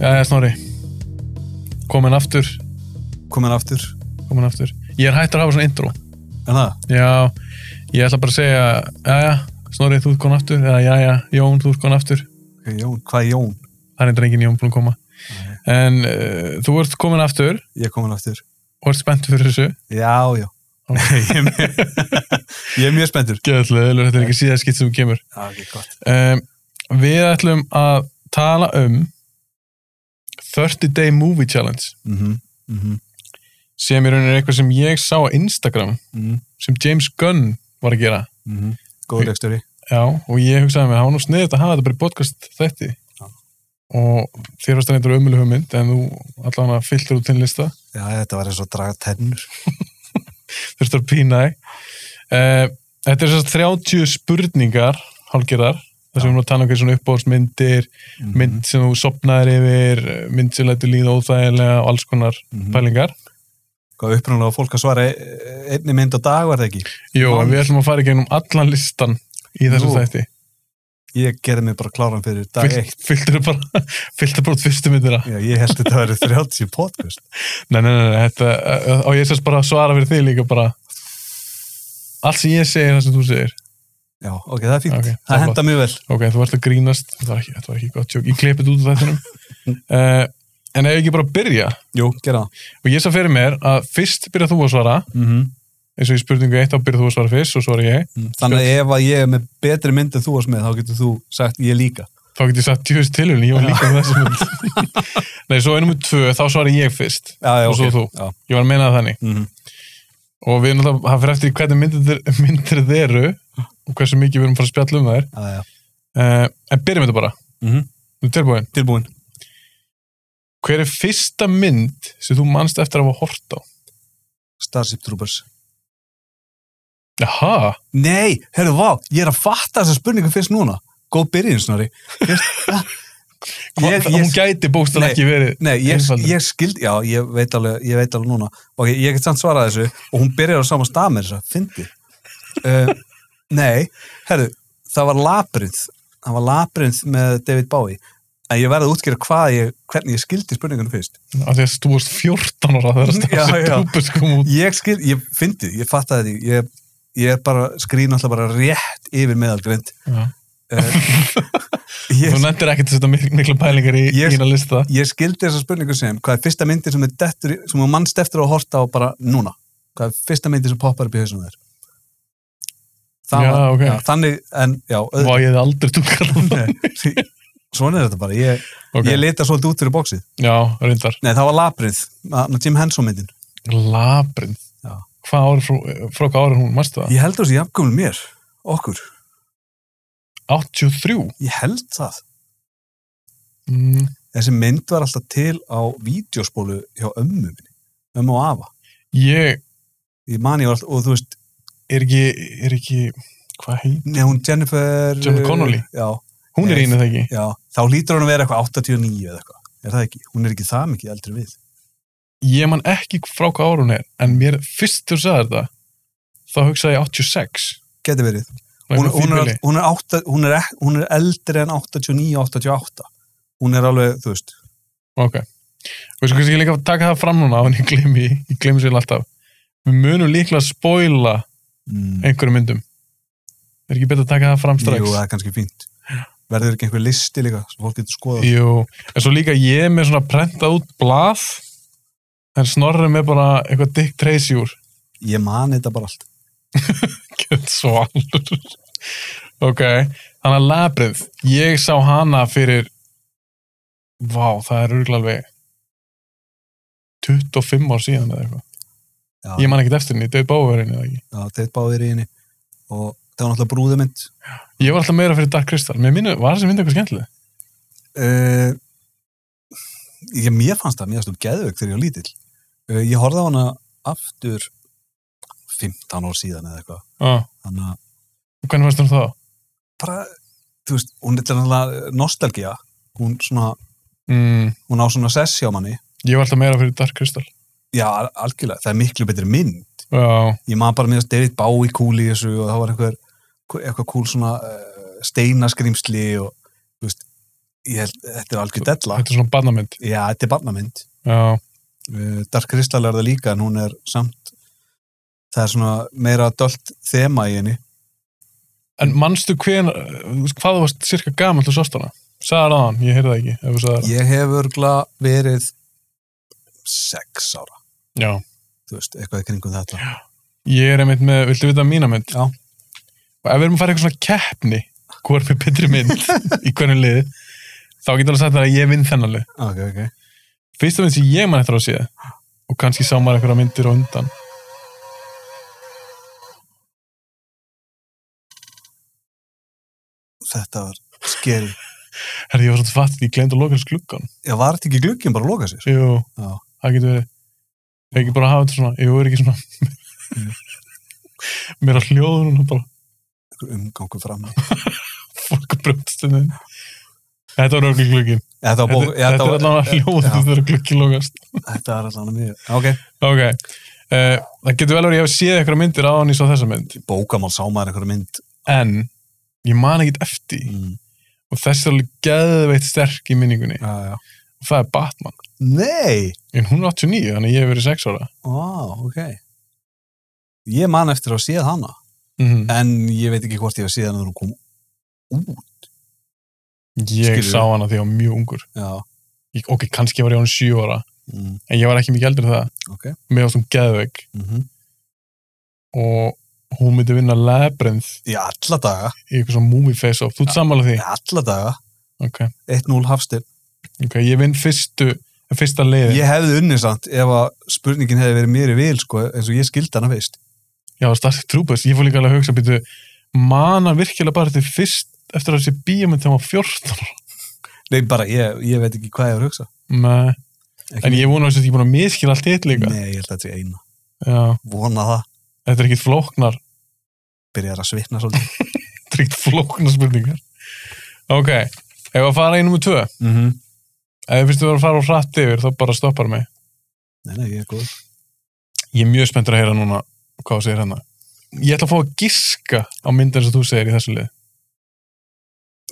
Jæja Snorri Komin aftur, komin aftur komin aftur Ég er hættur að hafa svona intro en það, Já, ég ætla bara að segja Jæja, Snorri, þú ert komin aftur Eða jæja, Jón, þú ert komin aftur Ok, Jón, hvað er Jón? Það er endur engin Jón búin að koma En uh, þú ert komin aftur Ég er komin aftur og ert spennt fyrir þessu já, já, Ok, ég er mjög, ég er mjög spenntur geðlega, þetta er ekki síðan skitt sem þú kemur já, ekki gott um, Við ætlum að tala um 30 Day Movie Challenge mm -hmm. Mm sem í rauninni er eitthvað sem ég sá á Instagram -hmm. sem James Gunn var að gera mm -hmm. góð leikstöri Já, og ég hugsaði mér, það var nú sniðið að hafa þetta bara í podcast þætti Já. og þér varst að neyndra umjölu hugmynd en þú allan að fylltur út þinn lista já, þetta var eins og að draga tennur þurftur að pína þig uh, Þetta er sérst 30 spurningar hálgerðar, þar sem við erum að tala um hverju svona uppáhaldsmyndir, Mhm. mynd sem þú sopnaðir yfir, mynd sem lætur líða óþægilega og alls konar Mhm. pælingar hvað upprunalega fólk að svara e- einni mynd á dag var það ekki Jú, en Vá. við ætlum að fara í gegnum allan listan í þessum Nú. þætti ég gerði mig bara kláran fyrir dag Fyll- eitt fylltur bara, fylltur bara út fyrstu myndina já, ég held þetta að vera 30 podcast Nei, nei, nei, nei, þetta, eh, og ég sérst bara að svara fyrir þig líka bara Allt sem ég segi er það sem þú segir já, ok, það er fínt, Ok, það er það henda mjög vel Ok, þú ert að grínast, þetta var ekki, þetta var ekki gott tjók Ég kleipið út úr þættinum uh, En ef ég ekki bara að byrja jú, gera það Og ég sá fyrir mér að fyrst byrja þú að svara mm -hmm. Eins og í spurningu eitt þá byrja þú að svara fyrst og svara ég þannig að ef að ég er með betri mynd en þú varst með þá getur þú sagt ég líka Þá get ég sagt tjóðist tilhjulni, ég var líka með þessu mynd Nei, svo einum og tvö, þá svara ég fyrst já, já, Og svo ok. þú. já. Ég var að meina það þannig Mm Og við náttúrulega, það fyrir eftir í hvernig myndir, myndir þeir eru Og hversu mikið við erum að fara að spjalla um þær já, já. uh, En byrjum þetta bara Mm Þú er tilbúin. tilbúin Hver er fyrsta mynd sem þú manst eftir að hafa hort á? Starship Troopers Jaha, Nei, herru, vá, ég er að fatta þessa spurningu fyrst núna. Góð byrjun, Snorri. ég, Ég- ég- hún gæti bókstall Nei, ekki verið. Nei, ég, Einfaldur. ég skildi, já, ég veit alveg, ég veit alveg núna. Ok, ég get samt svarað þessu og hún byrjar á sama stað með þess að fyndi. Uh, nei, herru, það var labrið. Það var labrið með David Bowie. En ég verði að útskýra hvað ég, hvernig ég skildi spurningunum fyrst. Af því að þú varst 14 ára þegar Já, þessi já. trúpus kom út. Ég skildi, ég fyndi, ég fattaði því. Ég, ég er bara, skrín alltaf bara rétt yfir meðalgrind. Já. Uh, ég Þú nefndir ekkert að setja mik miklu pælingar í Ég- þína lista. ég skildi þessa spurningu sem hvað er fyrsta myndin sem er dettur, í- sem þú mannst eftir að horta á bara núna hvað er fyrsta myndin sem poppar upp í hausnum þér Já, var, ok. já, þannig en já, Vá, öðru, ég hefði aldrei túkað það. svona er þetta bara ég, Ok. ég lita svolítið út fyrir bóksið Já, reyndar. nei, það var labrið, með Jim Henson myndin Labrind. Já. Hvað ári, frá, eh, frá hvað ári er hún, marstu það? ég held þessi jafnkvæmul mér, okkur 83. ég held það Mm. þessi mynd var alltaf til á vídeospólu hjá ömmu minni, ömmu og afa Ég ég man ég var alltaf, og þú veist er ekki, er ekki, hvað heit? Nei, hún Jennifer... Jennifer Connelly? Já, Hún er Nei. einu það ekki. já. Þá lítur hún að vera eitthvað 89 eða eitthvað. Er það ekki? Hún er ekki það mikið eldri við. ég man ekki frá hvað ára hún er en mér fyrst þú sagði þetta þá hugsaði ég 86 Geti verið. Nei, Hún, hvað hún, er, fíbili. all- hún, er átta, hún, er, ek- hún er eldri en 89, 88. Hún er alveg, þú veist, ok og svo kannski ég líka að taka það fram núna en ég gleymi, ég gleymi sér alltaf við munum líklega að spoila mm, einhverjum myndum er ekki betur að taka það fram strax jú, það er kannski fínt. Verður ekki einhver listi líka sem fólk getur skoðað? jú, en svo líka ég er með svona prentað út blað en snorri með bara eitthvað Dick Tracy úr Ég man þetta bara allt. Get svalur ok, þannig að labrið ég sá hana fyrir vá, það er örgulega alveg 25 ár síðan eða eitthvað, Já, ég man ekkert eftir henni, döð báverðin eða ekki, já þeir báðir í henni. Og það var náttúrulega brúðumynd. ég var alltaf meira fyrir Dark Crystal, mér minni, var þessi mynd eitthvað skemmtileg uh, ég, mér fannst það, mér fannst það geðvögg þegar ég var lítill uh, ég horfði á hana aftur 15 ár síðan eða eitthvað ah, þannig að hvernig varst hún þá? bara, þú veist, hún er náttúrulega nostalgía, hún svona Mm, hún á svona sess hjá manni ég var alltaf meira fyrir Dark Crystal já, al- algjörlega, það er miklu betri mynd já, ég maður bara meðast David Bowie kúl í þessu og það var einhver, eitthvað kúl svona uh, steinaskrýmsli og eh, þú veist, ég held, þetta er algjör della. Þetta er svona barnamynd. Já, þetta er barnamynd. Já, Uh, Dark Crystal er það líka, en hún er samt, það er svona meira dolt þema í henni. en manstu hven, hvað þú varst cirka gaman til sástana? Sæðar aðan, ég heyrði það ekki, ef þú sæðar. Ég hef örgla verið sex ára, Já, þú veist, eitthvað í kringum þetta. ég er einmitt með, viltu vita mína mynd? Já. Og ef við erum að fara í eitthvað svona keppni, hvað er með betri mynd í hvernig liði, þá getur alveg sagt það að ég vinn þennan lið. Ok, ok. Fyrsta mynd sem ég man eftir á síða, og kannski sá maður einhverja myndir á undan. Þetta var skeri. Herri, ég var svona fatt, ég glemd að loka hans gluggan. Já, var þetta ekki glugginn bara að loka sér? Jú, Já. það getur verið. Ég ekki bara að hafa þetta svona, jú, er ekki svona. Mm. Mér að hljóður hún bara, Einhver umgangu fram. fólk að brjótast henni. Þetta var örgulega glugginn. Þetta var Þetta, bók. já, þetta er var- allavega hljóð Já. þegar gluggi lokast. Þetta var allan að mjög. Ok. Ok, uh, það getur vel verið að ég hef séð eitthvað myndir á hann í svo þessa mynd. Bókamál sá maður einhverja mynd. En, ég man ekkit eftir því. Mm. og þessi er alveg geðveitt sterk í minningunni. Já, já. Og það er Batman. Nei! En hún er 89, þannig að ég hef verið 6 ára. Vá, ok. Ég man eftir að séð hana. Mm En ég veit ekki hvort ég hef séð hana þegar hún kom. Ég Skilurðu? sá hana því að ég var mjög ungur. Já. Ég, ok, kannski var ég á hann 7 ára. Mm. en ég var ekki mikið eldur en það Ok. mér varst hún geðveik Mm og hún myndi vinna labyrinth Já, alla daga. í eitthvað svona múmi face off, þú ert sammála því Já, alla daga. ok, 1-0 hafstil. ok, ég vinn fyrstu fyrsta leiðin, Ég hefði unnið samt ef að spurningin hefði verið mér í vil, sko, eins og ég skildi hana fyrst. já, Starship Troopers ég fór líka alveg að hugsa, býtu manna virkilega bara til fyrst eftir að þessi bíómynd þegar maður 14 ára Nei, bara, ég, ég veit ekki hvað ég var að hugsa. Nei, Ekki en ég vona þess að ég er búin að miskila allt hitt líka Nei, ég held að þetta er eina. já, Vona það. þetta er ekkit flóknar Byrjar að svitna svolítið. þetta er ekkit flóknar spurningar ok, ef að fara í nummer 2 ef mm -hmm. þið finnst þú að fara á hratt yfir þá bara stoppar mig Nei, nei, ég er góð. Ég er mjög spenntur að heyra núna hvað þú segir hérna. Ég ætla að fá að giska á myndin sem þú segir í þessu lið.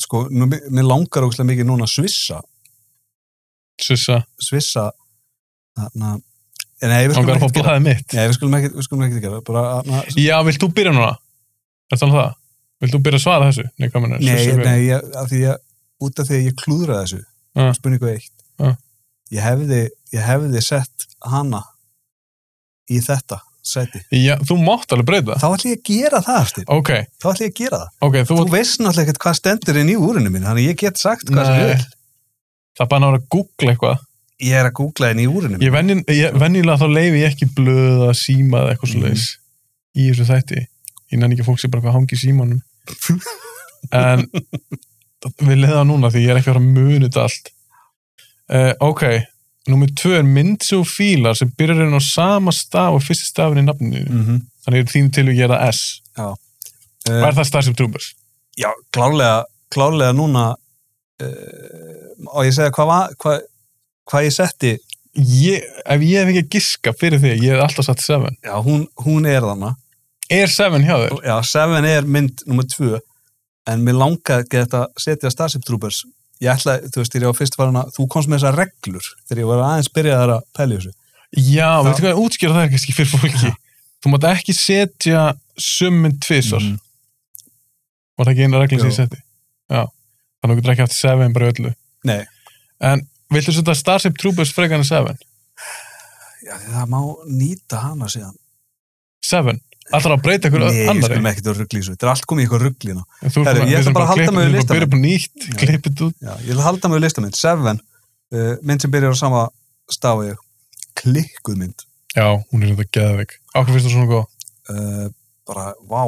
Sko, nú, mér mér langar ógæslega mikið núna að svissa. Sussa, Svissa, þarna... Nei, við ángar að skulum fá ekkert gera. blaðið mitt. Nei, við skulum ekkert, við skulum ekkert gera. Bara, þarna, Já, vilt þú byrja núna? Er það það? Vilt þú byrja að svara þessu? Nei, hvað mennur? Nei, nei ég, af því ég, út af því að ég klúðraði þessu Ja. spurningu eitt Ja. ég, hefði, ég hefði sett hana í þetta seti. Já, þú mátt alveg breyta. Þá ætlum ég að gera það, Aftur. Ok, Þá ætlum ég að gera það. ok, þú, Þú veist náttúrulega ekkert hvað stendur inn í úrinu mín, þannig ég get sagt hvað sem Nei. ég vil. það er bara náður að googla eitthvað. Ég er að googla inn í úrinu mín. Ég venjun- ég- venjulega þá leifi ég ekki blöð að síma eða eitthvað svo leiðis Mhm. í þessu þætti. Ég nenni ekki að fólk sé bara hvað hangi í símanum. en við leiða núna því ég er ekki að fara að muni þetta allt. Uh, ok, númið tvö er mynd sem þú fílar sem byrjar inn á sama staf og fyrsti stafin í nafninu. Mm. Mm -hmm. Þannig er þín til að gera S. Hvað uh, er það Starship Troopers? Eh, já, klárlega, klárlega núna uh, og ég segja hvað, var- hvað, hvað ég setti Ég, ef ég hef ekki að giska fyrir því, ég hef alltaf satt 7. já, hún, hún er þarna Er 7 hjá þér? já, Seven er mynd nummer tvö en mér langaði ekki þetta að setja Starship Troopers ég ætla, þú veist, þegar ég var fyrst farin að þú komst með þessar reglur þegar ég var aðeins byrjaðar að pæli þessu Já, Þá- veitu hvað, útskýra það er kannski fyrir fólki. Þú mátt ekki setja summin tvisar. Mhm. Var það ekki eina regla sem ég Jú. setti? Já. Þannig að þú getur ekki haft 7 bara í öllu. Nei. En viltu setja Starship Troopers frekar en 7? já, það má nýta hana síðan 7? Alltaf að breyta ykkur nei, ég annari? skulum ekkert að ruggli þessu þetta er allt komið í eitthvað rugglina Þú Herru, ég ætla bara að halda mig við Þú listann. byrja bara nýtt, Já. klippið út. já, ég vil halda mig við listamind, Seven uh, mynd sem byrjar á sama stafu ég klikkuð mynd Já, hún er þetta geðveik. Ákveð finnst þú svona góð? uh, bara, vá,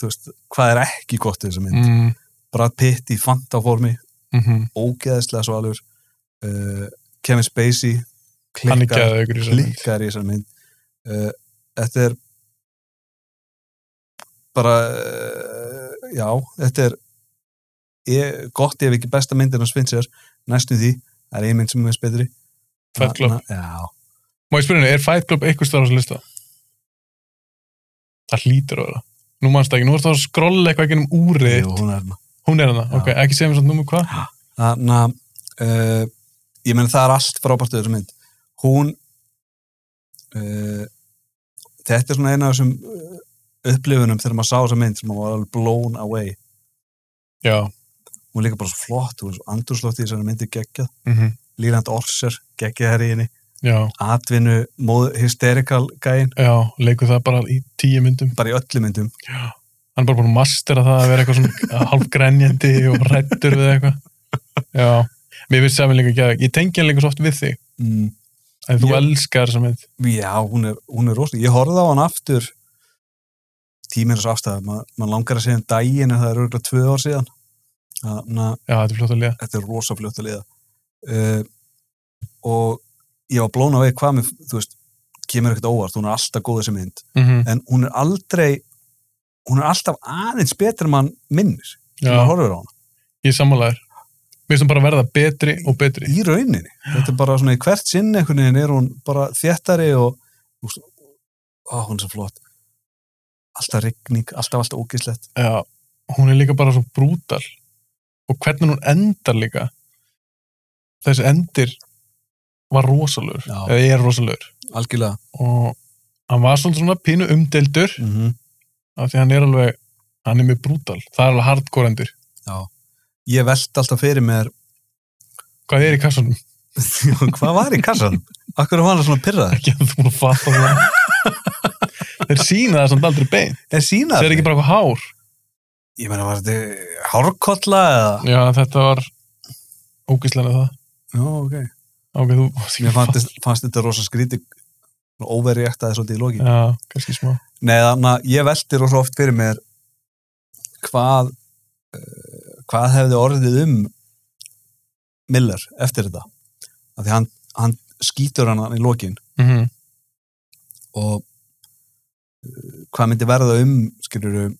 þú veist hvað er ekki gott í þessu mynd Mm, Brad Pitt í fantaformi mm ógeðslega svalur uh, Kevin Spacey Hann er klikkar, geðveikur í þessari mynd. klikkar í þessar mynd uh, þetta er bara uh, já, þetta er ég, gott ef ekki besta myndin á Spencer, næstum því það er ein mynd sem er mest betri Fight Club. Na- já, Má ég spyrja henni, er Fight Club eitthvað starf á þessu lista? Það hlýtur að vera. Nú mannst það ekki, nú ertu að skrolla eitthvað ekki um úrið. jú, hún er hana Hún er hana, ok, ekki segja mér svona númur hvað. Þarna, uh, ég meni það er allt frábært við þessa mynd hún uh, þetta er svona eina af þessum uh, upplifunum þegar maður sá þessa mynd sem maður var alveg blown away já, hún er líka bara svo flott, hún er svo andurslótt í þessari myndi geggjað, mhm, Lýrand Orser geggjað hér í henni, já, atvinnu móð, hysterical gæin, já leikur það bara í tíu myndum bara í öllu myndum hann er bara búin að mastera það að vera eitthvað svona halvgrænjandi og rættur við eitthvað já, mér finnst Sæmi líka ekki að ég tengi hann líka svo oft við þig mm, en þú Já. elskar þessa mynd já, hún er, hún er rosalega, ég horfði á hann aftur tíminn er svo afstæða, Ma, maður langar að segja um daginn en það er örgulega tvö ár síðan þannig að já, þetta er flott að liða þetta er rosa fljótt að liða uh, og ég var blóna vegi hvað mér, þú veist kemur ekkert óvart, hún er alltaf góð þessi mynd mm en hún er aldrei hún er alltaf aðeins betur en mann minnir sem maður já, horfir á hana, ég er sammálaður mér finnst hann bara verða betri og betri í rauninni þetta er bara svona í hvert sinn einhvern veginn er hún bara þéttari og þú veist, ó, hún er svo flott alltaf rigning, alltaf alltaf ógislegt já, hún er líka bara svo brútal og hvernig hún endar líka þessi endir var rosalur Já. eða er rosalur algjörlega og hann var svolítið svona pínu umdeldur mm -hmm. af því hann er alveg hann er mjög brútal, það er alveg hardcore endur ég velt alltaf fyrir mér hvað er í kassanum, hvað var í kassan? Akkur var hann svona pyrraður? ekki að þú múin að fatta það þeir sína það samt aldrei bein Er sína þeir eru ekki bara eitthvað hár ég meina, var þetta hárkolla eða? já, þetta var ógislega það Já, ok. ok, þú varst ekki Mér að fannst, fannst þetta rosa skríti óveri eftir það svolítið í lokin. fatta já, kannski smá Nei, þannig að ég velti rosa oft fyrir mér hvað uh, hvað hefði orðið um Miller eftir þetta. Af því hann, hann skýtur hann í lokin mm og uh, hvað myndi verða um, skilur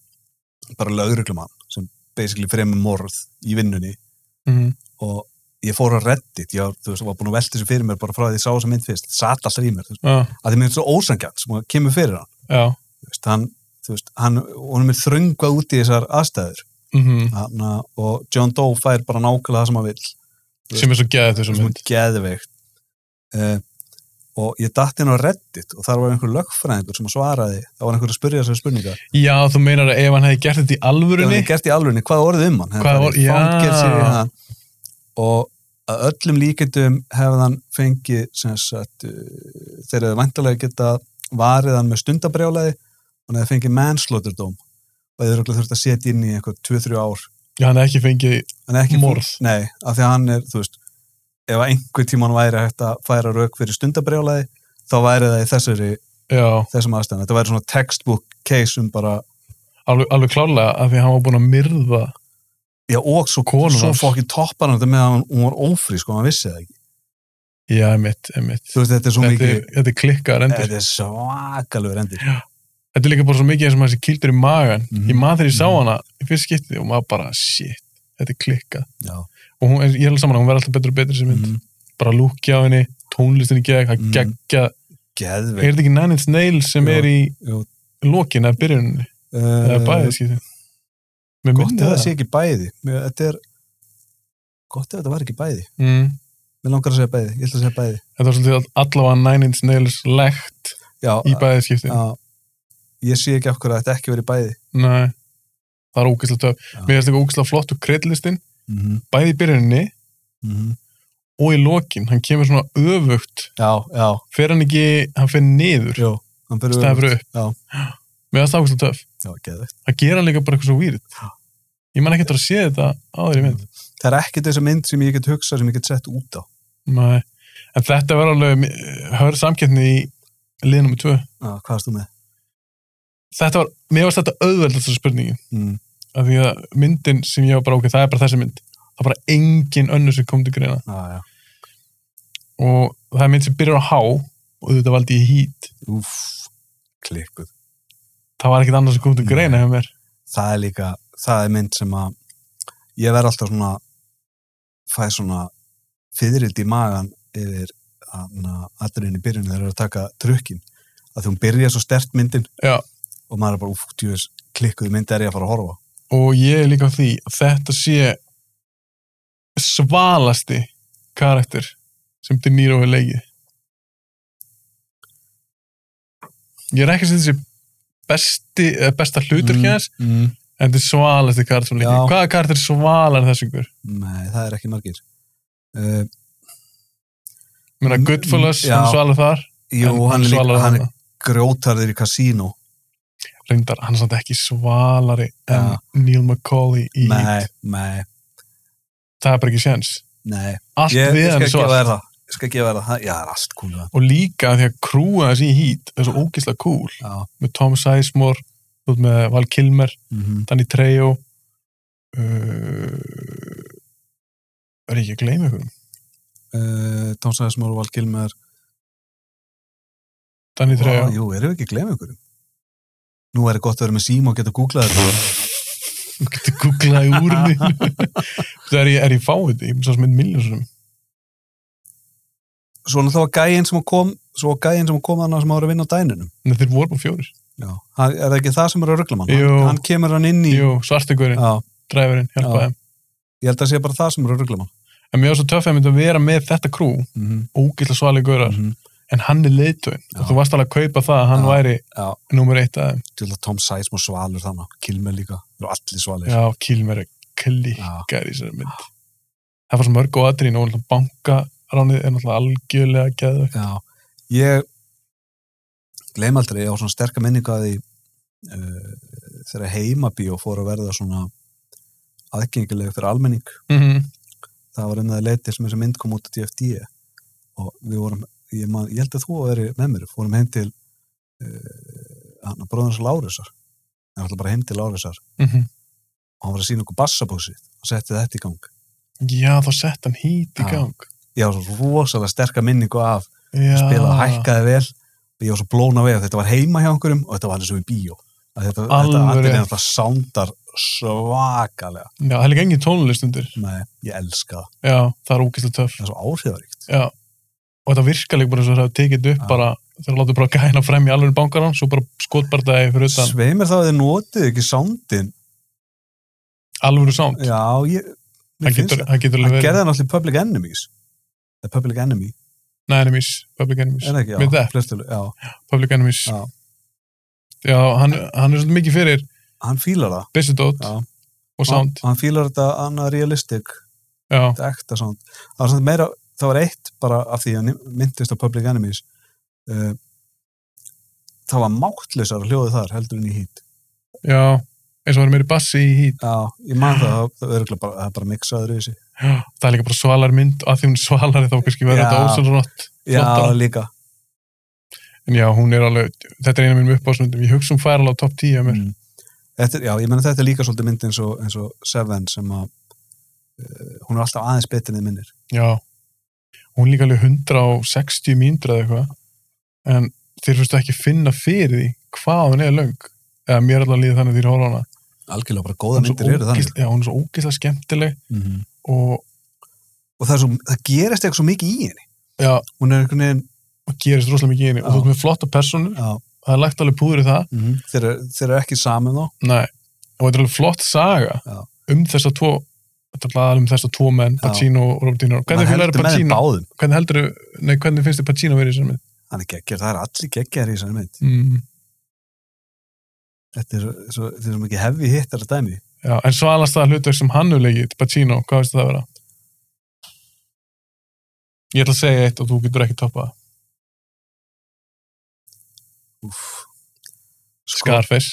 bara lögreglumann sem basically fremur morð í vinnunni -hmm. og ég fór á Reddit, ég var, þú veist, var búin að velta þessu fyrir mér bara frá því að ég sá þessa mynd fyrst, sat alltaf í mér, þú veist, já, að því mér er svo ósangjarn sem að kemur fyrir hann, já þú veist, hann, þú veist, hann, honum er þröngvað út í þessar aðstæður, mm hann, uh, og John Doe fær bara nákvæmlega það sem hann vill, sem er svo geðið þessu sem mynd er geðveikt. Uh, og ég datt inn á Reddit og þar var einhver lögfræðingur sem svaraði, það var einhver að spyrja þessari spurningar, já, þú meinar að ef hann hefði gert þetta í það alvörunni var gert í alvegni, hvað orðið um hann, Hvað Hann orð- var í já. fangelsi, hann- og að öllum líkendum hefði hann fengið sem sagt, uh, þeir hefði vantarlega geta varið hann með stundabrjálaði og hann hefði fengið mannslóturdóm og þeir eru þurft að setja inn í eitthvað 2-3 ár já, hann hefði ekki fengið en ekki fór- Morð. nei, af því að hann er, þú veist ef einhver tíma hann væri hægt að færa rauk fyrir stundabrjálaði þá væri það í þessari, já, þessum aðstæðan þetta væri svona textbook case um bara alveg, alveg klálega af því að hann var búin að myrða já, og svo, Konu svo hans. fókið toppar hann þetta með að hann- hún var ófrí, sko, hann vissi það ekki já, emitt, emitt þú veist, þetta er svo þetta er, mikið þetta er klikkar endur þetta er svakalur endir þetta er líka bara svo mikið eins og maður sé kildur í magan Mhm. ég maður þegar ég sá Mhm. hana í fyrst skipti og maður bara, shit, þetta er klikkað já, og hún, ég er alveg saman, að hún verður alltaf betur og betur sem mynd, mm, bara lúkja á henni tónlistin í gegn, það Mhm. geggja er geðveik þetta ekki Nine Inch Nails sem Jú, er í jú. lokin eða byrjuninni, eða bæðið skipti með Eh, gott myndið ef sko. það það sé ekki bæði Mér, þetta er gott ef þetta var ekki bæði mm. mér langar að segja bæði, ég ætla að segja bæði þetta var svolítið all- allavega Nine Inch Nails legt já, eh, í bæðið skipti já, ég sé ekki af hverju að þetta ekki verið bæði Nei, það er ógæslega töf Já. mér finnst líka ógæslega flott og kreidlistin mm -hmm. bæði í byrjuninni mhm. og í lokin, hann kemur svona öfugt já, já, fer hann ekki, hann fer niður jú hann fyrir staðið fyrir upp Já. mér finnst það ákvæmst töff já, geðveikt það gera hann líka bara eitthvað svo výrit ég man ekki eftir að sé þetta áður í mynd það er ekkert þessa mynd sem ég get hugsað sem ég get sett út á Nei. en þetta var alveg eh, hörð samkeppni í lið nummer 2 já, hvað erst þú með? þetta var, mér varst þetta auðveld þessar spurningin Mm. af því að myndin sem ég var bara okkur, það er bara þessi mynd það er bara engin önnur sem kom til greina já, já, og það er mynd sem byrjar á H og þetta valdi ég hít úff, klikkuð það var ekkit annað sem kom til greina hjá mér það er líka, það er mynd sem að ég verð alltaf svona fæ svona fyririldi í magan yfir aðriðin í byrjunni þegar það er að taka trukkin að því hún byrja svo stert myndin Já. og maður er bara úf, tjóðis, klikkuð mynd er ég að fara að horfa á. og ég er líka á því að þetta sé svalasti karakter sem De Niro hefur leikið ég er ekki að segja þessi besti, eh, besta hlutur mm. hans mm. en þetta er svalasti karakter sem hann Já. leikið hvaða karakter svalar en þessu yngur Nei, það er ekki margir uh, meina Mm, Goodfellas, já. hann svalar þar Jú, En hann er, líka, svalar hann er þarna. grjótarður í kasínó reyndar, hann er samt ekki svalari en Já. Neil McCauley í Nei, nei, það er bara ekki séns nei allt Ég, við ég hann er skal gefa svart þér það Ég skal gefa þér það, já, það er allt kúl við hann. og líka því að krúa þessi í hít er svo ógislega cool Já, með Tom Sizemore, þú ert með Val Kilmer mhm Danny Trejo uh, er ég ekki að gleyma ykkur uh, Tom Sæðismór og Val Kilmer Danny Trejo Ó, Jú, erum við ekki að glemja ykkur Nú er gott að vera með síma og geta googlað þetta þú getur googlað í úrðin það er ég, er ég fáið ég er svo sem mynd miljónsum Svona þá var gæinn sem kom svo var gæinn sem kom þannig sem ára að vinna á dæninum en þeir voru bara fjórir Já, hann, er það ekki það sem er að ruggla mann Jú. hann, hann kemur hann inn í Jú, svartegurinn, Já, dræfurinn, hjálpa Já. þeim ég held að sé bara það sem er að ruggla mann en mér var svo töff að ég myndi að vera með þetta krú mm Mhm. -hmm. ógislega svalið gaurar, Mhm. en hann er leiðtöðin Já. og þú varst alveg að kaupa það að hann Já. væri Já, nummer eitt að þeim til að Tom Sæsmór svalur þannig Kilmer líka, Þeir eru allir svalir já, Kilmer er klikkar í þessari mynd það var svo mörg og aðrýn og bankaránið er náttúrulega algjörlega geðu Já, ég gleym aldrei, ég á svona sterka minningu að því uh, þegar heimabíó fór að verða svona aðgengileg fyrir almenning mm -hmm. það var einnig að leiti sem þessi mynd kom út á DFD og við vorum ég, man, ég held að þú að veri með mér fórum heim til uh, hann að bróðans Lárusar ég ætla bara heim til Lárusar og hann var að sína okkur bassabósið og setti þetta í gang Já, þá sett hann hít í Já. gang. ég á svo rosalega sterka minningu af Já. spilaði hækkaði vel og ég var svo blóna við að þetta var heima hjá einhverjum og þetta var eins og í bíó að þetta, þetta Alveg allir rétt. þetta sándar svakalega Já, það er líka engin tónlist undir. Nei, ég elska það, Já, það er ógeðslega töff. það er svo áhrifaríkt Já. Og þetta virkar líka bara eins og það hefur tekið þetta upp Já. bara, þegar látið bara gæna frem í alveg bankaran, svo bara skotbardaði fyrir utan svei mér þá að þið notið ekki sándin alvöru sound. já, ég, mér Hann finnst getur, það hann getur hann alveg gerði verið. hann allir Public Enemies það er Public Enemy, Nei, enemies, public enemies. er það ekki? Með Já, það? flestu, já. Public enemies. Já. Já, hann, hann er svolítið mikið fyrir hann fílar það Bissudót Já. og sound. hann, hann fílar þetta annað realistic Já, þetta ekta sound það var, samt meira, það var eitt bara af því að myndist á Public Enemies uh, það var máttlausar hljóðu þar heldur en í hít já. Eins og það er meiri bassi í hít. já, ég man það, það, það, örugglega bara, það er bara miksaður í þessi Já, það er líka bara svalar mynd og að því hún er svalari þá kannski verður Já. þetta ósvöldsrott. já, Flottara. líka En já, hún er alveg, þetta er eina af mínum uppásmyndum. Ég hugsa um færa alveg á topp 10 að mér. mm. þetta, er- já, ég menna þetta er líka svolítið mynd eins og, eins og Seven sem að uh, hún er alltaf aðeins betur niður minnir Já. Hún er líka alveg 160 mínútur eða eitthvað. En þeir fyrstu ekki finna fyrir því hvað hún er löng. Eða mér alveg líði þannig því að horfa á hana. algjörlega bara Hún góða er svo myndir eru þannig ógeðslega- Já, hún er svo ógeðslega skemmtileg mm. og, og það, er svo, það gerist eitthvað svo mikið í henni já, hún er einhvern veginn og gerist rosalega mikið í henni. Og Já. þú ert með flotta personur. já, Það er lagt alveg púður í það. mm. þeir, eru- þeir eru ekki saman þá Nei. Og þetta er alveg flott saga Já. um þessa tvo, þetta er alveg um þessa tvo menn, Já. Pacino og Robert De Niro. Hvernig Maður fílar heldur með þeim Pacino? báðum Hvernig heldur, nei, hvernig finnst þið Pacino verið sem er? hann er geggjær, það er allir geggjar í þessari mynd Mm. þetta er svo- svo, þetta er svo mikið hefði hitt þetta dæmi Já, en svalast það hlutverk sem hann hefur leikið, Pacino, hvað veist það að vera? Ég ætla að segja eitt og þú getur ekki toppað. það. Úf. Sko, Scarface.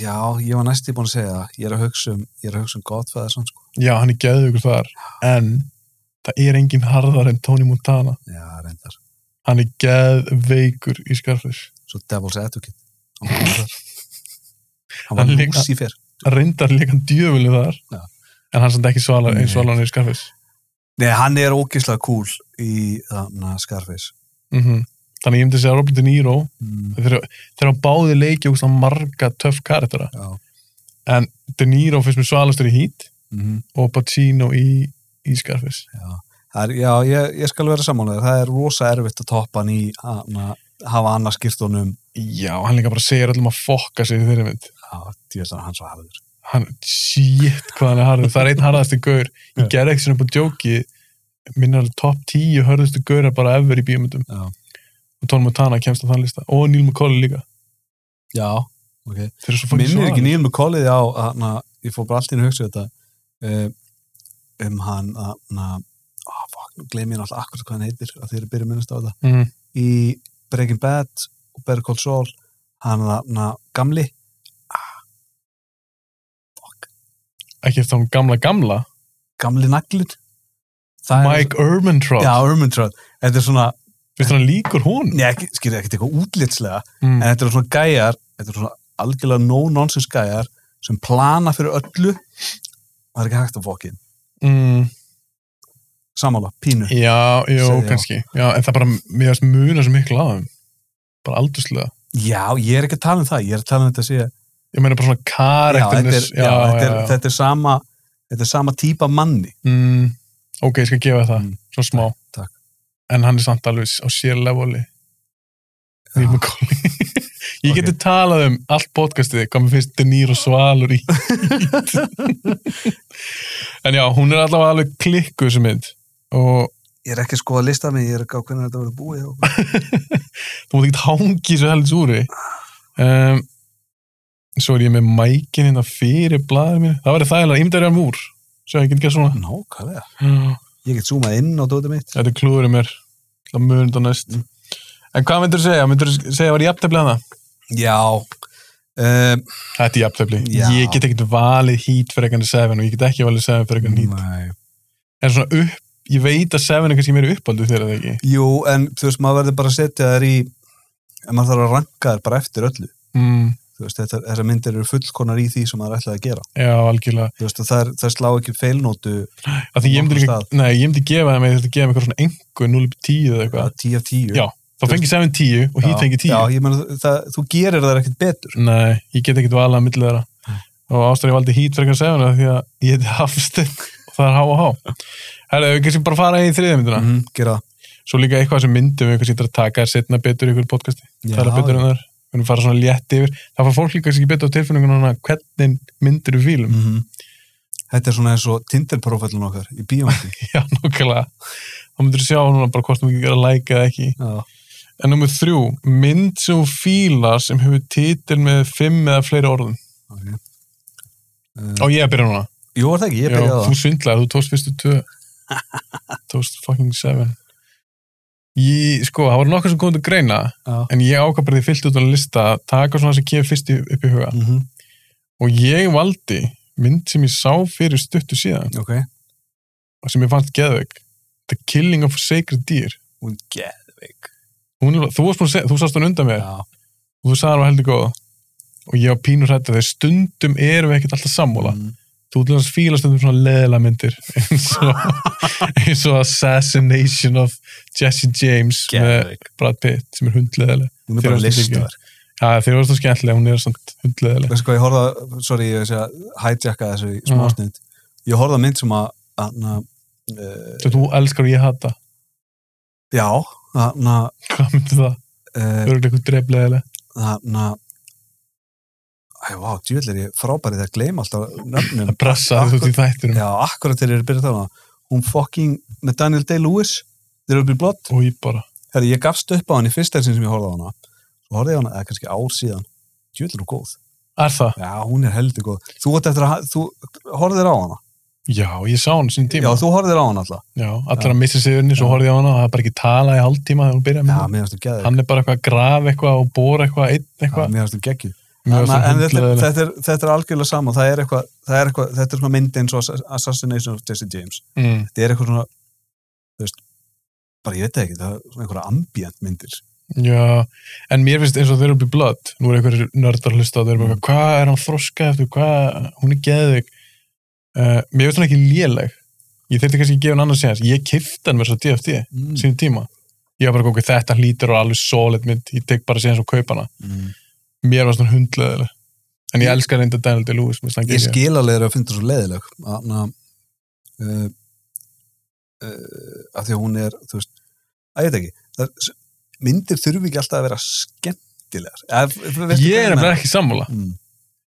já, ég var næstu búin að segja það ég er að hugsa um, ég er að hugsa um Godfather sann, sko. Já, hann er geðugur þar, en það er engin harðar en Tony Montana. já, reyndar, Hann er geðveikur í Scarface. svo Devil's Advocate hann var þar. hann Hann var líka- Lucifer Hann reyndar líka hann djöfulið þar, Já. en hann er samt ekki svalar eins Nei. svalar hann er í Scarface. nei, hann er ógeðslega cool í þarna Scarface Mm Þannig ég myndi segja að Robert De Niro, mm. þegar þegar hann báði leikið úr marga töff karaktera. já, De Niro finnst mér svalastur í Heat mm. og Pacino í, í Scarface. Það er, já ég, ég skal vera sammálaður það er rosa erfitt að toppa hann í hana, hafa annað skýrtunum Já, hann líka bara segir öllum að fokka sig í þeirri mynd. já, ég veist að hann svo harður Hann, shit, hvað hann er harður. Það er einn harðasti gaur. Ég gerði ekki svona upp á djóki minna alveg top 10 hörðustu gaurar bara ever í bíómyndum Já. og Tom Montana kemst á þann lista og Neil McCauley líka já, ok þeir eru svo fucking minnir ekki svalir. Neil McCauley á hana, ég fór bara allt í henni að hugsa þetta eh, um hann hana, oh, fuck, nú gleym ég alltaf akkurat hvað hann heitir að þeir eru byrjuð að minnast á þetta Mhm. í Breaking Bad og Better Call Saul hann hana, gamli ekki eftir þá gamla gamla gamli naglin það Mike er, Ermentrout já, Ermintrad þetta er svona, finnst þér hann líkur hún neða, ekki- skilja ekkert eitthvað útlitslega en mm. þetta eru svona gæjar þetta eru svona algjörlega no-nonsense gæjar sem plana fyrir öllu það er ekki hægt að fókin Mm. samála, pínu já, jú, Segðu já. kannski já, en það bara, mér finnst muna svo miklu á þeim bara aldurslega Já, ég er ekki að tala um það, ég er að tala um þetta að sé ég meina bara svona já, þetta er, karakternis já, þetta, er, þetta er sama þetta er sama típa manni Mm, ok, ég skal gefa það, Mm. svo smá Takk. en hann er samt alveg á sér leveli Já. Neil McCauley ég Ok. geti talað um allt podcastið hvað mér finnst De Niro svalur í en já, hún er allavega alveg klikku sem mynd og Ég er ekki að skoða lista mig, ég er ekki á hvernig þetta verður búið hjá okkur. þú mátt ekki hangi svo helst úr því. um, svo er ég með mækin hérna fyrir blaður mínu það verður þægilega, ímyndarjar múr svo ég get ekki svona Ah, Nákvæmlega, mm. ég get zoomað inn á dótið mitt Þetta klúður í mér Það munið á næst En hvað myndur þú segja? Myndur þú segja að var jafntefli hana? Já um, Þetta er jafntefli Já. Ég get ekkert valið hít fyrir ekkert 7 og ég get ekki valið 7 fyrir ekkert hít nei. Mm. En svona upp, ég veit að 7 er kannski meira uppaldu þegar það ekki Jú, en þú veist, maður verður bara að setja þær í en maður þarf að ranka þær bara eftir öllu mm, þú veist, þetta, þessar myndir eru fullkonar í því sem maður ætlaði að gera Já, algjörlega þú veist, og þær, þær slá ekki feilnótu Af Því ég myndi, líka, Nokkurn nei, ég myndi gefa það með þetta gefa eitthvað svona engu 0-10 eða eitthvað 10 af 10 Já, Þá fengi 7 10 og hít fengi 10 Já, ég meni, það, þú gerir þær ekkert betur Nei, ég get ekkert valið að milli þeirra Mm. og ástæður ég valdi hít fyrir eitthvað 7 því að ég heiti Hafstein og það er há og há Herðu, við kannski bara fara í þriðja myndina mm -hmm. Gera það svo líka eitthvað sem myndum við eitthvað sýttir að taka er setna betur í ykkur podcasti það er betur en það er, við erum fara svona létt yfir það fá fólk líka sem ekki betur á tilfinningunum hvernig myndir við fílum mm Þetta er svona eins og Tinder-profilun okkar í bíómyndi. já, nokkulega, þá myndir við sjá núna bara hvort þú ekki gera like eða ekki Já. en nummið þrjú, mynd sem þú fílar sem hefur titil með fimm eða fleiri orðum Okay. Uh, og ég að byrja núna jú, er það ekki, ég já, byrjaði á þú það. svindlar, þú tókst fyrstu tvö tókst fucking seven ég, sko, það var nokkur sem kom til greina Já. en ég ákvað bara því fyllt út á lista að taka svona sem kemur fyrst í- upp í huga Mm -hmm. og ég valdi mynd sem ég sá fyrir stuttu síðan Ok. og sem ég fannst geðveik The Killing of a Sacred Deer Hún geðveik. hún, er- þú, varst búin að seg- þú sást hún undan mér Já. og þú sagði hann var heldur góð og ég var pínur hrætt að þegar stundum erum við ekkert alltaf sammála Mm. þú ætlum að fíla stundum svona leðilega myndir eins og, eins og Assassination of Jesse James með Geðveik. Brad Pitt sem er hundleðileg Hún er Fyrir bara að stundum listar. ja, þeir eru svo skemmtilega, hún er svona hundleðileg Veistu hvað, ég horfði að, sorry, ég sé að hijacka þessu í Já. smásnind. Ég horfði að mynd sem að, hana, uh, þú elskar og ég hata já, hana, hvað myndir það? uh, Örgulega eitthvað drefleðileg hana, Æ, vá, djúvel er ég frábærið að gleyma alltaf nöfnum. að pressa þú ert í þættinum Já, akkurat þegar ég er að byrja að tala um það. Hún fucking, með Daniel Day-Lewis, þeir eru að byrja blott. og ég bara Herri, ég gafst upp á hann í fyrsta sinn sem ég horfði á hana. Svo horfði ég á hana, eða kannski ár síðan. Djöfull er hún góð. Er það? Já, hún er heldur góð. Þú átt eftir að, ha- þú horfðir á hana. Já, ég sá hann sín tíma. Já, Já, þú horfðir á hana alltaf. allir að missa sig unni, svo Já. horfði ég á hana og það er bara ekki tala í hálftíma þegar hún byrja Já, með mér finnst þú geðið. Mhm. Hann er bara eitthvað að grafa eitthvað og bóra eitthvað, einn eitthvað. Mér finnst þú geggið. Mér En varst það þetta er, hundleðileg. þetta, er, þetta er algjörlega sama. Það er eitthvað, það er eitthvað, þetta er svona mynd eins og Ass- Assassination of Jesse James. Mm, Þetta er eitthvað svona, þú veist, bara ég veit það ekki, það er svona einhverja ambient myndir. Já, en mér finnst eins og þeir eru byrjum blödd. Nú er einhverjir nördar að hlusta og þeir eru bara, eitthvað, hvað er hann þroska eftir, hvað, hún er geðvig. Uh, mér finnst hann ekki léleg. Ég þurfti kannski að gefa hann annars séðans. Ég kifti hann með svo DFT Mm. sínum tíma. Ég var bara okkur, þetta hlýtur og alveg solid mynd. Ég tek bara séðans og kaup hana. Mm. mér var svona hundleðileg en ég elska reynda Daniel Day-Lewis mér finnst hann ég geggjað. skil alveg að finna svo leiðileg Anna, uh, uh, að því að hún er þú veist, að ég veit ekki það, er- myndir þurfi ekki alltaf að vera skemmtilegar Ef- ef- veistu ég hvað er meina? nefnilega ekki sammála Mm,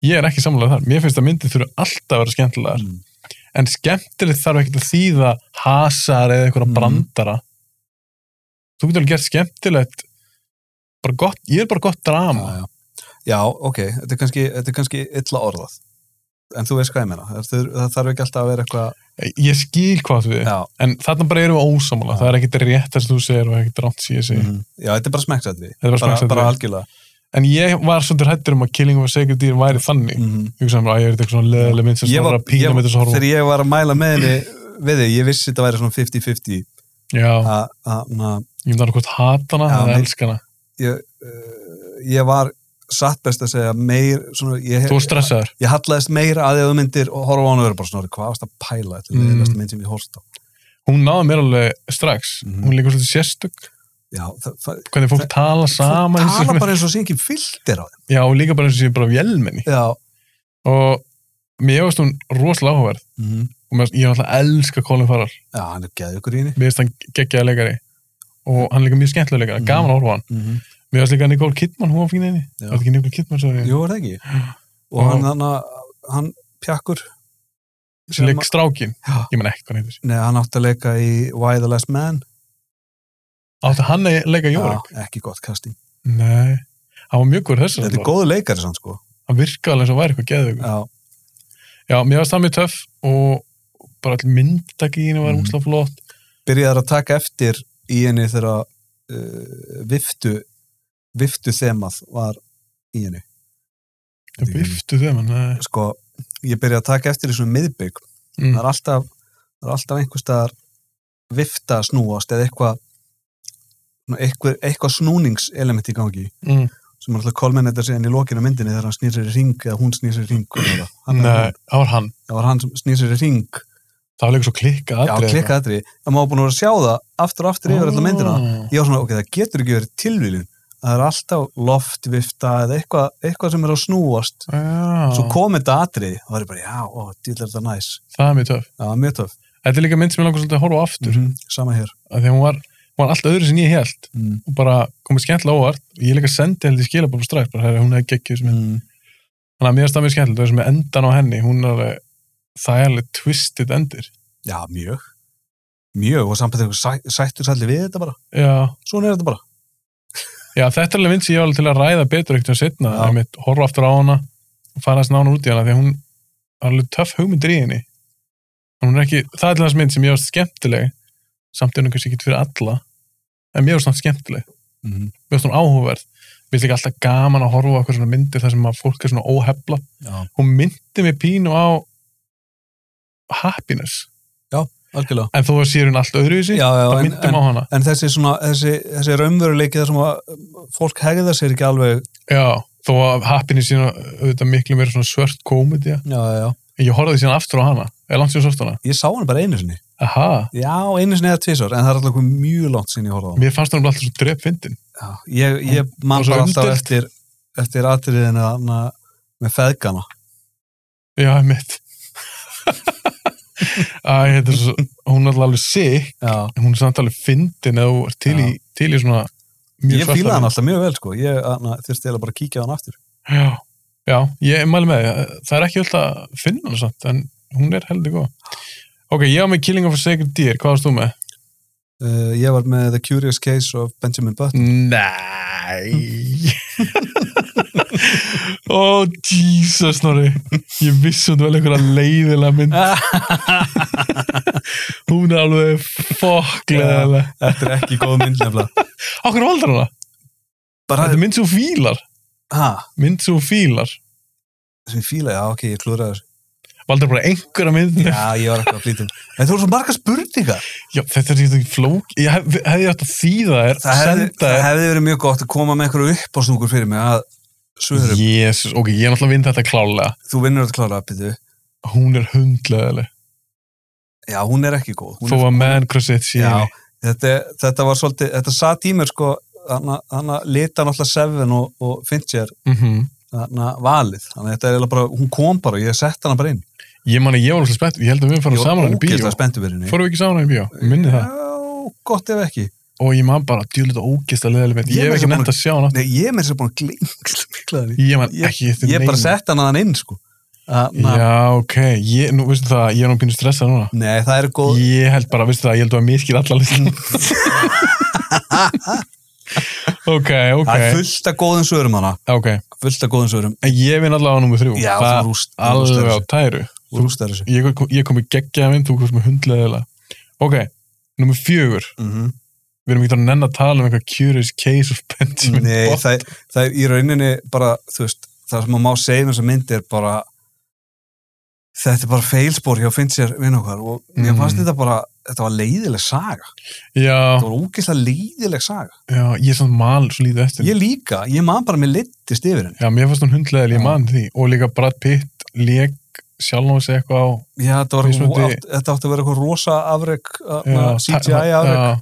ég er ekki sammála þar, mér finnst að myndið þurfa alltaf að vera skemmtilegar mm. en skemmtilegt þarf ekkert að þýða hasar eða einhverja Mm. brandara þú getur alveg gert skemmtilegt bara gott, ég er bara gott drama já. já, ok, þetta er, kannski, þetta er kannski illa orðað en þú veist hvað ég meina það, þur- það þarf ekki alltaf að vera eitthvað ég skil hvað við, já, en þarna bara erum við ósamála það er ekkert rétt það sem þú segir og ekkert rátt sem ég segi mhm. já, þetta er bara smekksætri Þetta er bara bara, smekksatriði. bara algjörlega en ég var svolítið hættur um að Killing of a Sacred Deer væri þannig mm. Mhm. ég hugsaði mér að ég er þetta eitthvað svona leðileg mynd sem Ég snorra var- að pína með þessu horfa þegar ég var að mæla með henni við þig, ég vissi þetta væri svona 50-50 já, að, að, að ég myndi hann hvort hata hana Já, eða mér- elska hana, ég, uh, ég var satt best að segja meir svona, ég, þú er stressaður ég hallaðist meira að því að þú myndir og horfa á hann og vera bara svona, hvað varst að pæla þetta Mm. mm. er minn sem ég horfst á hún náði mér alveg strax Mhm. hún er líka svolítið sérstök já, það, það, hvernig fólk Það- tala það saman tala bara eins og sé ekki filter á þeim já, og líka bara eins og sé bara vélmenni já, og mér hefast hún rosalega áhugaverð mm. og mér, ég er alltaf að elska Colin Farrell já hann er geðið ykkur í henni mér hefast hann geggjaði leikari og hann er líka mjög skemmtilega leikari, Mhm. gaman að horfa á hann mm -hmm. mér hefast líka Nicole Kidman, hún var fín einni Já. það er ekki Nicole Kidman, sorry, jú, er það ekki og hann, hann, hann pjakkur sem leik strákin Já. ég menn ekki hvað hann heitir Nei, hann átti að leika í Why the Last Man átti hann að leika Jórik? já, ekki gott casting Nei, hann var mjög góður þessu þetta er góðu leikari sann sko hann virkaði alveg eins og væri eitthvað geðveikur já, já, mér varst það mjög töff og bara all myndagínu var Mhm. úsla flott byrjaðar að taka eftir í henni þegar uh, viftu viftu þemað var í henni það biftu þeim en eh, sko, ég byrjaði að taka eftir í svona miðbygg mm, það er alltaf, það er alltaf einhvers staðar vifta að snúast eða eitthvað svona eitthvað, eitthvað snúningselement í gangi mm, sem er alltaf kolmennetar síðan í lokinu á myndinni þegar hann snýr sér í ring eða hún snýr sér í ring hvernig var það? Hann- nei, það var hann það var hann sem snýr sér í ring það var líka svo klikkað já, klikka aðri, það má búin að vera að sjá það aftur og aftur yfir alltaf myndina ég var svona, ok, það getur ekki verið tilvílin það er alltaf loftvifta eða eitthvað, eitthvað sem er að snúast svo Ah, já, kom þetta atrið og það er bara, já, ó, dýll er þetta næs það er mjög töff það var mjög töf, þetta er líka mynd sem ég langar svolítið að horfa á aftur Mhm. mm. sama hér þegar hún var, hún var allt öðru sem ég held mm. og bara komið skemmtilega óvart ég líka sendi held ég skila bara strax bara, "Herra, hún hefði geggið sem mynd Mm. þannig að mér varst það mjög skemmtilegt það er sem er endan á henni hún er alveg það er alveg twisted endir já, mjög mjög, og samt að þetta sæ, sættur sælli við þetta bara, já, svona er þetta bara Já, þetta er alveg mynd sem ég var alveg til að ræða betur ekkert um setna, Já. það er mitt horfa aftur á hana og fara þess nána út í hana því að hún var alveg töff hugmyndir í henni En hún er ekki, það er til þess mynd sem ég var skemmtileg samt er hún kannski ekki fyrir alla en mér var samt skemmtileg mm. mér var svona áhugaverð mér finnst ekki alltaf gaman að horfa á okkur svona myndir þar sem að fólk er svona óhefla já, hún myndi mig pínu á happiness algjörlega en þó að sér hún allt öðruvísi já, já, það en, myndi en, mig á hana en þessi svona, þessi, þessi raunveruleiki þar sem að um, fólk hegða sér ekki alveg já, þó að happiness sé nú auðvitað miklu meira svona svört komedía já, já, já, En Ég horfði síðan aftur á hana, eða langt síðan svart á hana. ég sá hann bara einu sinni Aha, já, einu sinni eða tvisar, en það er alltaf komið mjög langt sinni ég horfði á hann mér fannst hún alltaf svo drepfindin. Já, ég, ég man Og svo bara alltaf umdeild. eftir, eftir atriðinu þarna með feðgana. Já, mitt. Æ, þetta er svo, hún er alltaf alveg sick, Já. en hún er samt alveg fyndin eða þú er til, í- til í svona mjög Ég svarta fílaði hann mynd. alltaf mjög vel, sko. Ég na, þurfti eiginlega bara að kíkja á hann aftur. Já, já, ég mæli með því. Það er ekki alltaf að finna hana samt, en hún er heldur góð. Ok, ég á með Killing of a Sacred Deer, hvað varst þú með? Uh, ég var með The Curious Case of Benjamin Button. Nei Ó, Jesus, Snorri Ég vissi hún vel einhverja leiðilega mynd Hún er alveg fokk leiðilega Þetta er ekki góð mynd nefnilega. Okkur valdur hana? Bara, Þetta er mynd svo fílar hæ, Mynd svo fílar sem ég fílaði, já, ok, ég klúraði þessu. Valdur bara einhverja mynd Já, ég var eitthvað að um. flýtum. Þetta voru svo marga spurningar. Já, þetta er ekki flók Ég hef, hefði átt að þýða þér Það hefði, Senda það þér hefði verið mjög gott að koma með einhverju uppásnúkur fyrir mig að svörum. Jesus, ok, ég er náttúrulega að vinna þetta klálega Þú vinnur að klára að byrju. Hún er hundleðileg Já, hún er ekki góð. Hún Þó er sko- að man cross it sé Já, þetta, þetta var svolítið, þetta satt í mér sko, hann að lita náttúrulega Seven og, og Fincher Mhm hana, valið, þannig að þetta er eiginlega bara, hún kom bara og ég sett hana bara inn. Ég man að ég var alltaf spennt, ég held að við Ég farum saman hann í bíó. ógeðslega spenntur fyrir henni. Fórum við ekki saman hann í bíó, minni það. Já, gott ef ekki. Og ég man bara, djúlið og ógeðslega leðileg mynd. Ég Ég hef meira ekki sem nefnt búin að sjá hann aftur. Nei, ég er mér sér búin að glengst miklaði. Ég man ekki eftir Ég bara neinu. sett hana þann inn sko. Þarna- Já, ok, ég, nú veistu það, ég er nú pínu stressað núna. Nei, það er góð Ég held bara, veistu það, ég held að myrkir alla listin. ok, ok, Það er fullt af góðum svörum hana ok. Fullt af góðum svörum En ég vinn allavega á nummer þrjú. Já, það þú rúst- þú rústar alveg á þessu. tæru. Þú rústar þessu Ég, kom- ég kom í geggjaða mynd, þú komst með hundleðilega. Ok, nummer fjögur. Mhm. Við erum ekki að nenn að tala um eitthvað curious case of Benjamin Nei, Button. það, það er í rauninni bara, þú veist, það sem maður má segja um þessa mynd er bara þetta er bara feilspor hjá finnst sér vinn okkar og mér fannst Mhm. þetta bara þetta var leiðileg saga, Já, þetta var ógeðslega leiðileg saga já, ég er svona mal svo lítið eftir. ég líka, ég man bara með littist yfir henni Já, mér fannst hún hundleðilega, ég Já. man því. Og líka Brad Pitt leik sjálf og sig eitthvað á já, þetta, var, Mismunandi- Mismundi... átt, þetta átti að vera eitthvað rosa afrek uh, Já, na, CGI ta- afrek já,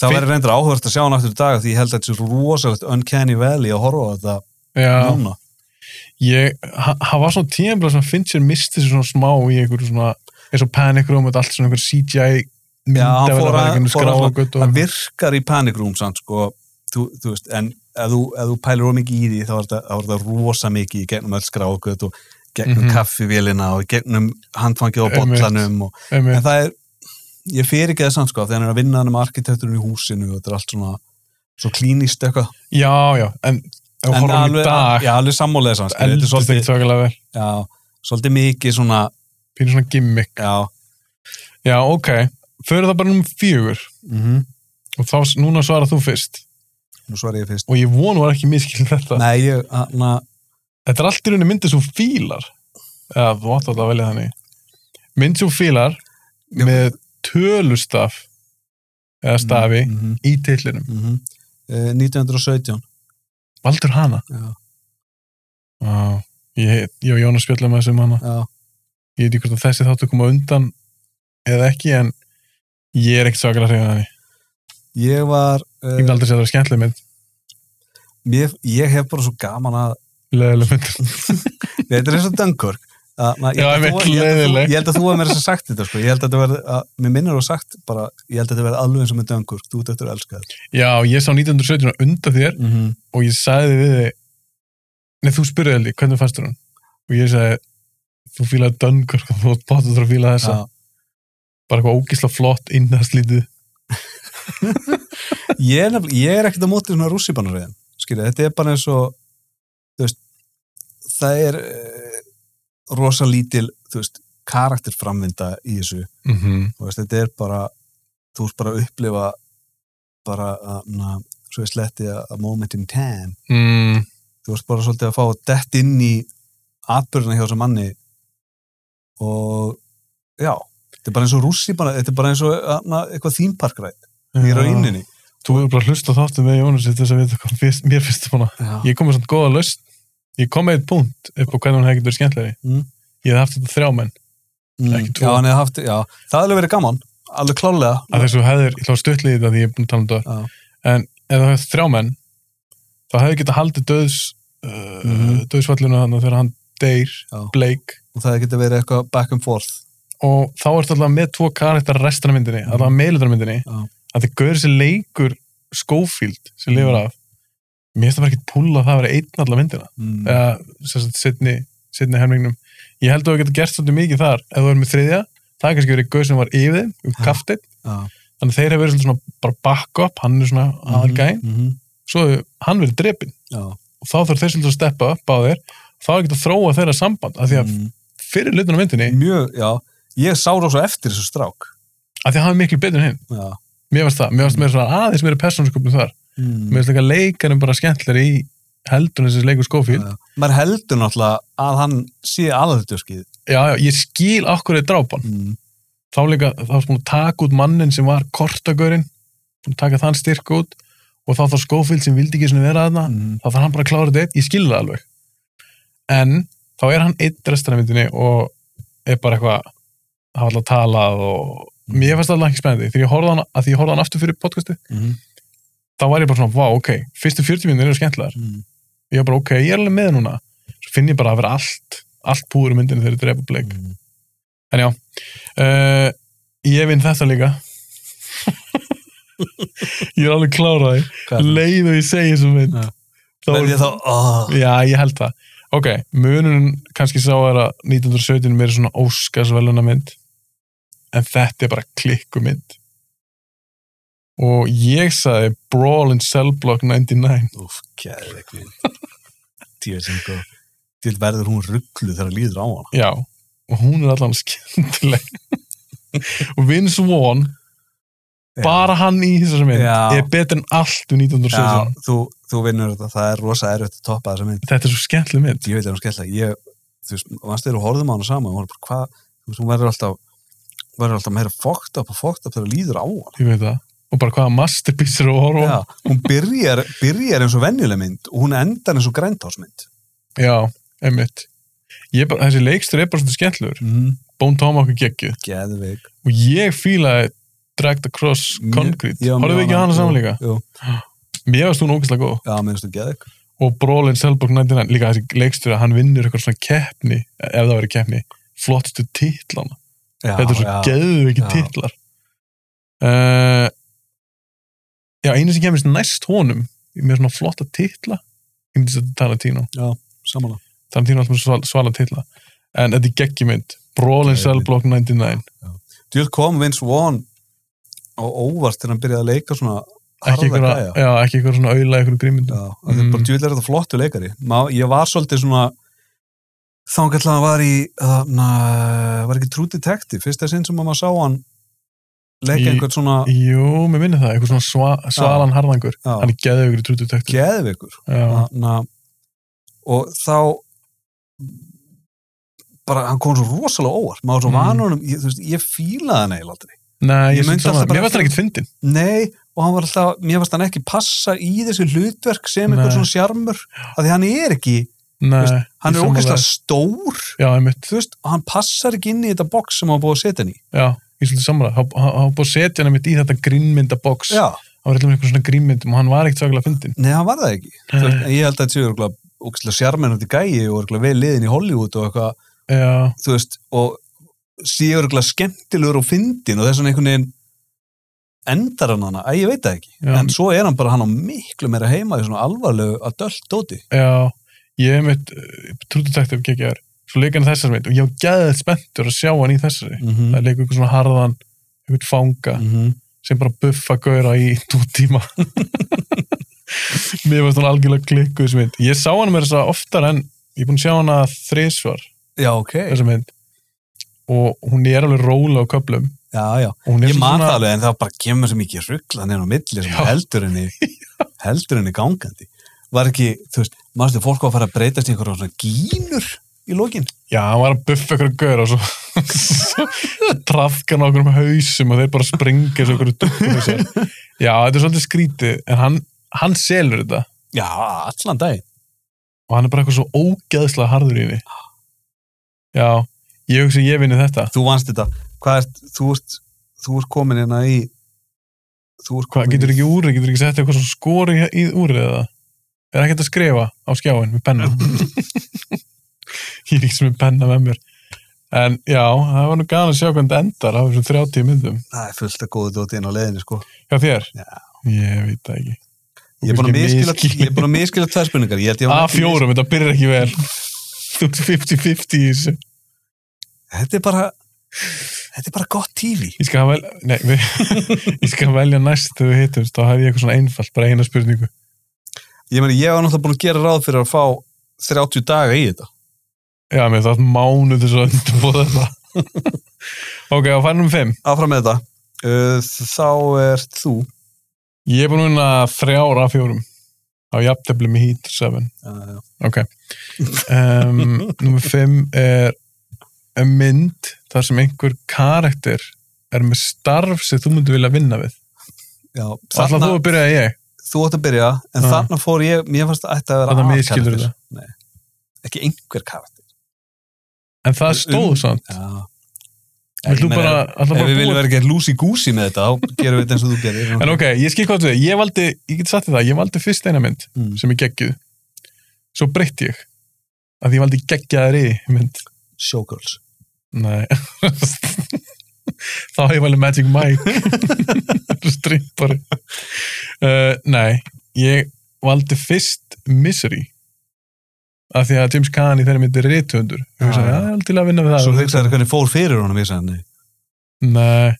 það Finn- verður reyndar áhverst að sjá hann aftur í dag því ég held að þetta er svo rosalegt uncanny valley að horfa á þetta já, núna ég, ha- hann var svona tímabla sem Fincher misti sig svona smá í einhverju svona, eins og Panic Room og allt svona einhver CGI Já, hann fór að- fór að- skrágut það og virkar í panic room samt, sko, þú, þú veist, en ef þú, ef þú pælir of mikið í því þá er þetta- þá er þetta rosa mikið í gegnum öll skráðgöt og gegnum mm Mhm. kaffivélina og gegnum handfangið á Einmitt. bollanum og, en einmitt, það er, ég fer ekki það samt sko, þegar hann er að vinna hann um arkitekturinn í húsinu og þetta er allt svona svo klínist eitthvað já, já, en ef við En horfum í dag, já, alveg sammálega samt, skilur, þetta er eldist ekki svolítið, tvökulega vel já, svolítið mikið svona, pínur svona gimmick, já já, ok fyrir það bara um fjögur mm -hmm. Mhm. og þá, s- núna svarar þú fyrst nú svarar ég fyrst og ég vonu var ekki miskil þetta Nei, ég, hana, þetta er allt í rauninni myndið svo fílar eða þú átt að velja þannig mynd svo fílar Já. með tölustaf eða stafi mm -hmm, í tillinum, mm 1917 valdur hana Já. Já, ég, ég og Jónas spjöllum að þessu um hana já ég veit ekki hvort að þessi þáttu koma undan eða ekki en ég er ekkert svakalega hrifin að henni Ég var, ég uh, myndi aldrei segja það er skemmtileg mynd, mér, ég hef bara svo gaman að, leðileg mynd þetta er eins og Dunkirk. að- na, Já, ég held að einmitt, þú- ég held að þú- leiðileg. Ég held að þú hef mér þess að sagt þetta, sko. Ég held að þetta verði, að, mér minnir og sagt bara, ég held að þetta verði alveg eins og með Dunkirk, þú ert eftir að elska þetta. já, ég sá 1917 á undan þér Mm -hmm. og ég sagði við þig nei, þú spurði heldig, hvernig fannst þér hún og ég sagði, þú fílaði Dunkirk og þú átt bátur að fíla þessa bara eitthvað ógisla flott innastlítið Ég er, nefnilega- ég er ekkert að móti svona rússipanarvegin, skilja, þetta er bara eins og, þú veist, það er uh, rosa lítil, þú veist, karakterframvinda í þessu mm -hmm. þú veist, þetta er bara þú veist bara að upplifa bara að, na, svo ég sletti að a moment in time, mm, þú veist bara svolítið að fá að dett inn í atbyrðina hjá þessum manni og já, þetta er bara eins og rússi bara, þetta er bara eins og að, na, eitthvað þínparkrætt í rauninni þú hefur bara hlustað þáttum með Jónas til þess að vita hvað fyrst, mér finnst svona já, ég kom með svona góða lausn ég kom með eitt punkt upp á hvernig hún hefði getur skemmtlegri Mm. ég hefði haft þetta þrjá menn mm, ekki tvo. já, hann hefði haft, já það hefði alveg verið gaman, alveg klálega að þessu hefðir, ég hlá stuttlið þetta því ég er búin að tala um þetta Já. en ef það hefði þrjá menn þá hefði getað haldið döðs uh, mm Mhm. döðsvallinu hann þegar hann deyr, Já. bleik og það hefði getið verið eitthvað back and forth og þá ertu alltaf með tvo karakter restina af myndinni, Mhm. alltaf meðlutar myndinni Já. Mhm. að þið gauður sér leikur Schofield sem lifur af mér finnst það bara ekkert púla að það verið einn allar myndina mm, eða sem sagt, setni, setni helmingnum ég held að þú getur gert svolítið mikið þar ef þú er með þriðja, það er kannski verið gauð sem var yfir þeim, um Já. kaftin já, þannig að þeir hafa verið svolítið svona bara back-up hann er svona aðalgæn, mm -hmm, svo hefur hann verið drepin já, og þá þarf þeir svolítið að steppa upp á þeir þá er ekki að þróa þeirra samband af því að mm, fyrir hlutinu á myndinni, mjög, já ég sá rosa eftir þessu strák af því að hann er miklu betur en hinn já, mér varst það, mér varst meira svona aðeins meira persónskupnum þar mm. mér varst líka leikarinn bara skemmtlar í heldunum sem leikur skófíl, Já. maður heldur náttúrulega að hann sé aðhaldurskið já já, ég skil akkur eða drápan mm. þá líka, þá varst búin að taka út mannin sem var kortagörinn, búin að taka þann styrk út og þá þá skófild sem vildi ekki svona vera aðna, mm. þá þarf hann bara að klára þetta einn, ég skil það alveg en þá er hann einn restina af myndinni og er bara eitthvað hafa alltaf talað og mér fannst það alltaf ekki spennandi, þegar ég horfði á hann að því ég horfði á hann aftur fyrir podcasti, Mm. þá var ég bara svona, vá, ok fyrstu 40 minnir eru skemmtilegar Mm. ég var bara, ok, ég er alveg með núna svo finn ég bara að vera allt, allt búður í myndinni þegar þetta er republik Mm. En já, uh, ég vinn þetta líka. ég er alveg klárað því. Hvað er það? Leið og ég segi þessum mynd. Já. Þá- verð ég þá oh. Já, ég held það. Ok, munun kannski sá er að 1917 er svona óskarsveluna mynd en þetta er bara klikkumynd og ég sagði Brawl in Cell Block 99 Úf, gæði ekki Tíu sem góð Til verður hún rugglu þegar líður á hana já, og hún er allan skemmtileg og Vince Vaughn bara hann í þessari mynd Já. er betur en allt um 1917 Já, þú, þú vinnur þetta, það er rosa erfitt að toppa þessa mynd þetta er svo skemmtileg mynd Ég veit að hún skella Ég, þú veist, vannst þeir og horfðum á hana saman og hún var bara, hvað, þú veist, hún verður alltaf verður alltaf meira fókt upp og fókt upp þegar líður á hana ég veit það, og bara hvaða masterpiece er að horfa á. Já, hún byrjar, byrjar eins og venjuleg mynd og hún endar eins og græntásmynd já, einmitt Ég bara, þessi leikstur er bara svona skemmtilegur mm. Bón Tomahawk er geggjuð Geðveik og ég fílaði Dragged Across Concrete Já, horfðu mjög ekki á hana saman jú, líka Jú, mér varst hún ógeðslega góð já, minnstu geðveik og Brolin Selborg 99 líka þessi leikstur að hann vinnur eitthvað svona keppni ef það verið keppni flottastu titlana Já, þetta er svo já. geðviki já. titlar uh, já einu sem kemist næst honum með svona flotta titla ég myndi að tala um tínu Samanlega. tala tínu alltaf með sval, svala titla en þetta er geggjumynd Brolin Geðveik. Selborg 99 Djúð kom Vince Vaughn á óvart þegar hann byrjaði að leika svona ekki harða einhver, gæja. já, ekki einhver svona auðla einhverjum grímyndum Já, mm. Mm. bara djúðlega er þetta flottu leikari. Má, ég var svolítið svona þá hann hann var í na, var ekki True Detective, fyrsta sinn sem maður sá hann leika Í- einhvern svona Jú, mér minni það, eitthvað svona sva, svalan harðangur já, hann er geðugur í trútutektur geðveikur já, na, Hérna, og þá bara hann kom svo rosalega óvart maður var svo Mm. mm. vanunum, ég, þú veist, ég fílaði hann eiginlega aldrei Nei, ég, Ég ég myndi myndi alltaf bara- Mér varst það ekkert fyndin Nei, og hann var alltaf, mér varst hann ekki passa í þessu hlutverk sem Nei. einhver svona sjarmur, af því hann er ekki Nei, Veist, hann ég er sammála ógeðslega þér. stór Já, einmitt, þú veist, og hann passar ekki inn í þetta box sem hann var búið að setja hann í já, ég svolítið samræð Hann hann búið að setja hann einmitt í þetta grínmyndabox Já, Hann var eitthvað með eitthvað svona grínmyndum og hann var ekkert svaklega fyndin nei, hann var það ekki Þú veist, en ég held að þetta séu örugglega ógeðslega sjarmennandi gæi og örugglega vel liðin í Hollywood og eitthvað, Já, þú veist og séu örugglega skemmtilegur og fyndin og þess vegna einhvern veginn endar hann hana, að ég veit það ekki Já. en svo er hann bara hann á miklu meira heima í svona alvarlegu adult dóti já, ég einmitt eh, trútutektur geggjaður Svo leik hann í þessari mynd og ég var geðið spenntur að sjá hann í þessari mm -hmm. Það leikur eitthvað svona harðan, eitthvað fanga Mhm. sem bara buffa gauðra í tvo tíma mér varst hún algjörlega klikkuð þessu mynd ég sá hana með þess að oftar en ég er búin að sjá hana þrisvar Já, ok þessu mynd og hún er alveg róla á köplum Já, já, og hún er ég svona man það alveg en það bara kemur svo mikið rugglan inn á milli sem Já. heldur henni, heldur henni gangandi. Var ekki, þú veist, mannstu fólk var að fara að breytast í einhverjum svona gínur í lokin? já, hann var að buffa ykkur gauðra og svo, svo trafka hann okkur um hausum og þeir bara springa þessu okkur já, þetta er svolítið skrítið en hann, hann selur þetta Já, allan daginn. og hann er bara eitthvað svo ógeðslega harður í henni já, ég hugsa ég vinni þetta Þú vannst þetta, hvað ert, þú ert, þú ert komin hérna í, þú ert Hvað, komin getur í, ekki úrið, getur ekki sett eitthvað svona skori í úrið eða? Er ekkert að skrifa á skjáin með penna? ég er ekki sem með penna með mér. En já, það var nú gana að sjá hvernig þetta endar af þessum 30 myndum. það er fullt að góðu dóti inn á leiðinni, sko. Hjá þér? Já. Ég veit það ekki. Ég er búin að Kannski miskila, misskilið. ég er búin að miskila tvær spurningar. Ég held ég hafi ekki A4, þetta byrjar ekki vel. Þú ert 50-50 í þessu. mis- Þetta er bara, þetta er bara gott tífi. Ég skal velja, nei, við, ég skal velja næst þegar við hittumst, þá hef ég eitthvað svona einfalt, bara eina spurningu. Ég meni, ég var náttúrulega búin að gera ráð fyrir að fá 30 daga í þetta. Já, mér þátt mánuð þess að undirbúða þetta. ok, á fannum 5. áfram með þetta Uh, þá ert þú Ég er búin að vinna þrjára af fjórum á jafntefli með Heat 7 uh, ok um, nummer 5 er er mynd þar sem einhver karakter er með starf sem þú myndir vilja vinna við já, og alltaf þarna, þú að byrja að ég þú átt að byrja en Já. þarna fór ég, mér fannst að þetta að vera Þarna að misskilurðu karakter. það. Nei, ekki einhver karakter en það Um, stóð samt já. Vilt þú bara, alltaf ef bara við viljum búa vera ekki lúsi gúsi með þetta þá gerum við þetta eins og þú gerir en ok, ég skil hvað þú veist, ég valdi ég get sagt þér það, ég valdi fyrst eina mynd Mm. sem ég geggjuð svo breytti ég að ég valdi geggjaðri mynd showgirls Nei Þá hef ég valið Magic Mike Strippari uh, Nei, ég valdi fyrst Misery af því að James Caan í þeirri mynd er rithundur Já, ég hugsaði, Ah, já. já, ég er til að vinna við það Svo hugsaður hvernig fór fyrir honum, ég sagði, nei. nei,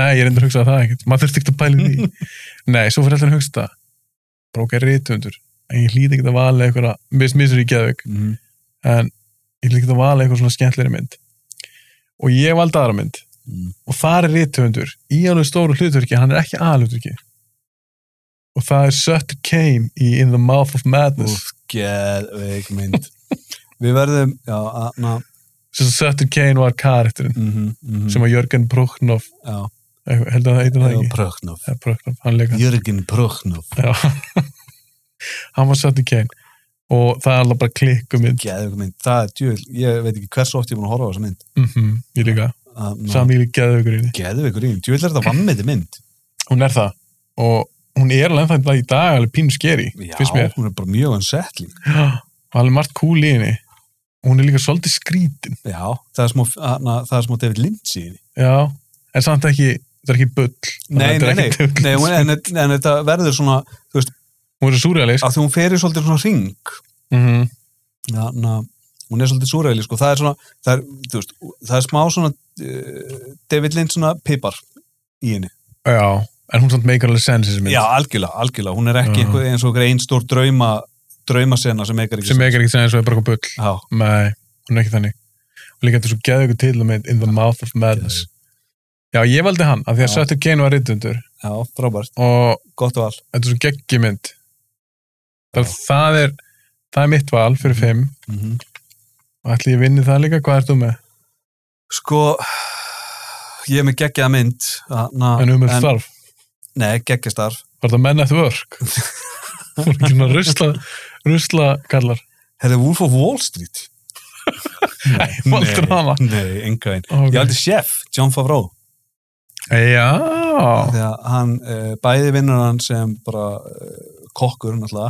nei, ég reyndar að hugsa það ekkert maður þurfti ekkert að pæla í því nei, svo fyrir alltaf að hugsa það bara okkar rithundur en ég hlýti ekkert að vala eitthvað mér finnst misur í geðveik Mm. en ég hlýti ekkert að vala eitthvað svona skemmtleri mynd og ég valdi aðra mynd Mm. og þar er rithundur í alveg stóru hlutverki, hann er ekki aðlutverki og það er Sutter Kane í In the Mouth of Madness Úf, geðveik mynd. Við verðum, já, aðna, sem Sutter Kane var karakterinn mm -hmm, mm sem að Jörgen Brucknoff já, heldur að það eitir mhm. það já, ekki Pröknov. ja, Brucknoff, hann leika Jörgin Pröknov. Já. hann var satt í kæn og það er alveg bara klikku mynd Geðveik mynd, það er djúvel, ég veit ekki hversu oft ég er búin að horfa á þessa mynd. mm ég líka, Aðna, samíli geðaugur í því geðveikur í, djúvel er þetta vannmeti mynd. hún er það og hún er alveg ennþá í dag alveg pínu skeri, Já, finnst mér hún er bara mjög ansettling. og alveg margt kúl í henni og hún er líka svolítið skrítin Já, það er smá, aðna, það er smá David Lynch í henni. já, en samt ekki það er ekki bull Nei, Þetta nei, er nei, ekki bull. nei hún- en, en, en þetta verður svona, þú veist, hún er súrealist að því hún fer í svolítið svona ring. mm -hmm. Já, na, hún er svolítið súræli sko. það er svona, það er, þú veist, það er smá svona uh, David Lind svona pipar í henni já, en hún samt meikar alveg sens þessi mynd já, algjörlega, algjörlega, hún er ekki Já. eitthvað eins og einhver einn stór drauma draumasena sem meikar ekki sem sens. meikar ekki sens og er bara eitthvað bull já, Nei, hún er ekki þannig og líka þetta er svo geðugur til að með In the Mouth of Madness Já, ég valdi hann af því að Já. Söttu Kane var rittundur já, frábært, og gott og all þetta er svo geggjumynd það, Já. það er það er mitt val fyrir fimm mm Mhm. og ætli ég vinni það líka, hvað ert þú með? sko ég er með geggjaða mynd na, En um er starf, nei, geggjastarf var það menn eftir vörk? Þú er ekki svona rusla rusla kallar hefði Wolf of Wall Street Nei, valdur hana nei, enga einn okay. ég aldrei chef, John Favreau Já, þegar hann, uh, bæði vinnur hann sem bara uh, kokkur náttúrulega,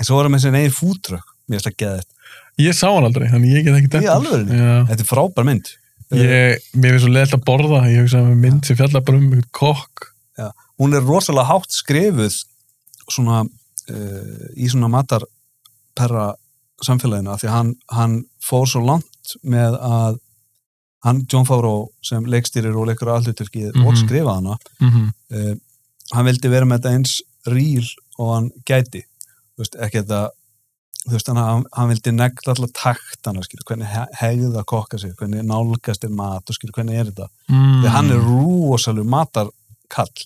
en svo var hann með sér eigin fútrökk, mér finnst það geða þetta ég sá hann aldrei þannig ég get ekki dæmt hann. alvörinni? Já. þetta er frábær mynd Eh, Ég, mér finnst svo leitt að borða, ég hugsaði með mynd sem fjallar bara um einhvern kokk. hún er rosalega hátt skrifuð svona uh, í svona matarperra samfélaginu af því að hann, hann fór svo langt með að hann, John Favreau sem leikstýrir og leikur allutverkið mm Mhm. og skrifa hana Mm -hmm. uh, hann vildi vera með þetta eins ríl og hann gæti þú veist, ekki þetta þú veist, hann, hann- hann vildi negla alltaf takt hann, skilur, hvernig he- hegðu það kokka sig hvernig nálgast er mat og skilur, hvernig er þetta Mm. þegar hann er rúosalur matarkall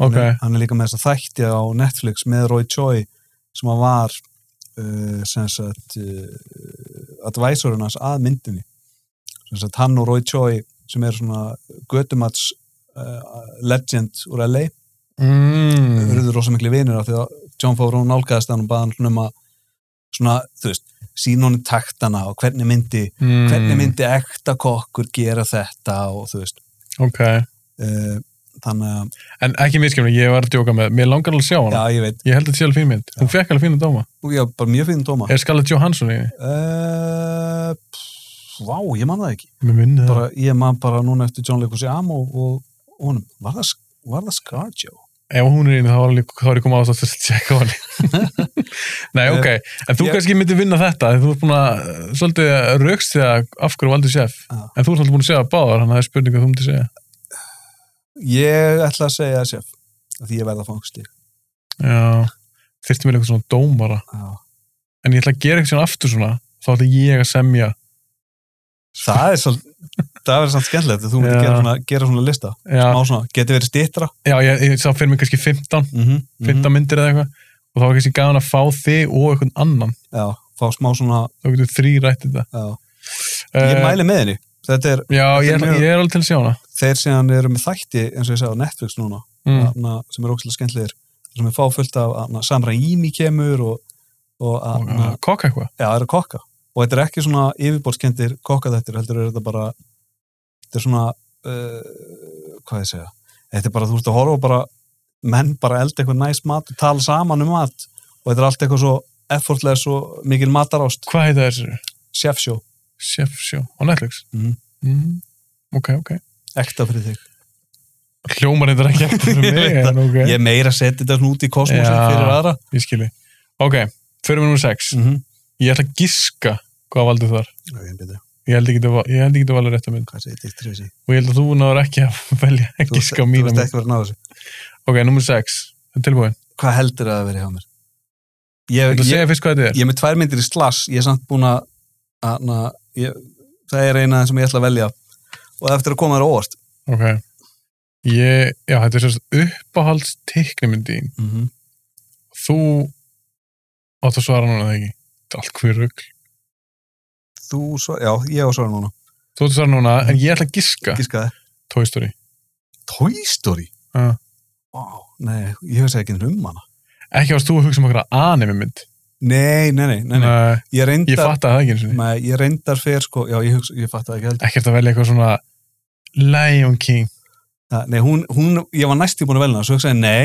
Ok, hann, er, hann er líka með þess að þætti á Netflix með Roy Choi sem hann var uh, sem sagt uh, advisorinn hans að myndinni sem sagt hann og Roy Choi sem er svona götumats uh, legend úr LA mm. mm. urðu rosa miklu vinir af því að John Favreau nálgæðist hann og baði hann svona um að svona, þú veist, sín honum taktana og hvernig myndi, Mm. hvernig myndi ekta kokkur gera þetta og þú veist Ok, uh, þannig að, en ekki miskjumni, ég var að djóka með, mér langar alveg að sjá hana já ég veit Ég held að þetta sé alveg fín mynd, hún fekk alveg fína dóma og ég var bara mjög fín dóma uh, Er Scarlett Johansson í henni? pff, vá, ég man það ekki Mér minni það bara, ég man bara núna eftir John Lucas Amo og, og honum, var það, var það Scarjo? Ef hún er í henni, þá var alveg- þá er ég komið á þess að tjekka á henni Nei, Eh, ok, en þú ég- kannski myndir vinna þetta en Þú ert búin að, eh, svolítið raukst því að af hverju valdi chef Já. En þú ert svolítið búin að segja báðar, þannig að það er spurning hvað þú myndir segja ég ætla að segja sjef af því ég verða fangstík Já, þyrfti mér eitthvað svona dómara já En ég ætla að gera eitthvað svona aftur svona Þá ætla ég að semja Það er svolítið, það verður samt skemmtilegt að þú myndir Já. gera svona, gera svona lista Já, smá svona, geti verið stýttra já ég, ég sá fyrir mig kannski 15 mm -hmm. 15 myndir eða eitthvað og þá var kannski gaman að fá þig og einhvern annan Já, fá smá svona þá getur þrý rætt þetta já. Eh, Ég mæli með henni, þetta er já, ég, þetta er er- mjög- ég er alveg til að sjá hana þeir sem eru með þætti eins og ég sagði á Netflix núna mm. mm. sem eru ókslega skemmtilegir sem er fáfullt af na, Samra Ími kemur og, og að, og na, að kokka eitthvað já, eru kokka og þetta er ekki svona yfirborðskendir kokkadættir heldur er þetta bara þetta er svona uh, hvað ég segja, þetta er bara þú ert að horfa og bara menn bara elda eitthvað næs mat og tala saman um mat og þetta er allt eitthvað svo effortless og mikil matarást, hvað heita þessu? chef show Chef Show á Netflix Mhm. Mm. ok, ok ekta fyrir þig, hljómar þetta ekki eftir fyrir mig Ég veit en, okay. ég er meira að setja þetta svona út í kosmosin Já. fyrir aðra ég skilji ok, fyrir mér nummer 6 mm -hmm. Ég ætla að giska hvað valdi þar. Ok, byrju, Ég held ekki að ég held ekki að valda rétt að mynd. hvað segir Dick Tracy? Og ég held að þú náður ekki að velja að Þú giska á veist- mína Þú veist mynd. ekki verið að ná þessu. Ok, nummer 6. Tilbúin. Hvað heldur það að vera hjá mér? Ég Ég, ætla að ég, segja fyrst hvað þetta er. ég er með tvær myndir í slass, ég er samt búin að, að na, ég, það er eina sem ég ætla að velja og eftir að koma þér á óvart. Ok. Ég, já, þetta er sérst uppáhalds teiknumyndin. Mm -hmm. Þú átt að svara núna þegar ekki. Þetta er allt hver rugg. Þú, svo, já, ég á svara núna, Þú átt að svara núna, Mhm. en ég ætla að giska. gískaði. Toy Story. Toy Story? Já. Vá, Ah. nei, ég hef segið ekki um hana. Ekki varst þú að hugsa um okkur anime mynd. Nei, nei, nei, nei, nei. Nei, Ég Ég reyndar, fatt það ekki eins og því. nei, ég reyndar fyrir, sko, já, ég, hugsa, ég fatt það ekki heldur. Ekkert að velja eitthvað svona Lion King. Ha, Nei, hún, hún, ég var næstu búin að velja hana, svo hugsaði, ég, nei,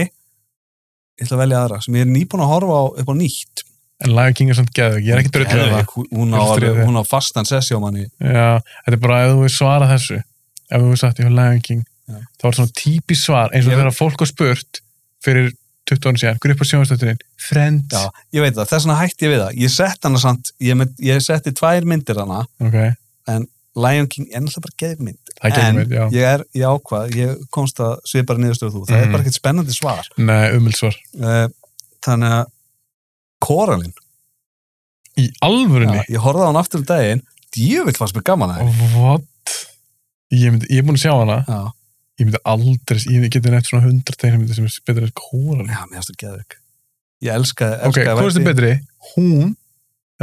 ég ætla að velja aðra, sem ég er nýbúin að horfa á upp á nýtt. En Lion King er samt geðug. Ég er ekki drullið af það. Geðveik, hún- hún á, Drullið alveg- þig. hún á fastan sessjá manni Já, þetta er bara ef þú vil svara þessu ef þú vil sagt ég var Lion King Já. þá er svona típis svar eins og Ég- þegar fólk var spurt fyrir 20 árum síðan, hver er upp á sjónastötturinn? Friends Já, ég veit það, þess vegna hætti ég við það ég sett hana samt, ég, er með, ég setti tvær myndir hana, Ok, Lion King er náttúrulega bara geðmynd það er ekki En- einmitt, já ég er í ákvað, ég komst að svipara niðurstöðu þú, það Mhm. er bara ekkert spennandi svar Nei, umvild svar Eh, þannig að Koralinn, Í alvörunni? ég horfði á hann aftur um daginn djövill fannst mér gaman að henni What? Ég, myndi, ég er búin að sjá hana Já, ég myndi aldrei, ég geti nefnt svona 100 teiknumyndir sem er betra en kóran já, mér finnst það geðveik Ég elskaði, Ok, elskaði hvað er þetta verkið. betri? Hún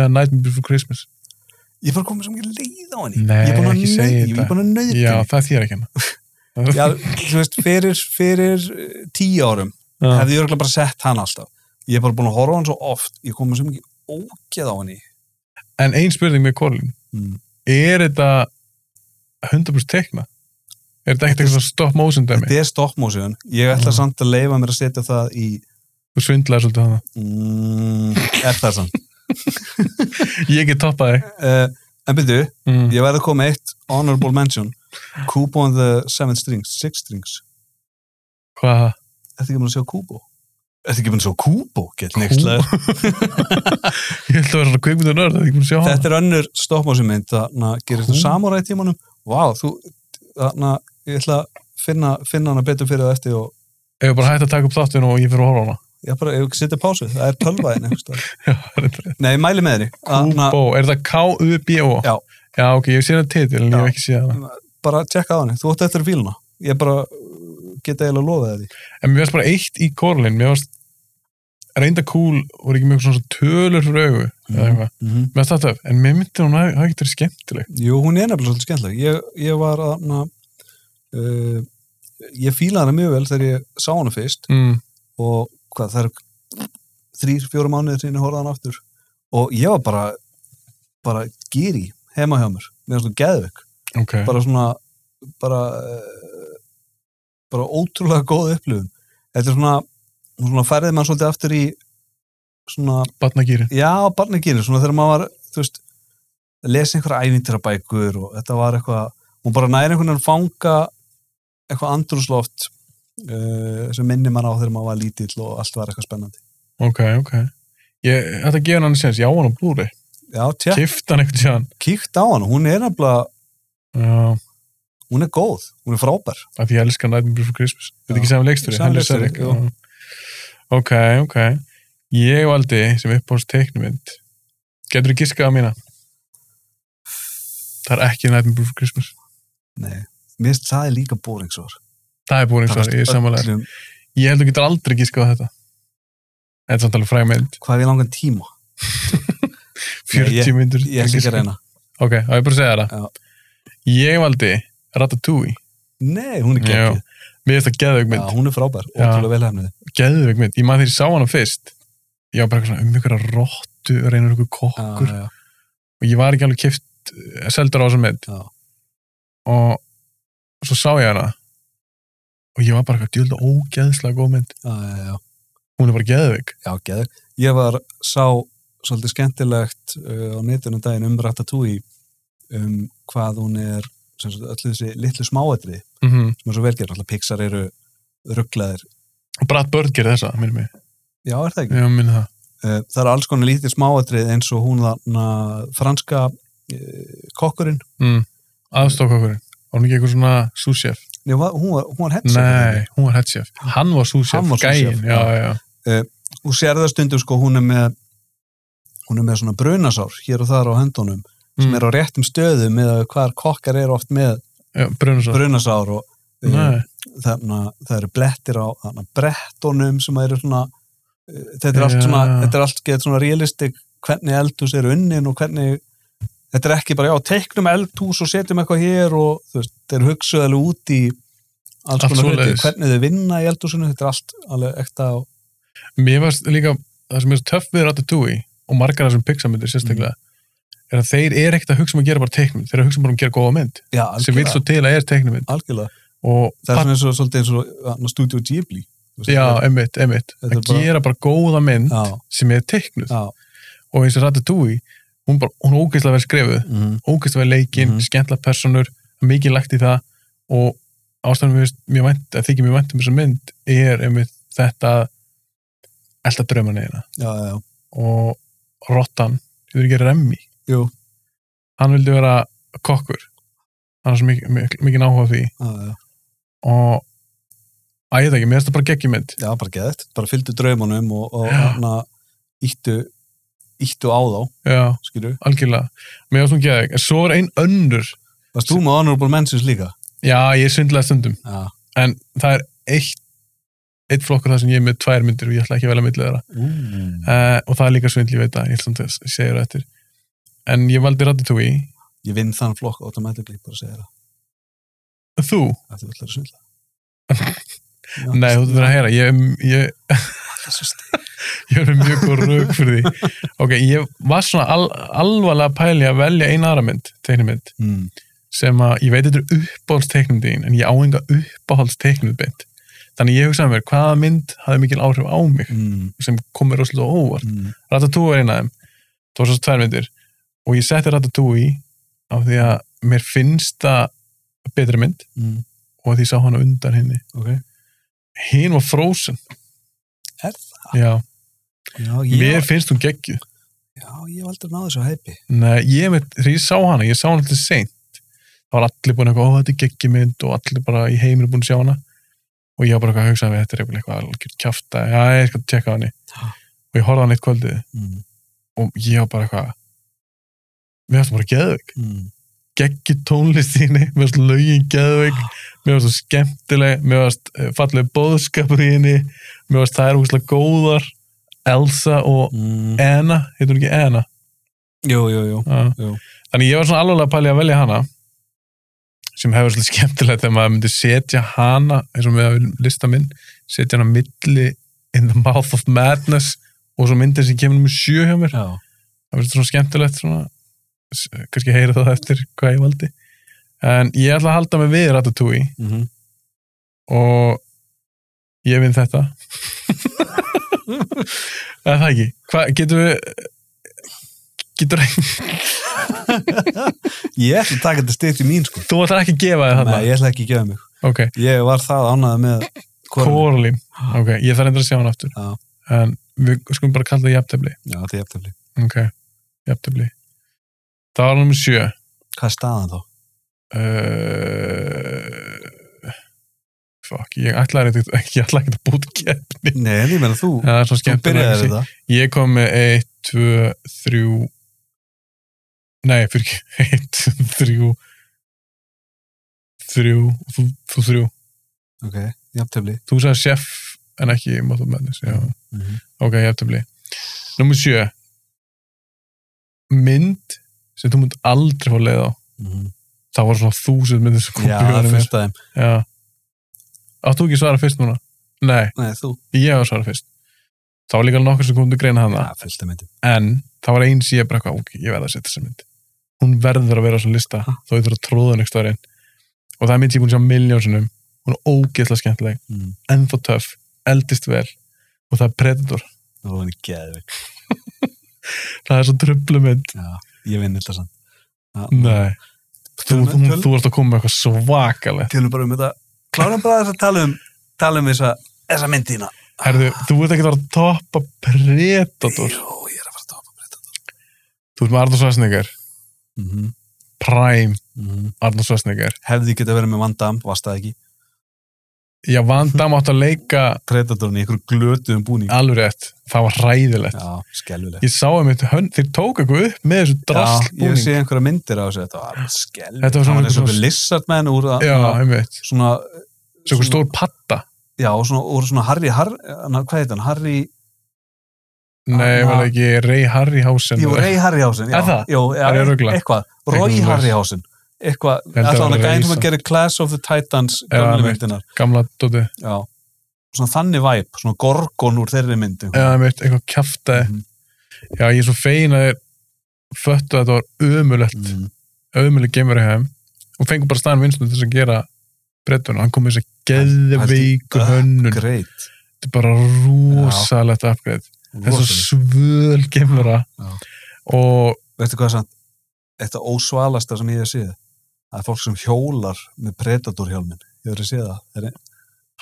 eða Nightmare Before Christmas? Ég fór að koma svo mikið leið á henni Nei, Ég er búin að ekki segja nau- ég þetta. er búin að nöyti Já, það er þér ekki hana Já, þú veist, fyrir, fyrir eh, tíu árum Já. hefði ég örgulega bara sett hann alltaf. Ég er bara búin að horfa á hann svo oft, ég kom með svo mikið ógeð á hann í. En ein spurning með Korlin. Mm. Er þetta 100% tekna? Er þetta ekkert eitthvað svona stop motion dæmi? Þetta er stoppmósiðun, ég ætla Mm. samt að leifa mér að setja það í, Þú svindlaði svolítið hana. mm, er það samt. Ég get toppað þig. Uh, en byrju, Mm. ég verði að koma með eitt honorable mention, Kubo and the Seven Strings, Six Strings. Hvað er það? Ertu ekki búin að sjá Kubo? Ertu ekki búin að sjá Kubo? Get next level. Ég held að vera svona kvikmyndu nörd, það er ekki búin að sjá hana. Þetta er önnur stoppmósiðmynd, þannig að gerir þú Kubo. samuræði tímanum. Vá, þú, þannig að ég ætla að finna, finna hana betur fyrir það eftir og Ef ég bara hætti að taka upp þáttun og ég fyrir að horfa á hana. ég bara, ef ekki setja pásu, það er tölvaðin Já, það er þetta. Nei, ég mæli með henni Þarna- Kubo, er þetta K-U-B-O? Já. Já, ok, ég sé hana titil, en ég Já. hef ekki séð hana. bara tjekka á henni, þú átt eftir að fíluna ég bara uh, geta eiginlega lofað þér því En mér varst bara eitt í Korlin, mér varst reynda cool, voru ekki mjög svona tölur fyrir augu, eða Mhm. eitthvað. Mér varst þetta, en mér myndi hún að það getur skemmtileg. Jú, hún er nefnilega svolítið skemmtileg ég, ég var að na, uh, ég fíla hana mjög vel þegar ég sá hana fyrst Mm. og hvað, það er þrýr, fjóra mánuðir sinni horfða hana aftur og ég var bara bara gýri heima hjá mér meðan svona geðvik, Ok, bara svona bara uh, bara ótrúlega góð upplifun þetta er svona, hún svona færði mann svolítið aftur í svona, batnagýrin. já, barnagýrin svona þegar maður var, þú veist lesi einhverja ævintirabækur og þetta var eitthvað, hún bara næri einhvern veginn að fanga eitthvað andrúsloft uh, sem minni mann á þegar maður var lítill og allt var eitthvað spennandi Ok, ok. Ég ætla að gefa hann séns, já hann á blúri. já, Ja. tjá, Kifta hann eitthvað séðan. kíkt á hann, hún er nefnilega Já, hún er góð, hún er frábær af því ég elska Nightmare Before Christmas. Þetta er Já. ekki saman leiksturi, Sami hann er leikstjóri, særik. Ok, ok. Ég valdi sem uppáðs teiknumynd. Getur þú giskað á mína? Það er ekki Nightmare Before Christmas. nei, mér finnst það er líka bóringsvar Það er búin eins og ég er samanlega. Ég held að þú getur aldrei giskað á þetta. Þetta er samt alveg fræg mynd. hvað er langan tíma, 40 ég- myndur. ég er ekki að reyna Ok, þá ég bara að segja þér Já. það. Ég valdi Ratatouille. Nei, hún er Já. geggjöð. Mér finnst það geðveik Já, mynd. hún er frábær, Já. ótrúlega velhæfnið. geðveik mynd, ég maður þegar ég sá hana fyrst ég var bara eitthvað svona um ykkur að rottu reynur ykkur kokkur Já, og ég var ekki alveg kift seldur á þessum mynd Já. og svo sá ég hana og ég var bara eitthvað djölda ógeðslega góð mynd já, já, já, hún er bara geðveik já, geður. Ég var sá svolítið skemmtilegt uh, á netunum daginn um Ratatouille um hvað hún er, sem sagt, öllu þessi litlu smáætri mm -hmm. sem er svo velgerð, alltaf Pixar eru rugglaðir. og Brad Bird gerir þessa, minnum mig Mm. Já, er það ekki? ég minni það Uh, það eru alls konar lítið smáatrið eins og hún þarna franska uh, kokkurinn. mm. aðstofkokkurinn var hún ekki eitthvað svona súsjef Nei, hún var, hún var, hún var headset. nei, hún var headsjef, hann var súsjef Hann var sous-chef, gæin, já, já, Hún sér það stundum sko, hún er með hún er með svona brunasár hér og þar á höndunum sem mm. er á réttum stöðum með hvar kokkar eru oft með já brunasár brunasár og uh, Mm. nei, þarna, það eru blettir á þarna, brettunum sem eru svona uh, þetta er allt Já. svona, þetta er allt gett svona realistik hvernig eldhús eru unnin og hvernig þetta er ekki bara, já, teiknum eldhús og setjum eitthvað hér og þú veist, þeir hugsuðu alveg út í alls Allt konar hluti, svoleiðis. hvernig þau vinna í eldhúsinu þetta er allt alveg ekta og mér varst líka það sem er svo töff við Ratatouille og margar af þessum pixamyndir sérstaklega er að þeir eru ekkert að hugsa um að gera bara teiknum þeir eru að hugsa bara um að gera góða mynd já, sem vil svo algjörlega, til að er teiknumynd algjörlega. og það er svona eins og svolítið eins og þarna, Studio Ghibli þú veist, já, það er- einmitt, einmitt Þetta er að bara- gera bara góða mynd já, sem er teiknuð já, og eins og Ratatouille hún, bara, hún er ógeðslega vel skrifuð mm, ógeðslega vel leikinn, Mhm. mm. skemmtla personur mikið lagt í það og ástæðan mér, finnst mjög vænt, að þykja mjög vænt um þessa mynd er einmitt þetta elda draumaneina já, já, hérna. já, og Rottan, þú er ekki Remmi Jú. hann vildi vera kokkur hann er svo mikið, mikið, mikið náhuga því já, já. og að ég veit ekki, mér finnst það bara geggjumynd Já, bara geðt, bara fylgdu draumunum og, og Já. hana, íttu, íttu á þá, já, skilju. algjörlega, mér finnst hún geðvig en svo er ein önnur, Varst þú með honorable mentions líka? já ég svindlaði stundum Já. en það er eitt eitt flokkur þar sem ég er með tvær myndir og ég ætla ekki að velja myndið þeirra Mm. uh, og það er líka svindl, ég veit það, ég ætla samt að segja það eftir en ég valdi Ratatouille, Ég vinn þann flokk automatically, bara að segja það. þú Að þú ætlar að svindla. Já, nei, þú þurfir að heyra, ég, ég þessu st- ég er með mjög góð rauk fyrir því ok, ég var svona al, alvarlega pæli að velja eina aðra mynd, teiknumynd Mm. sem að, ég veit þetta er uppáhaldsteiknum þín en ég á enga uppáhaldsteiknum mynd þannig ég hugsaði mér, hvaða mynd hafði mikil áhrif á mig Mm. sem kom mér rosalega á óvart Mm. Ratatouille er eina af þeim það var svo tvær myndir og ég setti Ratatouille af því að mér finnst það betri mynd Mm. og að því ég sá hana undan henni Ok. hinn var Frozen Er það? já, Já, mér ég, finnst hún geggjuð já, ég hef aldrei náðu þessu hæpi. Nei, ég veit, þegar ég sá hana, ég sá hana alltaf seint þá var allir búin eitthvað, ó þetta er geggjumynd og allir bara í heiminu búin að sjá hana og ég var bara eitthvað að hugsa að þetta er eitthvað eitthvað algjör kjafta, já ég skal tjekka á henni og ég horfði á hann eitt kvöldið Mm. og ég var bara eitthvað mér varst bara geðveik, Mm. geggi tónlist þínu mér varst lögin geðveik mér varst svo skemmtileg, mér varst eh, falleg bóðskapur í henni mér varst þær húslega góðar Elsa og Mm. Anna, heitur hún ekki Anna? Jú, jú, jú. Já. Jú. Þannig ég var svona alveg að pæli að velja hana sem hefur svolítið skemmtilegt þegar maður myndi setja hana eins og með lista minn setja hana milli in the mouth of madness og svo myndin sem kemur nummer sjö hjá mér Já. það verður svona skemmtilegt svona s- kannski heyra það eftir hvað ég valdi en ég ætla að halda mig við Ratatouille Mm. og ég vinn þetta Það er það ekki hvað getur við getur Ég ætla að taka þetta stið til mín, sko. þú ætlar ekki að gefa þér Nei, þarna ég ætla ekki að gefa mig. ok Ég var það ánæðið með hvorum. Corlin, ok, ég þarf endur að sjá hann aftur Já. en við skulum bara kalla það jafntefli Já, þetta er jafntefli. ok, jafntefli það var nummer sjö Hvað er staðan þá? uh, fuck, ég ætlaði ekkert- ég ætlaði ekki að búta keppni Nei, en ég meina þú, en það er svo þú skemmtilega byrjaði þetta. ég kom með 1, 2, 3 nei, fyrir ekki 1, 3 3 þú, þú 3, Ok, jafntefli. þú sagði chef en ekki mátt og mennis, já Mm -hmm. Ok, jafntefli. Númer sjö. Mynd sem þú mynd aldrei fá leið á. Það voru svona þúsund myndir sem kom Mhm. Já, í það er huganum mér. fyrst aðeim. Já. Áttu ekki að svara fyrst núna? Nei, Nei, þú. ég á að svara fyrst. Það var líka nokkur sem kom til greina hana. Já, fyrst aðeim. En það var eins ég bara eitthvað, ok, ég verða að setja þessa mynd. Hún verður að vera á svona lista Ha. þó ég þurfa að tróða henni ekki inn. Og það er mynd ég er búin að sjá miljónsunum. Hún er ógeðslega skemmtileg, Mm. ennþá töff, eldist vel og það er Predator. Það var henni geðvik. Það er svo tröflumynd. Já, ég vinn þetta samt. Já. Nei, þú, Tölum- þú, þú, tölum- ert að koma með eitthvað svakalegt Tölum bara um þetta. Klárum bara þess að tala um, tala um þessa, þessa myndina. Herðu, þú ert ekki að vera að toppa Predator. Jó, ég er að fara að topa Predator Þú ert með Arnold Schwarzenegger, mm -hmm. Prime Arnold Schwarzenegger. mhm. Hefði geta verið með Van Damme, varst það ekki Já, Van Damme átt að leika Predatorin í ykkur glötuðum búning alveg rétt. Það var ræðilegt. Já, skelvileg Ég sá einmitt, hönd, þeir tók eitthvað upp með þessu ég drastbúning. sé einhverja myndir á þessu Þetta var skelvileg Þetta var svona eins og einhver- einhver lissardmenn úr að- Já, einmitt. svona, Svo eitthvað stór patta. já, svona, úr svona Harry, Harry hvað heit hann, Harry Nei, Anna- var það ekki Ray Harryhausen? Jú, Ray Harryhausen, já. Er það? Jú, já, Er ég að rugla? eitthvað, Eitthvað Roy svoleiðis. Harryhausen, eitthvað, held að alltaf vera hann að gæðin sem Reysa. að gera Class of the Titans Já, gamlu einmitt. myndinar, Gamla dóti. já. Svona þannig væp, svona gorgon úr þeirri myndi. Já, einmitt, eitthvað kjaftaði. Mhm. Já, ég er svo fein að þeir föttu að þetta var ömulegt. Mm. öðmjölu geimur í heim og fengum bara staðan vinstum til þess að gera brettuna, hann kom með þess að geðveiku hönnun, þetta Great. er bara rosalegt upgrade, þess að svöl geimura Já. og Veitu hvað er samt, þetta ósvalasta sem ég hef séð, það er fólk sem hjólar með predatorhjálmin, ég verið að séð það, það er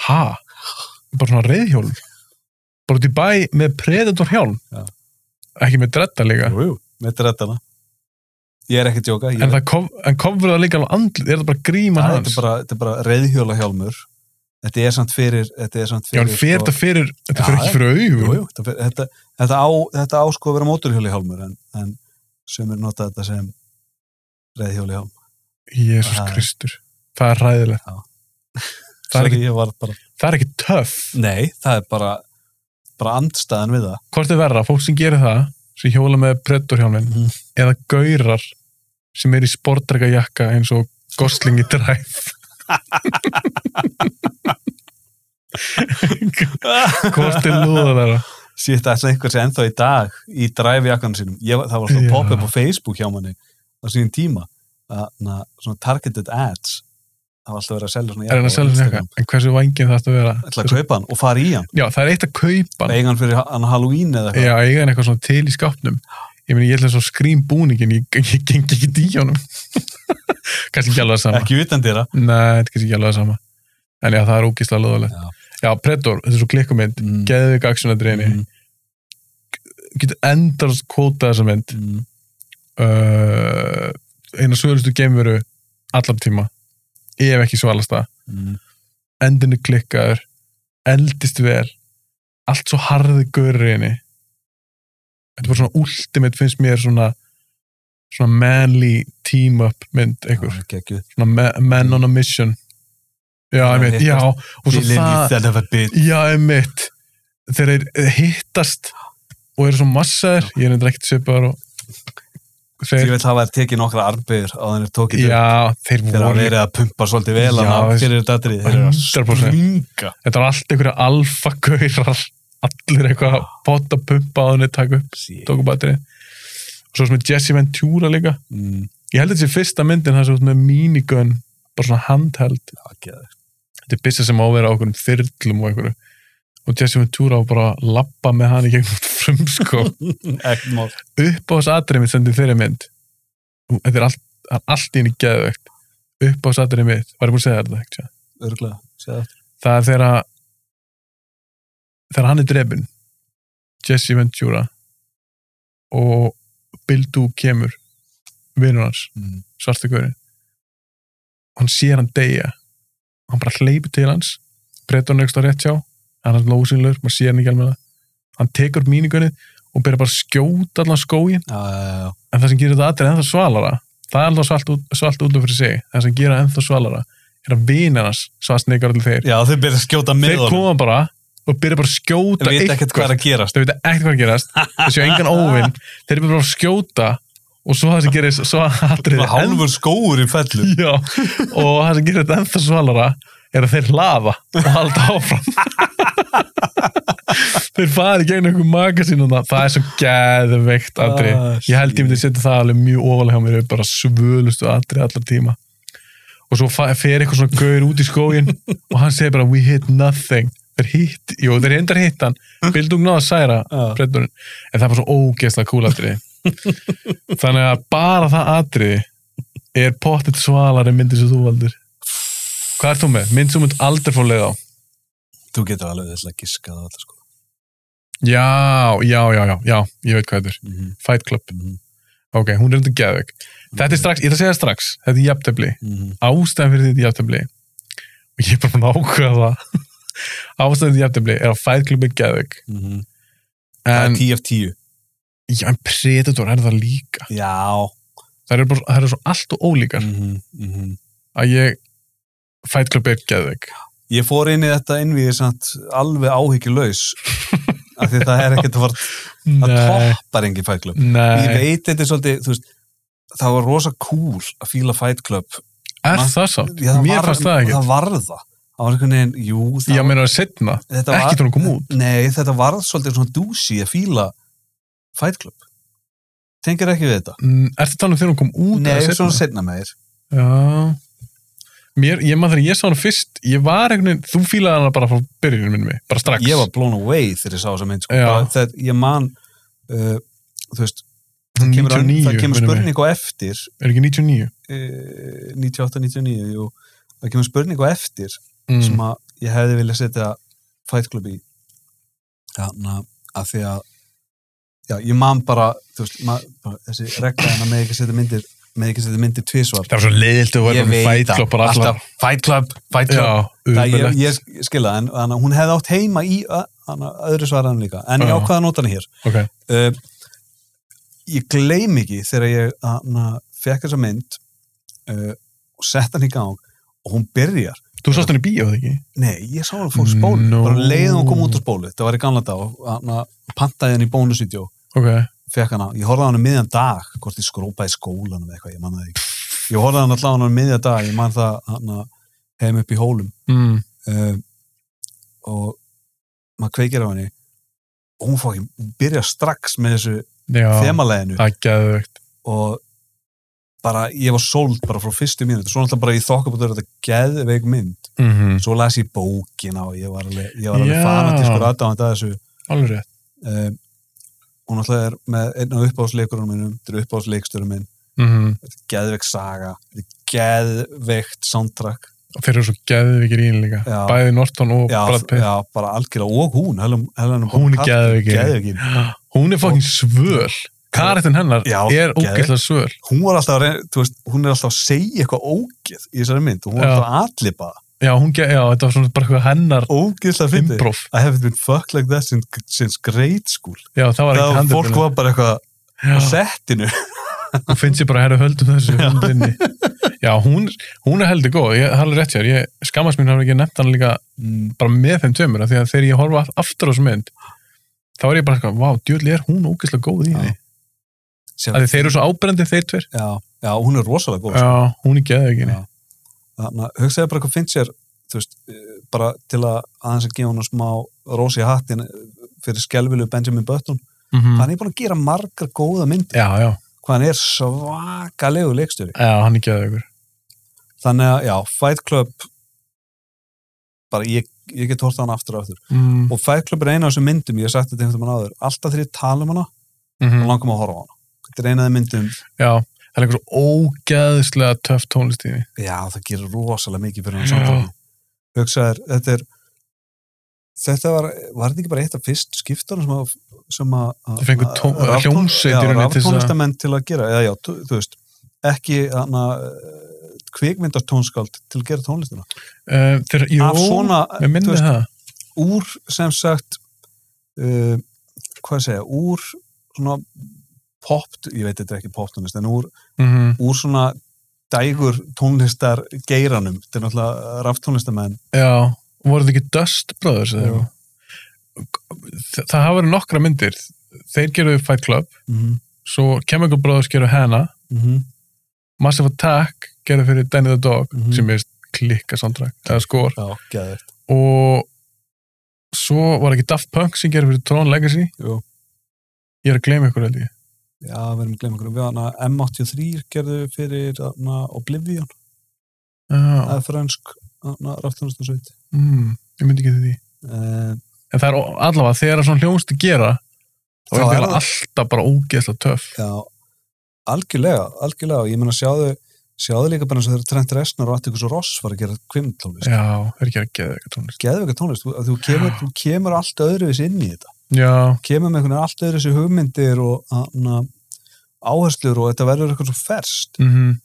ha bara svona reyðhjólum bara út í bæ með predator hjálm Já. ekki með dretta líka Jú, jú, með reddana Ég er ekki að djóka ég, en það kof, en kofur það líka alveg andlið, er það bara gríma það, þetta, hans er bara, þetta er bara reyðhjóla hjálmur Þetta er samt fyrir Þetta er samt já, fyrir en fer sko- þetta fyrir, þetta Já, fyrir ekki fyrir jú, augun jú, þetta, fer- þetta, þetta, á, þetta á sko að vera móturhjóla hjálmur en, en sem er notað þetta sem reyðhjóla hjálm Jésús Já. Kristur, það er ræðilegt Já. það er ekki, ég var bara það er ekki töff Nei, það er bara bara andstæðan við það hvort er verra, fólk sem gerir það sem hjóla með predorhjálmin Mhm. eða gaurar sem er í sportdrega jakka eins og goslingi dræf hvort er lúða þeirra Sýtt að þess að einhver sé ennþá í dag í dræfjakanum sínum, ég, var- það var Já. svona pop-up á Facebook hjá manni á sínum tíma að, na, svona targeted ads það var alltaf verið að selja svona er hann að selja á þessu jakka, Instagram. en hversu vangin þetta að vera ætla að kaupa hann og fara í hann já, það er eitt að kaupa hann eiga hann fyrir hann á Halloween eða eitthvað já, eiga hann eitthvað svona til í skápnum ég meni, ég ætla svo skrým búningin ég, ég gengi ekki í honum kannski ekki alveg það sama ekki utan dýra nei, þetta er kannski ekki alveg það sama en já, það er ógislega lúðalegt Já. já, predor, þetta er svo klikkumynd mm. geðvik aksjónadreini mm. getur endast kvótað þessa mynd mm. uh, eina svöðlustu geimveru allar tíma ef ekki svalasta mm. endinu klikkaður eldist vel allt svo harði gauriðinni þetta er bara svona ultimate finnst mér svona svona manly team up mynd einhver, Já, geggjuð. svona me man on a mission já, Já, ég veit, hittast. já og svo Ég lifi í það, that of a bit já, ég veit þegar þeir eh, hittast og eru svo massaður, ég er nefnir ekkert svipaður og ég þeir, veit það var tekið nokkra armbyrður á þenni tókið upp já, þeir þegar hann voru verið að pumpa svolítið vel Já, hann veist. fyrir þetta atrið þeir eru að 100%. springa þetta var allt einhverja alfagaurar allir eitthvað bóta pumpa á henni taka upp, Sí. tóku bateri og svo sem er Jesse Ventura líka Mm, ég held að þetta sé fyrsta myndin þar sem þú ert með minigun bara svona handheld já, geðveikt. þetta er byssa sem á að vera á okkur þyrlum og einhverju og Jesse Ventura á bara að lappa með hann í gegnum frumskó Ekkert mál. upp á þess atrið mitt sendið þeirri mynd þetta er allt, það er allt í henni geðvegt upp á þess atrið mitt, var ég búin að segja þér þetta ekki? Örugglega, séð aftur. það er þegar að- þegar hann er drefin Jesse Ventura og Bill Duke kemur vinur hans, Mm. svarta gaurin hann sér hann deyja hann bara hleypur til hans breytur hann eitthvað rétt hjá hann er lósinlur, maður sér hann ekki alveg það. hann tekur míningunni og byrjar bara að skjóta allan skóin, Já, já, já. en það sem gerir þetta allir ennþá svalara það er alltaf svalt, út- svalt út af fyrir sig það sem gerir það ennþá svalara er að vinir hans svart neikar allir þeir já þau byrja að skjóta með þeir honum koma bara og byrja bara að skjóta þeir veit ekkert hvað er að gerast þeir veit ekkert hvað er að gerast þeir séu engan óvinn, þeir byrja bara að skjóta og svo það sem gerist, svo atrið Bara hálfur skóur í fellu já, og það sem gerist ennþá svalara er að þeir lafa og halda áfram þeir fara í gegn einhver magasín og það, það er svo geðveikt atrið Ah, ég held ég myndi setja það alveg mjög ofalega hjá mér bara svölustu atrið allar tíma og svo fa- fer eitthvað svona gaur út í skógin og hann segir bara we hit nothing þeir hitt, jú þeir endar hitt hann Bildung náða að særa Já. breddurinn en það er bara svo ógeðslega cool atrið þannig að bara það atrið er pottet svalari myndir sem þú valdur hvað er þú með? mynd sem þú mynd aldrei fór leið á Þú getur alveg þess að giska það alltaf sko. Já, já, já, já, já, ég veit hvað þetta er. Mm -hmm. Fight Club. Mhm. Ok, hún er undir geðveik. Þetta er strax, ég ætla að segja það strax, þetta er jafntefli. Mhm, Ástæðan fyrir þetta jafntefli, og ég er bara búin að ákveða það, ástæðan fyrir þetta jafntefli er að Fight Club er geðveik. mhm. Það er En, 10 af 10. já, en Predator er það líka. Já. Það eru bara, það eru svo allt og ólíkar Mhm, mhm. að ég, Fight Club er geðveik. Ég fór inn í þetta innvíði samt alveg áhyggjulaus af því það er ekkert að fara að Nei, toppar engin Fight Club. Ég nei, veit þetta er svolítið, þú veist, það var rosa cool að fíla Fight Club. er það samt? Já, Mér var- fannst það ekki. Það varð það. Það var einhvern veginn, jú, það Ég meina að setna, þetta ekki til hún kom út. Nei, þetta varð svolítið svona dúsi að fíla Fight Club. Tengir ekki við þetta? Mm, Ertu að tala um þegar hún kom út? Nei, eða svona seinna? setna meir. Já Mér, ég maður þegar ég sá hana fyrst ég var einhvern veginn, þú fílaði hana bara frá byrjunum minni, bara strax Ég var blown away þegar ég sá þessa mynd. Sko. Já. Bara Þegar ég man, uh, þú veist, Hún kemur, önn- 99, það kemur minnir mig. spurning á eftir, Er ekki 99? uh, 98-99, jú, það kemur spurning á eftir Mm. sem að ég hefði viljað setja Fight Club í. Þannig að því að, já, ég man bara, þú veist, mað, bara þessi regla en að með ekki setja myndir, með ekki setja myndir tvísvar. Það var svo leiðilt að vera Ég með veit Fight það, Club bara allar alltaf Fight Club, Fight Club. Já, Það ég, umverlegt ég skilða, en hana, hún hefði átt heima í ö- hana, öðru svaraðan líka, en ég Já. ákvaða nótana hér. Ok, Uh, ég gleym ekki þegar ég hana, fekk þessa mynd uh, og sett hann í gang og hún byrjar. þú sást hann í bíó þegar ekki? Nei, ég sá hann fór spólu, No. bara leiðið hún kom út á spólu, það var í gamla dag og hana, pantaði hann í bónusvídeó, Ok, fekk hana, ég horfði á hann um miðjan dag, hvort ég skrópaði í skólanum eða eitthvað, ég manna það ekki. Ég horfði á hann allavega á hann um miðjan dag, ég man það hana, heim upp í hólum mm. uh, og maður kveikir á henni og hún fór ekki, hún byrja strax með þessu já, þemaleginu það er geðvögt og bara, ég var sóld bara frá fyrstu mínútu, svo náttúrulega bara ég þokka búið þetta geðveik mynd, mm -hmm. svo las ég bókina og ég var alveg, ég var alveg Já. fanatískur aðdáðan að þessu Alveg rétt uh, og náttúrulega er með einn af uppáðsleikurunum minnum, þetta er uppáðsleikstörum minn mm -hmm. þetta er geðveik saga, þetta er geðveikt soundtrack, Þeir eru svo geðvikir í henni líka Já. Bæði Norton og já, Brad Pitt já bara algjörlega og hún, Helen, Helen Hún er geðveik í henni. geðveikin Hún er fokkin svöl Karatinn hennar Já, er geðveik. ógeðslega svöl hún var alltaf að reyna, þú veist, hún er alltaf að segja eitthvað ógeð í þessari mynd og hún var Já. alltaf að atlipa það. Já, hún, ge- já, þetta var svona bara eitthvað hennar ógeðslega fyndi improv I haven't been fucked like that since, since grade school Já, það var það ekkert var handið fólk var bara eitthvað á Já, settinu þú finnst ég bara að herra höldum þessu hundinni. Já, hún, hún er heldur góð, ég haldur rétt hér, ég skammast mín hafa ekki nefnt hana líka Mm, bara með þeim tveimur, af því að þegar ég horfa aft- aftur á þessu mynd, þá er ég bara eitthvað, vá, djöðli er hún ógeðslega góð í Já. henni. sem, Af því þeir eru svo ábrendið þeir tveir. já, já, hún er rosalega góð Já, hún er geðið ekki henni. Já. þannig að hugsaði bara hvað finnst sér þú veist, eh, bara til að aðeins að gefa hún smá rosi hattin eh, fyrir skelvilu Benjamin Button mm. hann er búin að gera margar góða myndir Mhm. Já, já, hvað hann er svakalegu leikstöri já, hann er geðið ykkur. þannig að já, Fight Club bara ég, ég get hort á hana aftur og aftur Mm, og Fight Club er eina af þessum myndum, ég hef sagt þetta einhvern veginn áður alltaf þegar ég tala um hana, þá mhm. langar maður að horfa á hana þetta er eina af þeim myndum, Já, það er einhver svo ógeðslega töff tónlist í henni. já það gerir rosalega mikið fyrir Já. hann samtalið hugsaðar, þetta er þetta var, var þetta ekki bara eitt af fyrst skiptunum sem að, sem að Þeir fengu tón- að- að- hljómsveit í já, rauninni til þess að- raftónlistamenn til að gera, já, já, þú þú veist ekki hana kvikmyndartónskáld til að gera tónlistina Uh, þeir, jú, af svona, ég minni þú veist, það. úr sem sagt uh, hvað segja, úr svona pop, ég veit þetta er ekki poptónlist en úr, Mm úr svona dægur tónlistar geiranum, þetta er náttúrulega raftónlistamenn Já, voru þið ekki Dust Brothers eða Jú. eitthvað? Þa- Það hafa verið nokkra myndir þeir gerðu Fight Club, mm -hmm. svo Chemical Brothers gerðu Hannah, Mm -hmm. Massive Attack gerðu fyrir Danny the Dog Mhm. sem er klikka soundtrack, eða skor já, geðvægt og svo var ekki Daft Punk sem gerðu fyrir Tron Legacy Jú. ég er að gleyma ykkur held ég já, við erum að gleyma einhverjum, við hana M83 gerðu fyrir hana, Oblivion það Já, er fransk raftónlistarsveit Ah, mm, ég myndi ekki því uh, en það er o- allavega þegar svona hljómsdi gera þá Þá er er það það- alltaf bara ógeðslega töff já, algjörlega algjörlega, og ég meina sjáðu sjáðu líka bara eins og þegar Trent Reznor og Atticus Ross var að gera kvimtónlist Já, er ekki að geða eitthvað tónlist. geðveika tónlist, þú, að þú, kemur, þú kemur allt öðruvis inn í þetta Já, kemur með einhvern veginn allt öðruvis hugmyndir og hana, áherslur og þetta verður eitthvað svo ferst mhm.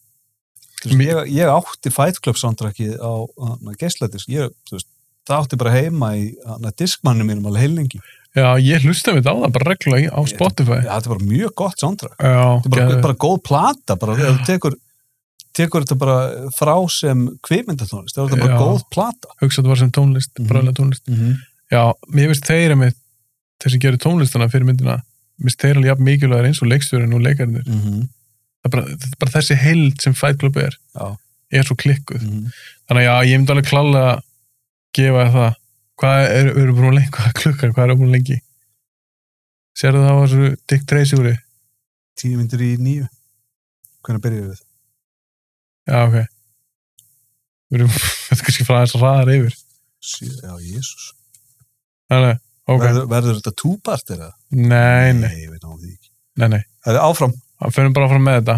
Þú veist, Mér- ég, ég átti Fight Club soundtrackið á hana, geisladisk ég, þú veist, það átti bara heima í hana, diskmannu mínum alveg heilengi Já, ég hlusta við á það bara reglulega í- á Ég- Spotify. ja, þetta var mjög gott soundtrack Já, þetta er bara, geðveikt. bara góð plata bara, ef þú tekur, tekur þetta bara frá sem kvimindatónlist það er þetta bara Já. góð plata hugsa þetta var sem tónlist, mm Mhm. tónlist. Já, mér finnst þeir að þeir sem gerir tónlistana fyrir myndina, mér finnst þeir alveg jafn mikilvægir eins og leikstjórin og leikarnir. Mhm. Það er bara, þetta er bara þessi heild sem Fight Club er, Já. er svo klikkuð. Mhm. Þannig að já, ég myndi alveg klálega að gefa þér það. Hvað er, eru búin lengi, hvað er klukkan, hvað eru búin lengi? Sérðu það á þessu Dick Tracy úr tíu myndir í nýju hvernig byrjuðu við? Já, ok. Við erum, þetta er kannski frá þess að ræðar yfir. Sjö, já, jésús Nei, nei, ok. verður, verður þetta túpart eða? Nei, nei, ég veit náðu því ekki nei, nei. Það er áfram, Það fyrir bara fram með þetta.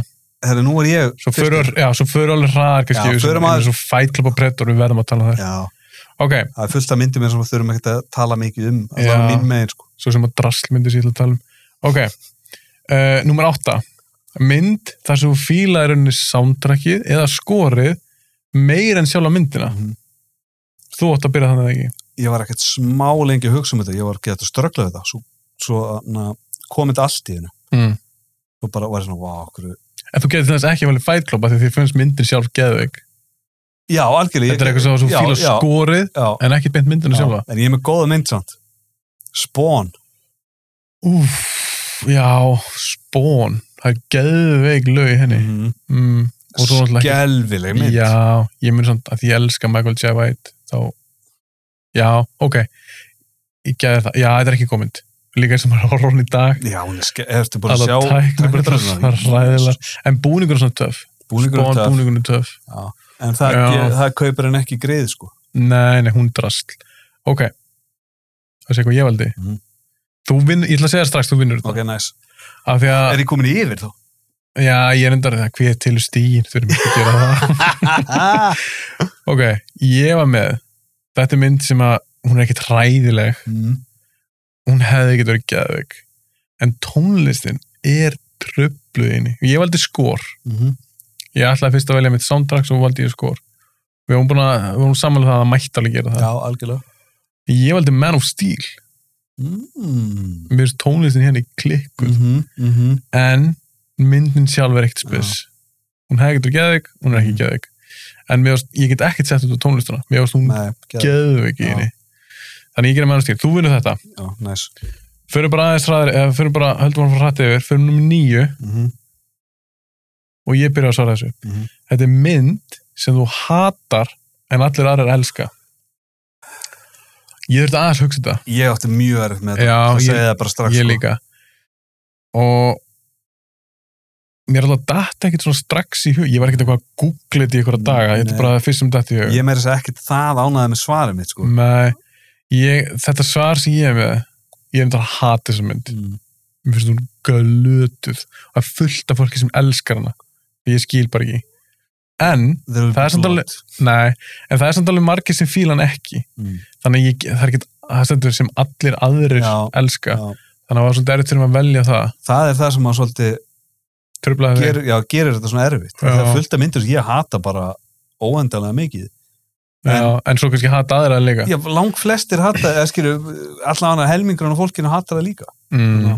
það nú er ég Svo fyrir, já, svo fyrir alveg hraðar kannski. Já, við förum sem- að- eins og Fight Club og Predator, við verðum að tala um það. Já, Ok, það er fullt af myndum eins og við þurfum ekkert að tala mikið um að það er Já. mín megin sko svo sem að drasl myndi sér til að tala um. Ok, uh, númer átta. Mynd þar sem þú fílaði rauninni soundtrackið eða skorið meir en sjálfa myndina. Mhm. Þú átt að byrja þannig eða ekki. Ég var ekkert smá lengi að hugsa um þetta ég var gett að ströggla við það svo, svo na, komið allt í hennu Mm. og bara var ég svona, vá, okkur En þú getur þess ekki valið Fight Club af því því finnst myndin sjálf geðveik. Já, algjörlega ég- Þetta er eitthvað sem þú Já, fílar já, skorið já, en ekki beint myndina sjálfa. já, En ég er með góða mynd samt Spawn, Úf, já, spón það er geðveik lög í henni mm. mm, og svo náttúrulega skelvileg ekki mynd já, ég mun samt að ég elska Michael J. White þá, já, ok ég geði það, já, þetta er ekki komind líka eins og maður horfður hún í dag Já, hún er skemmt, ertu búin að Alla sjá tæknir bara draslar, hræðilega. en búningur er svona töff Búningur spón töff, búningur er töff en það, Já. ge- það kaupir hann ekki greið, sko. nei, nei, hún drasl ok, það sé hvað ég valdi Mhm. þú vinn, ég ætla að segja strax þú vinnur þetta Ok, næs. af því að, Er ég komin yfir þá? já, ég er endar það, hver til stíin, þú erum ekki að gera það Ok, ég var með Þetta er mynd sem að hún er ekkit hræðileg mm. hún hefði ekkit verið geðveik en tónlistin er tröfluð inni. Ég valdi skor Mm. ég ætlaði fyrst að velja mitt soundtrack svo valdi ég skor Við vorum, búin að, við vorum samanlega það að mætt alveg gera það Já, algjörlega. Ég valdi Man of Steel Mm. Mér finnst tónlistin henni klikkuð -hmm. Mm Mhm. -hmm. en myndin sjálf er ekkit spes Hún hefði ekkit verið geðveik, hún er ekki Mhm. geðveik en mér varst, ég get ekkit sett út á tónlistuna mér varst hún Nei, geð- geðveik í Já. henni Þannig ég gera Man of Steel, þú vinnur þetta Já, næs. Förum bara aðeins hraðar, eða förum bara, höldum hann frá hrætti yfir, förum nummer nýju Mm og ég byrja að svara þessu. Mhm. Þetta er mynd sem þú hatar en allir aðrar elska. Ég þurfti aðeins að hugsa þetta. Ég átti mjög erfitt með þetta. Já, það ég- segi það bara strax. ég sko. líka. Og mér er alltaf datt ekkert svona strax í hug. Ég var ekkert eitthvað að googla þetta í einhverja daga. Þetta er Nei. bara það fyrst sem datt í hug. Ég meira þess að ekkert það ánaði með svarið mitt, sko. Nei, ég, þetta svar sem ég er með, ég er þetta að hata þessa mynd. Mm. mér finnst hún glötuð og það er fullt af fólki sem elskar hana ég skil bara ekki en Það er samt alveg- Nei, en það er samt alveg margir sem fíla hann ekki Mm. þannig að ég, það er ekki það stendur sem allir aðrir Já, elska já. þannig að það var svolítið erfitt fyrir mig að velja það Það er það sem að svolítið tröflaði þeir gerir, já, gerir þetta svona erfitt. Já. Það er fullt af myndir sem ég hata bara óendalega mikið. en, já, en svo kannski hata aðra líka Já, lang flestir hata, eða skilju, allan að helmingurinn og fólkinu hata það líka. mm.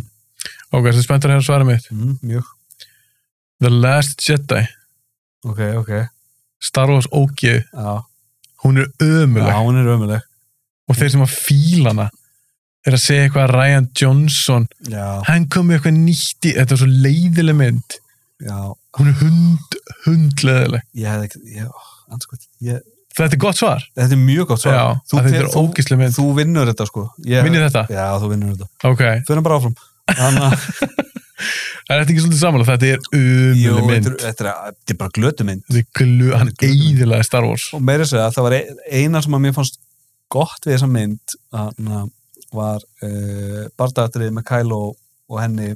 ok, það er spenntur að hérna svara mitt Mm, mjög. The Last Jedi, Ok, ok. Star Wars OG Já, hún er já ömuleg hún er ömuleg. og þeir sem að fíla hana er að segja eitthvað að Ryan Johnson Já, hann kom með eitthvað nýtt í þetta er svo leiðileg mynd já. hún er hund, hundleðileg Ég hefði ekki, ég, ó, anskot, ég, þetta er gott svar, þetta er mjög gott svar. já, Þú að þetta er tel- þú- ógislega mynd Þú vinnur þetta, sko. Ég, Vinnir þetta? Já, þú vinnur þetta. Ok, Fyrir bara áfram. Þannig að, það er þetta ekki svolítið samanlega, þetta er umulig mynd. þetta er- þetta er þetta er bara glötu mynd. Þetta er glu, hann Þetta er glötuð mynd. eiðilaði Star Wars. Og meira að segja, það var ein- eina sem að mér fannst gott við þessa mynd, þannig var uh, barndagatrið með Kylo og henni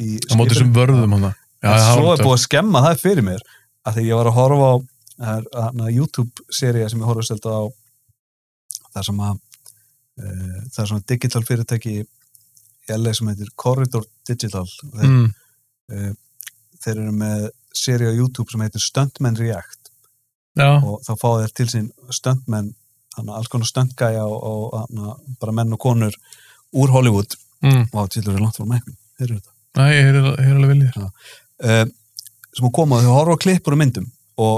í Á móti skipinu. sem vörðum hann. Já, en það var svo er þetta. búið að skemma það fyrir mér að því ég var að horfa á það er þarna YouTube-sería sem ég horfa stelt á þar sem að e, það er svona digital fyrirtæki í LA sem heitir Corridor Digital og þeir, Mm. þeir eru með seríu á YouTube sem heitir Stuntman React Já, og þá fá þeir til sín stuntmen hana, alls konar stuntgæja og, og hana, bara menn og konur úr Hollywood mm. Vá, tjildur er langt frá mæknum, þeir eru þetta Æ, ég er, ég er alveg viljið. uh, sem að koma og þau horfa á klippur og myndum og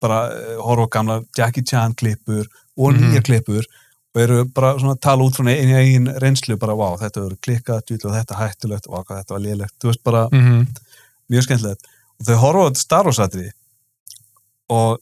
bara uh, horfa á gamla Jackie Chan klippur og Mhm. nýja klippur og eru bara svona að tala út frá einu eigin reynslu bara, vá, þetta eru klikkað, djúlega þetta er hættulegt, vá, hvað þetta var lélegt þú veist bara, Mm mjög skemmtilegt og þau horfa á þetta Star Wars atriði og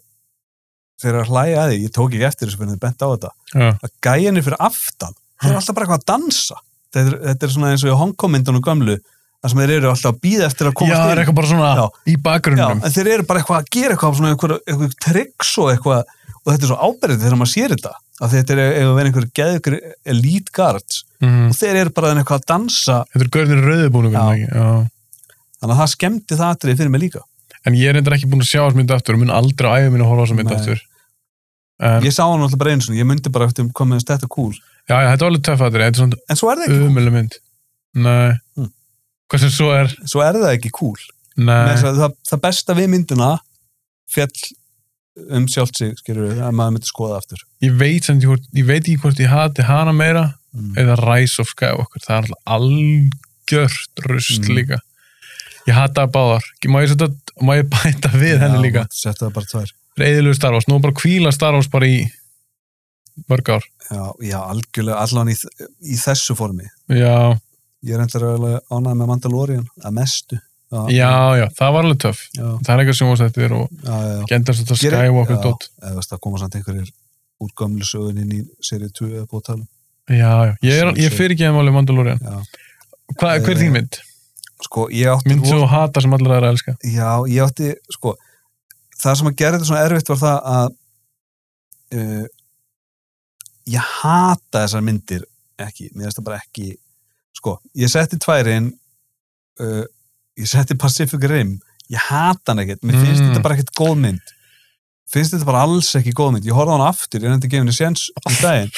þeir eru að hlæja að því, ég tók ekki eftir þessu fyrir þau bent á þetta, Já, að gæjanir fyrir aftan þeir eru alltaf bara eitthvað að dansa þetta er, þetta er svona eins og í Hongkong-myndunum gömlu þar sem þeir eru alltaf að býða eftir að Já, komast það er inn. eitthvað bara svona Já. í bakgrunnum. Já, en þeir eru bara eitthvað að gera eitthvað svona eitthvað, eitthvað triks og eitthvað og þetta er svo áberðið þegar maður sér þetta að þetta er ef að vera einhver geðugur elite guards Mm. og þeir eru bara þarna eitthvað að dansa Þetta er görðin rauðubúningum, Já. ekki? Já. þannig að það skemmti það atrið fyrir mig líka En ég er reyndar ekki búin að sjá þessu mynd aftur og mun aldrei á æfum minn að horfa á þessu mynd Nei. aftur. En, ég sá hann alltaf bara eins og ég myndi bara eftir hvað meðan þetta cool já, já, þetta var alveg töff aðri, þetta er svona en svo er það ekki, umölu mynd. Nei. Mm. Hvað sem svo er, svo er það ekki cool nei. Með þess að það, það besta við myndina fjall um sjálft sig skilur við, að maður myndi skoða aftur Ég veit, sem, ég, ég veit ekki hvort ég hati hana meira Mm. eða Rise of Skywalker. Það er alltaf algjört rusl Mm. líka. Ég hata báðar. Má ég, setja, má ég bæta við henni líka? setja það bara tvær Reyðilegu Star Wars. Nú er bara kvíla Star Wars bara í mörg ár. já, já algjörlega allan í, þ- í þessu formi Já, Ég er endur alveg ánægð með Mandalorian að mestu. Já, já, já. Það var alveg töff. Já, Það er eitthvað sem varst eftir og já, já. gendast þetta Gerir- Skywalker já. dot. Eða veist, það koma samt einhverjir úr gömlu sögun inn í serið 2 eða búið að tala um. Já, já. Ég, er- ég fyrir ekki að máli Mandalorian. Já. Eh, Hva, hver er þín mynd? Sko, ég átti... Mynd sem þú hata sem allir aðra elska. Já, ég átti, sko, það sem að gera þetta svona erfitt var það að uh, ég hata þessar myndir ekki, mér finnst það bara ekki, sko, ég setti tværinn, uh, ég setti Pacific Rim, ég hata hann ekkert, mér finnst Mm. þetta bara ekkert góð mynd, finnst þetta bara alls ekki góð mynd, ég horfði á hann aftur, ég reyndi að gefa henni séns í daginn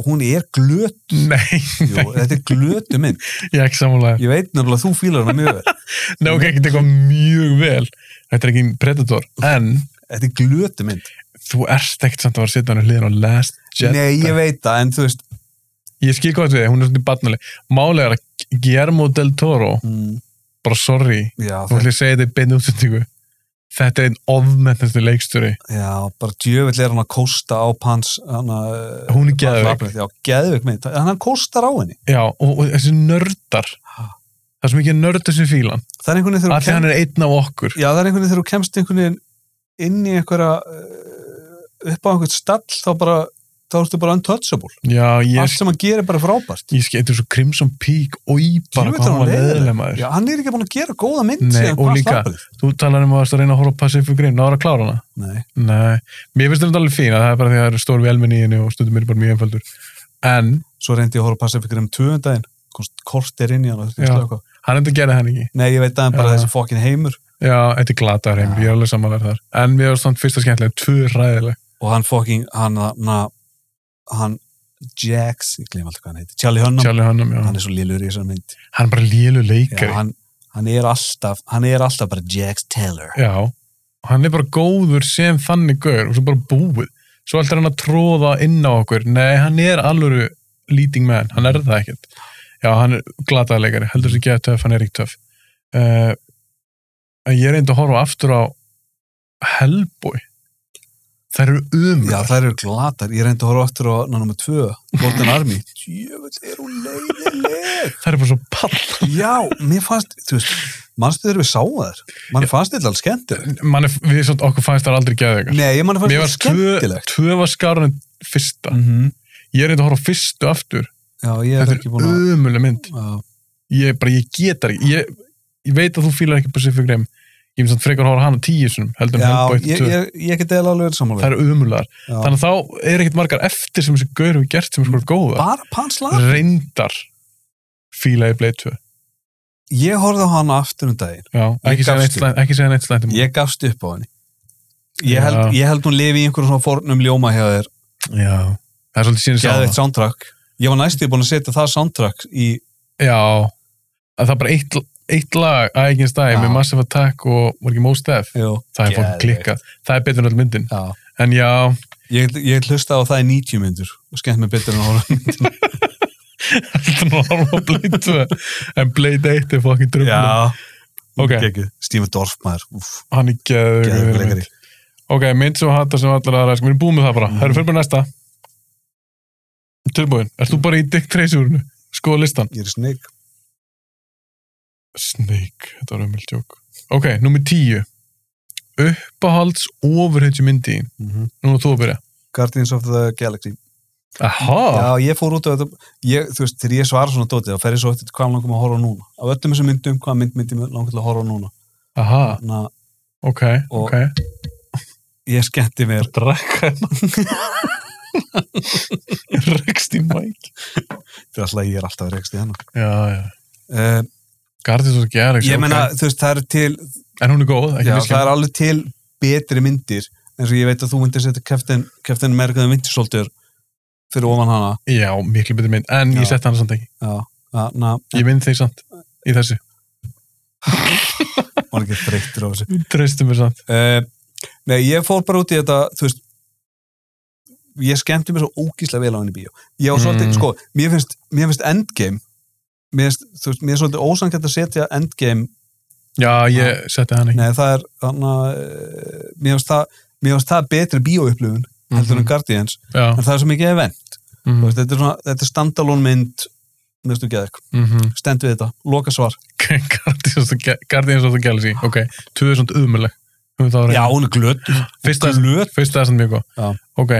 og hún er glöt, Nei, jú, þetta er glötu mynd, ég er ekki samanlega. ég veit nefnilega að þú fílar hana mjög vel. Nei, ok, ekki eitthvað mjög vel. Þetta er ekki Predator. En Þetta er glötu mynd. þú ert ekkert samt að vera að sitja hann hliðin á Last Jedi. Nei, ég veit það, en þú veist Ég skil gott við þig, hún er svona barnaleg. Málega er að Guillermo del Toro, mm, bara sorry, já, þú þetta, ætlum að segja þetta í beinu útsendingu. Þetta er einn ofmennasti leikstjóri. já, bara djövill er hann að kósta á pans hann að Hún er geðveik. Já, geðveik mynd, Hann- hann kóstar á henni Já, og, og þessi nördar. Það er svo mikið nördar sem fílan. það er einhvern veginn þegar Allir þú hann kemst er einn af okkur. já, það er einhvern veginn þegar þú kemst einhvern veginn inn í einhverja uh, upp á einhvern stall þá bara, þá ertu bara untouchable Já, ég, allt sem hann gerir er bara frábært ég skil, þetta er svo Crimson Peak og í bara Djöfull hvað er hann var leiðinlegur. leðileg maður. já, hann er ekki búin að gera góða mynd Nei, síðan og Pans líka- Labyrinth. Þú talar um að það er að reyna að horfa á Pacific Rim, náður að klára hana. Nei, Nei, mér finnst þetta alveg fín að það er bara því að það er stór velmenn í henni og stundum er ég bara mjög einfaldur. En svo reyndi ég að horfa að passa fyrir um tvöndaginn kort er inn í hann og þurfti að Já. slökkva. hann enda gerði hann ekki. nei, ég veit það en bara Já. þessi fokkin heimur Já, þetta er glataður heim, Já. ég er alveg samanlega þar. En mér var svona fyrsta skemmtilega, tvö er ræðileg. og hann fucking hann, hann, hann Jax, ég glem alltaf hvað hann heitir Charlie Hunnam, Charlie Hunnam, já. hann er svo lillur í þessar mynd Hann er bara lélu já, leikari. Já, hann... hann, hann er alltaf hann er alltaf bara Jax Taylor Og hann er bara góður sem þannig gaur og svo bara búið. Svo alltaf er hann að tróða inn á okkur. Nei, hann er alvöru leading man, hann er það ekkert. Já, hann er glataður leikari, heldur sér ekki að töff, hann er ekki töff. Uh, en ég reyndi að horfa aftur á Hellboy. Það eru já, umlega. það eru glatar, ég reyndi að horfa aftur á ná, nummer tvö, Golden Army jöfnveld, er hún leiðileg Það eru bara svo pall. já, mér fannst, þú veist mannstu þegar við sáum þær, mann fannst þetta alveg skemmtilegt Man er, við svona okkur fæst það aldrei geðið nei, ég mann fannst Mér þetta var tvö, skemmtilegt tvö var skárun en fyrsta. mm Ég er reyndi að horfa á fyrstu aftur. já, ég er Þetta ekki er búin að ömuleg mynd. já, Ég, bara, ég getar ekki. Ég, ég veit að þú fílar ekki Pacific Rim. Ég finnst að frekar að horfa á hana tíu sem heldur en já Hellboy ég, 2. ég, ég geti alveg verið Það samanlega eru ömulegar. já, Þannig að þá er ekkert margar eftir sem þessi gaur hefur gert sem er sko góða. bara panslaður Reyndar fílaði Blade 2. ég horfði á hana aftur um daginn Já, ekki segja neitt gafst slæmt- ekki segja neitt slæmt um ég gafst upp á henni ég held, Já. ég held hún lifi í einhverjum svona fornum ljóma hjá þér Já, það er svolítið síðan geði eitt sána. soundtrack ég var næstu búin að setja það soundtrack í Já, að það er bara eitt, eitt lag að ekki stæði Já. með Massive Attack og var ekki Most Def. jú, Það er fólk Geðveikt. klikkað. Það er betur en öll myndin. já. En já, ég, ég hlusta á það í 90 myndur og skemmt mig betur en að horfa þetta er normal Blade 2. En Blade 1 er fokkin drömmur. Ok. Stífur Dorfmaður úf, Hann er geður. geðveikleikari. Ok, mynd sem hata sem allar aðra sko, við erum búið með það bara, Mhm. það eru fyrir bara næsta Tilbúin, ert þú bara í Dick Tracy úrinu? Skoða listan ég er snygg Snake, þetta var ömjöld jók Ok, nummer tíu Uppahalds ofurheitju myndi þín. Núna þú að byrja Guardians of the Galaxy Aha, Já, ég fór út á þetta ég, þú veist, þegar ég svara svona dótið þá fer ég svo eftir hvað mig langar maður að horfa á núna á öllum þessum myndum, hvað mynd myndi mig langar til að horfa á núna aha, þannig að ok, Og- ok ég skemmti mér Drekka hennar Rekst í mæk þetta er alltaf ég er alltaf rekst í hennar Já, já, uh, Garðið svo gerðið ég meina, þú veist, það er til En hún er góð, ekki já, miskinn það er alveg til betri myndir eins og ég veit að þú myndir setja Captain, Captain America the Winter Soldier fyrir ofan hana Já, miklu betur mynd, en Já. ég setti hann samt ekki já, na, na, Ég mynd þig samt í þessu var ekki þreyttur á þessu Treystu mér samt uh, Nei, ég fór bara út í þetta þú veist ég skemmti mér svo ógíslega vel á henni í bíó ég á svolítið, Mm. sko, mér finnst, mér finnst endgame mér finnst, þú veist, mér er svolítið ósangjönd að setja endgame Já, ég setti hann ekki nei, það er, þannig að eh, mér finnst það, mér finnst það betri bíóupplifun Mhm. heldur en Guardians, Já, en það er svo mikið event þú mhm, veist, þetta er svona, þetta er standalone mynd mér finnst þú geðið, mhm stend við þetta loka svar, Guardians of the- Guardians of the Galaxy Ok, 2000 umuleg já, hún er glödd Fyrsta glöð. fyrsta er samt mjög Já. góð Ok,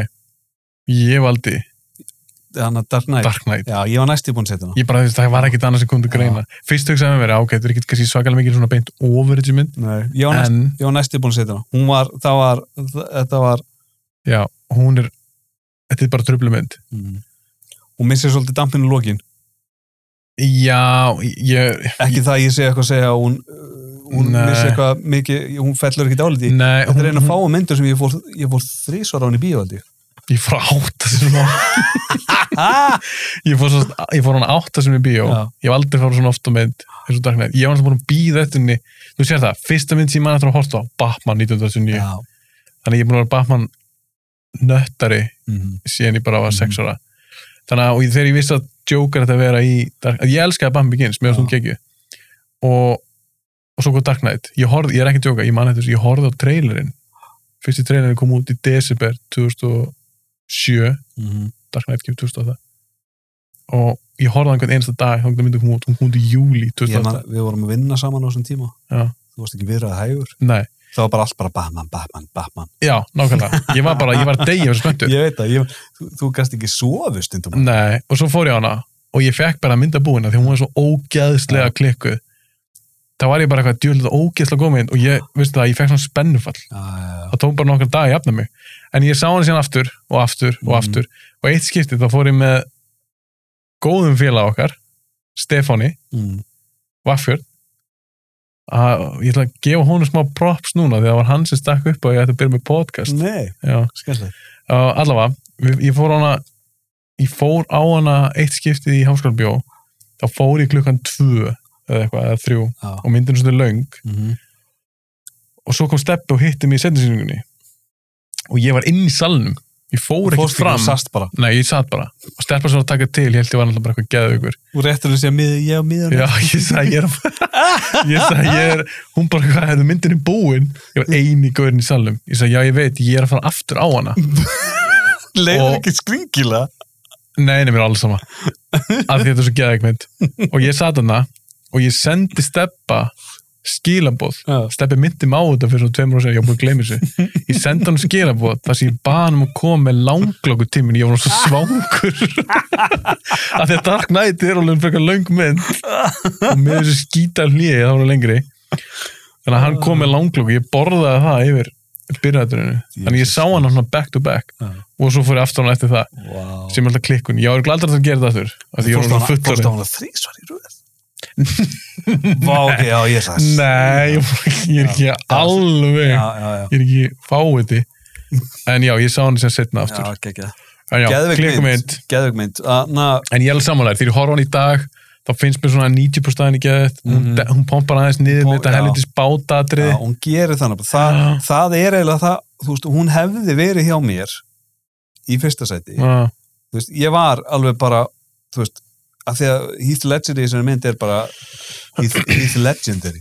ég valdi þannig að Dark Knight Dark Knight já, ég var næst í búin að setja hana Ég bara þú veist, það var ekkit annað sem kom til greina Fyrst hugsaði með mér, já, ok, þetta er ekkit kannski svakalega mikil svona beint over þessu mynd Nei, ég var næst En, ég var næstu búin að setja hana hún var, það var, þetta var já, hún er Þetta er bara tröflumynd hún missir svolítið dampinu lokin Já, ég ekki það að ég segi eitthvað að segja að hún, uh, hún Nei. missir eitthvað mikið, hún fellur ekkit áliti Nei, þetta er eina hún- fáa myndur sem ég fór, ég fór þrísvar á henni bíóaldi Ég fór að átta sem Ég fór, svo, ég fór hann átta sem í bíó Já. ég hef aldrei farið svona oft á mynd eins og Dark Knight, ég var alltaf búin að býða eftir henni þú sér það, fyrsta mynd sem ég mann eftir að horta á Batman 1979, já, þannig að ég er búin að vera Batman nöttari mm. síðan ég bara var 6 Mhm. ára þannig að og ég- þegar ég vissi að Joker þetta vera í Dark, að ég elskaði Batman Begins, mér Já. varst hún gegju og, og svo kom Dark Knight ég, horf, ég er ekki að joka, ég mann eftir þessu, ég horfði á trailerinn fyrsti trailerinn kom út í desember 2007 Mm. Dark Knight kemur 2008 og ég horfði á einhvern einasta dag þá myndi hún út, hún kom út í júli Ég man, 2008 við vorum að vinna saman á þessum tíma Já. þú varst ekki viðrað hægur Nei, það var bara allt bara Batman, Batman, Batman já, nákvæmlega ég var bara, ég var að deyja fyrir spenntur ég veit það, ég, þú, þú gast ekki sofu stundum Nei, og svo fór ég á hana og ég fekk bara mynda búina því hún var svo ógeðslega klikkuð þá var ég bara eitthvað djúlega ógeðslega góð mynd og ég, veistu það, ég fekk svona spennufall Ah, það tók bara nokkar dag að jafna mig en ég sá hann síðan aftur og aftur og Mm. aftur og eitt skipti þá fór ég með góðum félag okkar Stefáni mm. Vaffjörn að ég ætla að gefa honum smá props núna því að það var hann sem stakk upp og ég ætti að byrja með podcast nei, Já, skemmtilegt uh, allavega við- ég fór á hana ég fór á hana eitt skiptið í háskólabjó þá fór ég klukkan tvö eða eitthvað, eða þrjú Já. og myndin svo þetta löng mm. og svo kom steppi og hitti mig í sendinsýningunni og ég var inn í salnum ég fór ekkert fórst ekki fram og sast bara Nei, ég satt bara og steppa svo að taka til, ég held ég var náttúrulega bara eitthvað geðugur Þú réttur að segja mið, ég á miðan Já, ég sagði ég er ég sagði ég er, hún bara hvað hefði myndin er búin, ég var eini gaurin í salnum ég sagði já ég veit, ég er að fara aftur á hana Leifur Og- ekki skringila Nei, nei, mér er alls sama af því þetta er svo geðegmynd og ég sat hana og ég sendi steppa skilabóð Já. steppi myndi mig á þetta fyrir svona tveimur og sér ég var búin að gleyma þessu ég sendi hann skilabóð þar sem ég baði hann um að koma með langlokku tímin ég var nú svo svangur af því að Dark Knight er alveg fyrir löng mynd og með þessu skýta hlýi það var nú lengri þannig að hann kom með langlokku ég borðaði það yfir byrjaðurinu þannig að ég sá hann svona back to back Já. og svo fór ég aftur hann eftir það wow. sem er alltaf klikkun, ég var glæður að það gera þetta aftur af því ég var Fórstu svona fullorinn hana- fórstu hana þrísvar í röð Vá, ok, já, ég sagði Nei, ég er ekki alveg Já, já, já. ég er ekki fáiði en já, ég sá hann sem setna Já, aftur geggjað. en já, Geðveik klikkum mynd Geðveik mynd. Þannig að, en ég er alveg samanlega, þegar ég horfa á hann í dag þá finnst mér svona 90% aðeins í geðið hún, de- hún pompar aðeins niður Mhm. Pom- með þetta já. helvitis bátatrið já, hún gerir þannig. Þa, Já. það er eiginlega það, þú veist, hún hefði verið hjá mér í fyrsta sæti. Þú veist, ég var alveg bara, þú veist, af því að Heath Ledger í þessari mynd er bara Heath, Heath Legendary.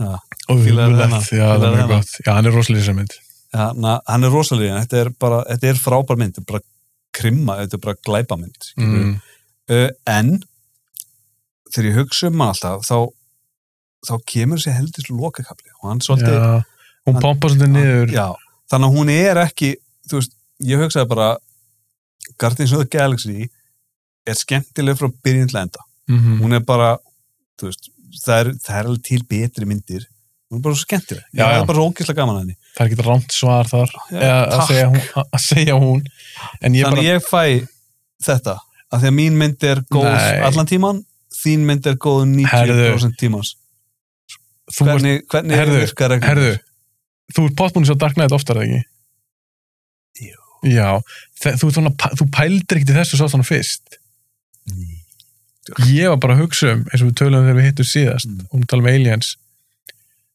og Fílaðu umulegt, hana. já, það er Fílaðu mjög hana. gott já, hann er rosalega sem mynd Þannig að hann er rosalegin. Þetta er bara, þetta er frábær mynd. Þetta er bara krimma, þetta er bara glæpa mynd. mm. uh, en þegar ég hugsa um hann alltaf þá, þá kemur þessi heldur lokakafli og hann svolítið já, hún hann- pompar svolítið niður já, þannig að hún er ekki þú veist, ég hugsaði bara Guardians of the Galaxy er skemmtileg frá byrjun til enda Mhm. hún er bara, þú veist það er, það er alveg til betri myndir hún er bara svo skemmtileg, Já, ég já. er bara svo ógeðslega gaman að henni það er ekki rámt svar þar Já, eða að takk. segja, hún, að segja hún en ég þannig bara, ég fæ þetta af því að mín mynd er góð Nei. allan tíman, þín mynd er góð 90% tímans þú varst hvernig, hvernig Herðu, virkar reglurnar? Herðu, þú ert pottbúin að sjá Dark Knight oftar, eða ekki? Jú. Já, þe- þú, ert svona, pæ- þú pældir ekkert í þessu svo þannig fyrst. Nei. Ég var bara að hugsa um, eins og við töluðum þegar við hittum síðast, Mm. og við talum um aliens,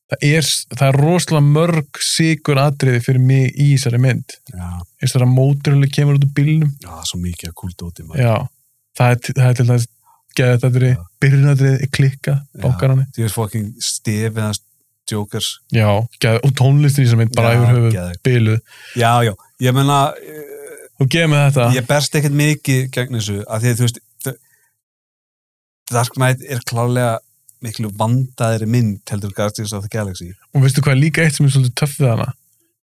það er, s- það er rosalega mörg sigur atriði fyrir mig í þessari mynd. Já, Eins og þegar móturlega kemur út úr bílnum, já, það er svo mikið að kúldóti maður. já, það er, til- það er til dæmis geðið atriði, byrjunatriði, klikka, bókar hann. Þú veist fucking stefið hans jokers. Já, geðið, og tónlistin í þessari mynd bara Já, yfir höfuð, geðið. bíluð. Já, já, ég menna, eh, Þú gefið mig þetta. ég berst ekkert mikið gegn þessu að því að þú veist, þ- Dark Knight er klálega miklu vandaðri mynd heldur Guardians of the Galaxy. og veistu hvað er líka eitt sem er svolítið töff við hana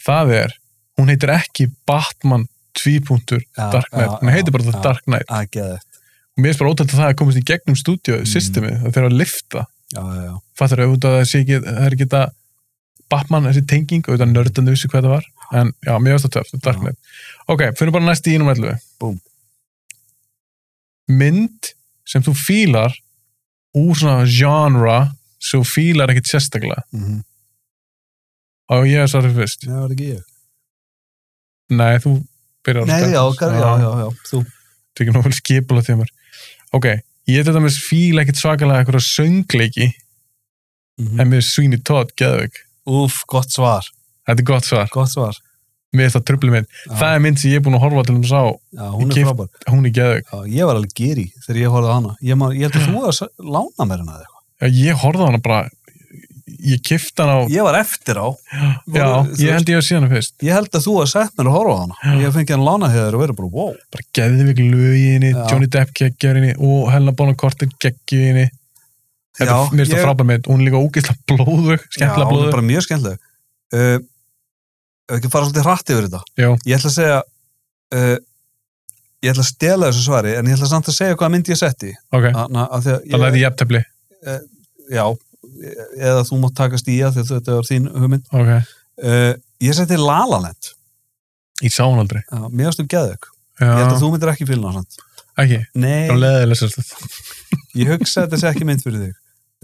það er, hún heitir ekki Batman 2. Já, Dark Knight já, hún heitir bara já, það já. Dark Knight Að geða þetta. og mér er bara ótætt að það að komast í gegnum stúdíu Mm. systemið, það þarf að lifta Já, já, já. fattur auðvitað að það sé ekki, það er ekki það Batman, þessi tenging, auðvitað nördan vissi hvað það var, en já, mér finnst það töff Dark Já. Knight. Ok, fyrir bara næst í ínum ætlu Búm. mynd sem þú fílar úr svona genre sem þú fílar ekkit sérstaklega Mm -hmm. og ég er svarið fyrst Það var ekki ég. Nei, þú byrjar að Nei, já, já, já, já, já, þú. Þú ekki náttúrulega skipula því að maður. Ok, ég þetta með fíla ekkit svakalega eitthvað söngleiki en mér svíni tótt geðveik. Úf, Mhm. gott svar, Þetta er gott svar. gott svar. Mér er það trubli minn. Já, Það er mynd sem ég er búin að horfa til um sá. já, hún Ég er keypt- frábær. Hún er geðveik. Já, ég var alveg geri þegar ég horfði á hana. Ég, man, ég held að þú að lána mér hana eða eitthvað. Já, Ég horfði á hana bara, ég kifti hana á... Ég var eftir á. Já, Voru- þú ég held ég að sé hana fyrst. Ég held að þú að sett mér að horfa á hana. Ég fengi hann lána þegar og verið bara, wow. Bara geðveik löginni, Já. Johnny Depp geggjarinni og Helena Bonham Carter geggjarinni. Þetta Já, er mér þetta ég- frábæð mynd. Hún er líka ógeðslega blóðug, skemmtilega Já, hún er blóðug. Bara mjög skemmtileg. Uh, ef ekki fara svolítið hratt yfir þetta. Já. Ég ætla að segja, uh, ég ætla að stela þessu svari, en ég ætla samt að segja hvaða mynd ég setti. Ok, Þannig að þannig að þegar þetta ég, er jafntefli. já, eða þú mátt takast í að þetta var þín hugmynd. Ok, Uh, ég setti Lalaland. ég sá hún aldrei. Já, mér varstu geðök. Já, Ég held að þú myndir ekki fylgna hans. ekki. Nei, Það er leðilega sérstætt. ég hugsa að þetta sé ekki mynd fyrir þig.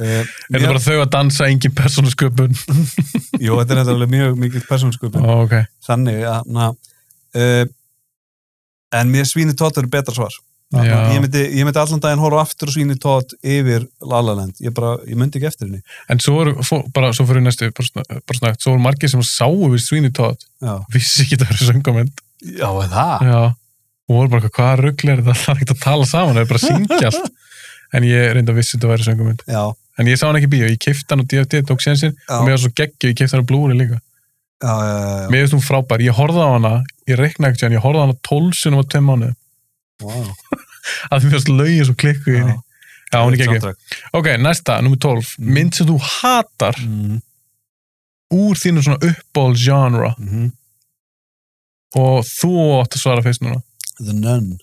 Uh, Er það bara þau að dansa engin persónasköpun? Jú, þetta er náttúrulega mjög mikið persónsköpun. Ó, ok. Þannig að, na, uh, en mér svíni tótt er betra svar. Já. Ég myndi, ég myndi allan daginn horfa aftur og svíni tótt yfir Lalaland. Ég bara, ég myndi ekki eftir henni. En svo eru, fó- bara svo fyrir næstu, bara, sna- bara snakkt, svo eru margir sem sáu við Sweeney Todd, Já, Ah. vissi ekki að það eru söngamenn. já það? Já. Og voru bara, hvað rugl er þetta? Það er ekkert að tala saman, það er bara að syngja allt. En ég reynda að vissi þetta væri söngamenn. Já, En ég sá hann ekki í bíó, ég kifti hann á DFT, tók sénsinn, já, og mér var svo geggju, ég kifti hann á Blu-ray líka. já, já, já, já. Mér finnst hún frábær, ég horfði á hana, ég reikna ekki hann, ég horfði á hana 12 sinum á 2 mánu, Wow. að því mér finnst lögin svo klikku í henni. Já, hún er geggju. Soundtrack. Ok, næsta, nummer 12, Mm. mynd sem þú hatar Mm úr þínu svona uppból genre -hmm. og þú átt að svara fyrst núna The Nun.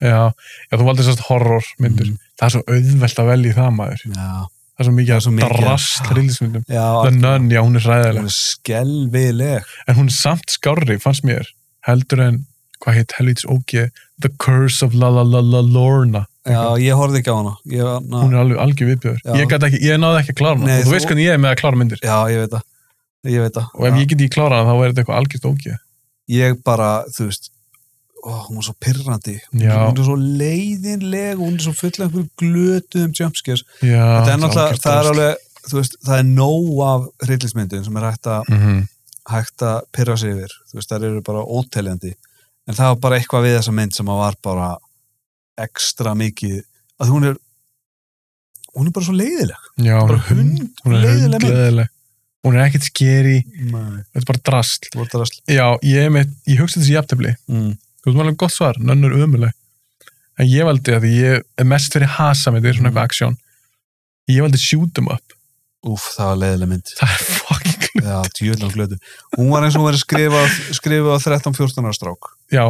já, já þú valdi sérst horrormyndur Mhm. það er svo auðvelt að velja það maður Já, það er svo mikið Það er að svo mikið. drast rillismyndum já, The Nun, já hún er hún ræðileg er skelvileg. en hún er samt skárri, fannst mér heldur en, hvað heit, helvitis ógeð The Curse of La La La La Lorna já, ég horfði ekki á hana ég, var- na, hún er alveg algjör viðbjöður Já. ég, gat ekki, ég náði ekki að klára hana Nei, og þú þú- veist hvernig ég er með að klára myndir já, ég veit það ég veit það og ef Já. ég get ekki klára hana þá er þetta eitthvað algjört ógeð ég bara, þú veist ó, hún var svo pirrandi hún Já. hún er svo leiðinleg og hún er svo full af einhverjum glötuðum jumpscares já, þetta er náttúrulega, algjört það er drasl. alveg þú veist, það er nóg af hryllismyndum sem er hægt að, Mhm. hægt að pirra sig yfir, þú veist, það eru bara óteljandi, en það var bara eitthvað við þessa mynd sem að var bara ekstra mikið, að hún er hún er bara svo leiðileg já, hún bara er hund- hund, hún er leiðileg mynd hundleðileg hún er ekkert skeri, Nei, þetta er bara drast þetta var drasl. Já, ég, er með, ég hugsa þessi jafntefli Mm. Þú veist maður alveg gott svar, nönnur ömuleg En ég valdi að því ég er mest fyrir hasa með því svona eitthvað aksjón Ég valdi shoot 'em up Úf, það var leiðileg mynd Það er fucking klug Já, djúðlega glötu. Hún var eins og hún verið skrifað, skrifað á 13-14 ára strák. Já,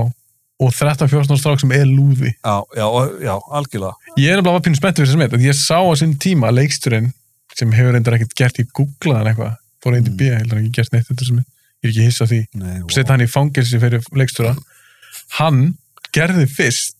og 13-14 ára strák sem er lúði Já, já, og- já, algjörlega. Ég er bara pínu spenntið fyrir þessum mynd að Ég sá á sinn tíma að leiksturinn sem hefur reyndar ekkert gert í googlaðan eitthvað Fór reyndi Mm. mm. bíða, heldur hann ekki gert neitt þetta sem Ég er ekki hissa á því Nei, vá. setja hann í fangelsi fyrir leikstura hann gerði fyrst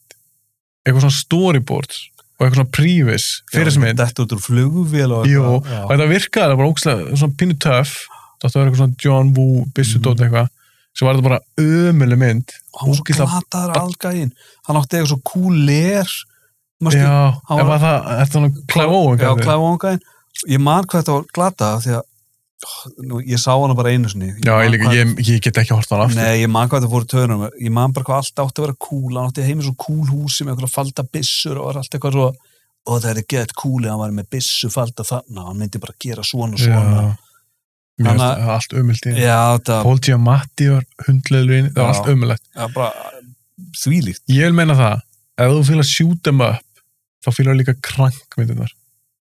eitthvað svona storyboard og eitthvað svona prívis fyrir sem mynd Dett út úr flugvél og Jú, eitthvað. og þetta virkaði bara ókslega svona pínu töff þetta var eitthvað svona John Woo Mm. bissudótt eitthvað svo var þetta bara ömuleg mynd og hann var svo ógeðslega- glataður algægin. Hann átti eitthvað svo kúler. já, hann ef var- að það, þetta var svona klæfóin Já, klæfóangægin. Ég man hvað þetta var glatað því að ó, nú, ég sá hana bara einu sinni. já, ég, man líka, hvað- ég, ég get ekki hort á hann aftur Nei, ég man hvað þetta fór í töðunum. Ég man bara hvað allt átti að vera kúl. Hann átti heim í svo kúl húsi með eitthvað falda byssur og var allt eitthvað svo og það er gett kúli að hann var með byssu falda þarna. Hann myndi bara gera svona og svona. já, mér Þannig finnst allt ömulegt í Já, þetta Paul Giamatti var hundleðurinn það var Já. allt ömulegt er bara þvílíkt. Ég vil meina það, ef þú fýlar shoot them up, þá fýlar líka krankmyndunar.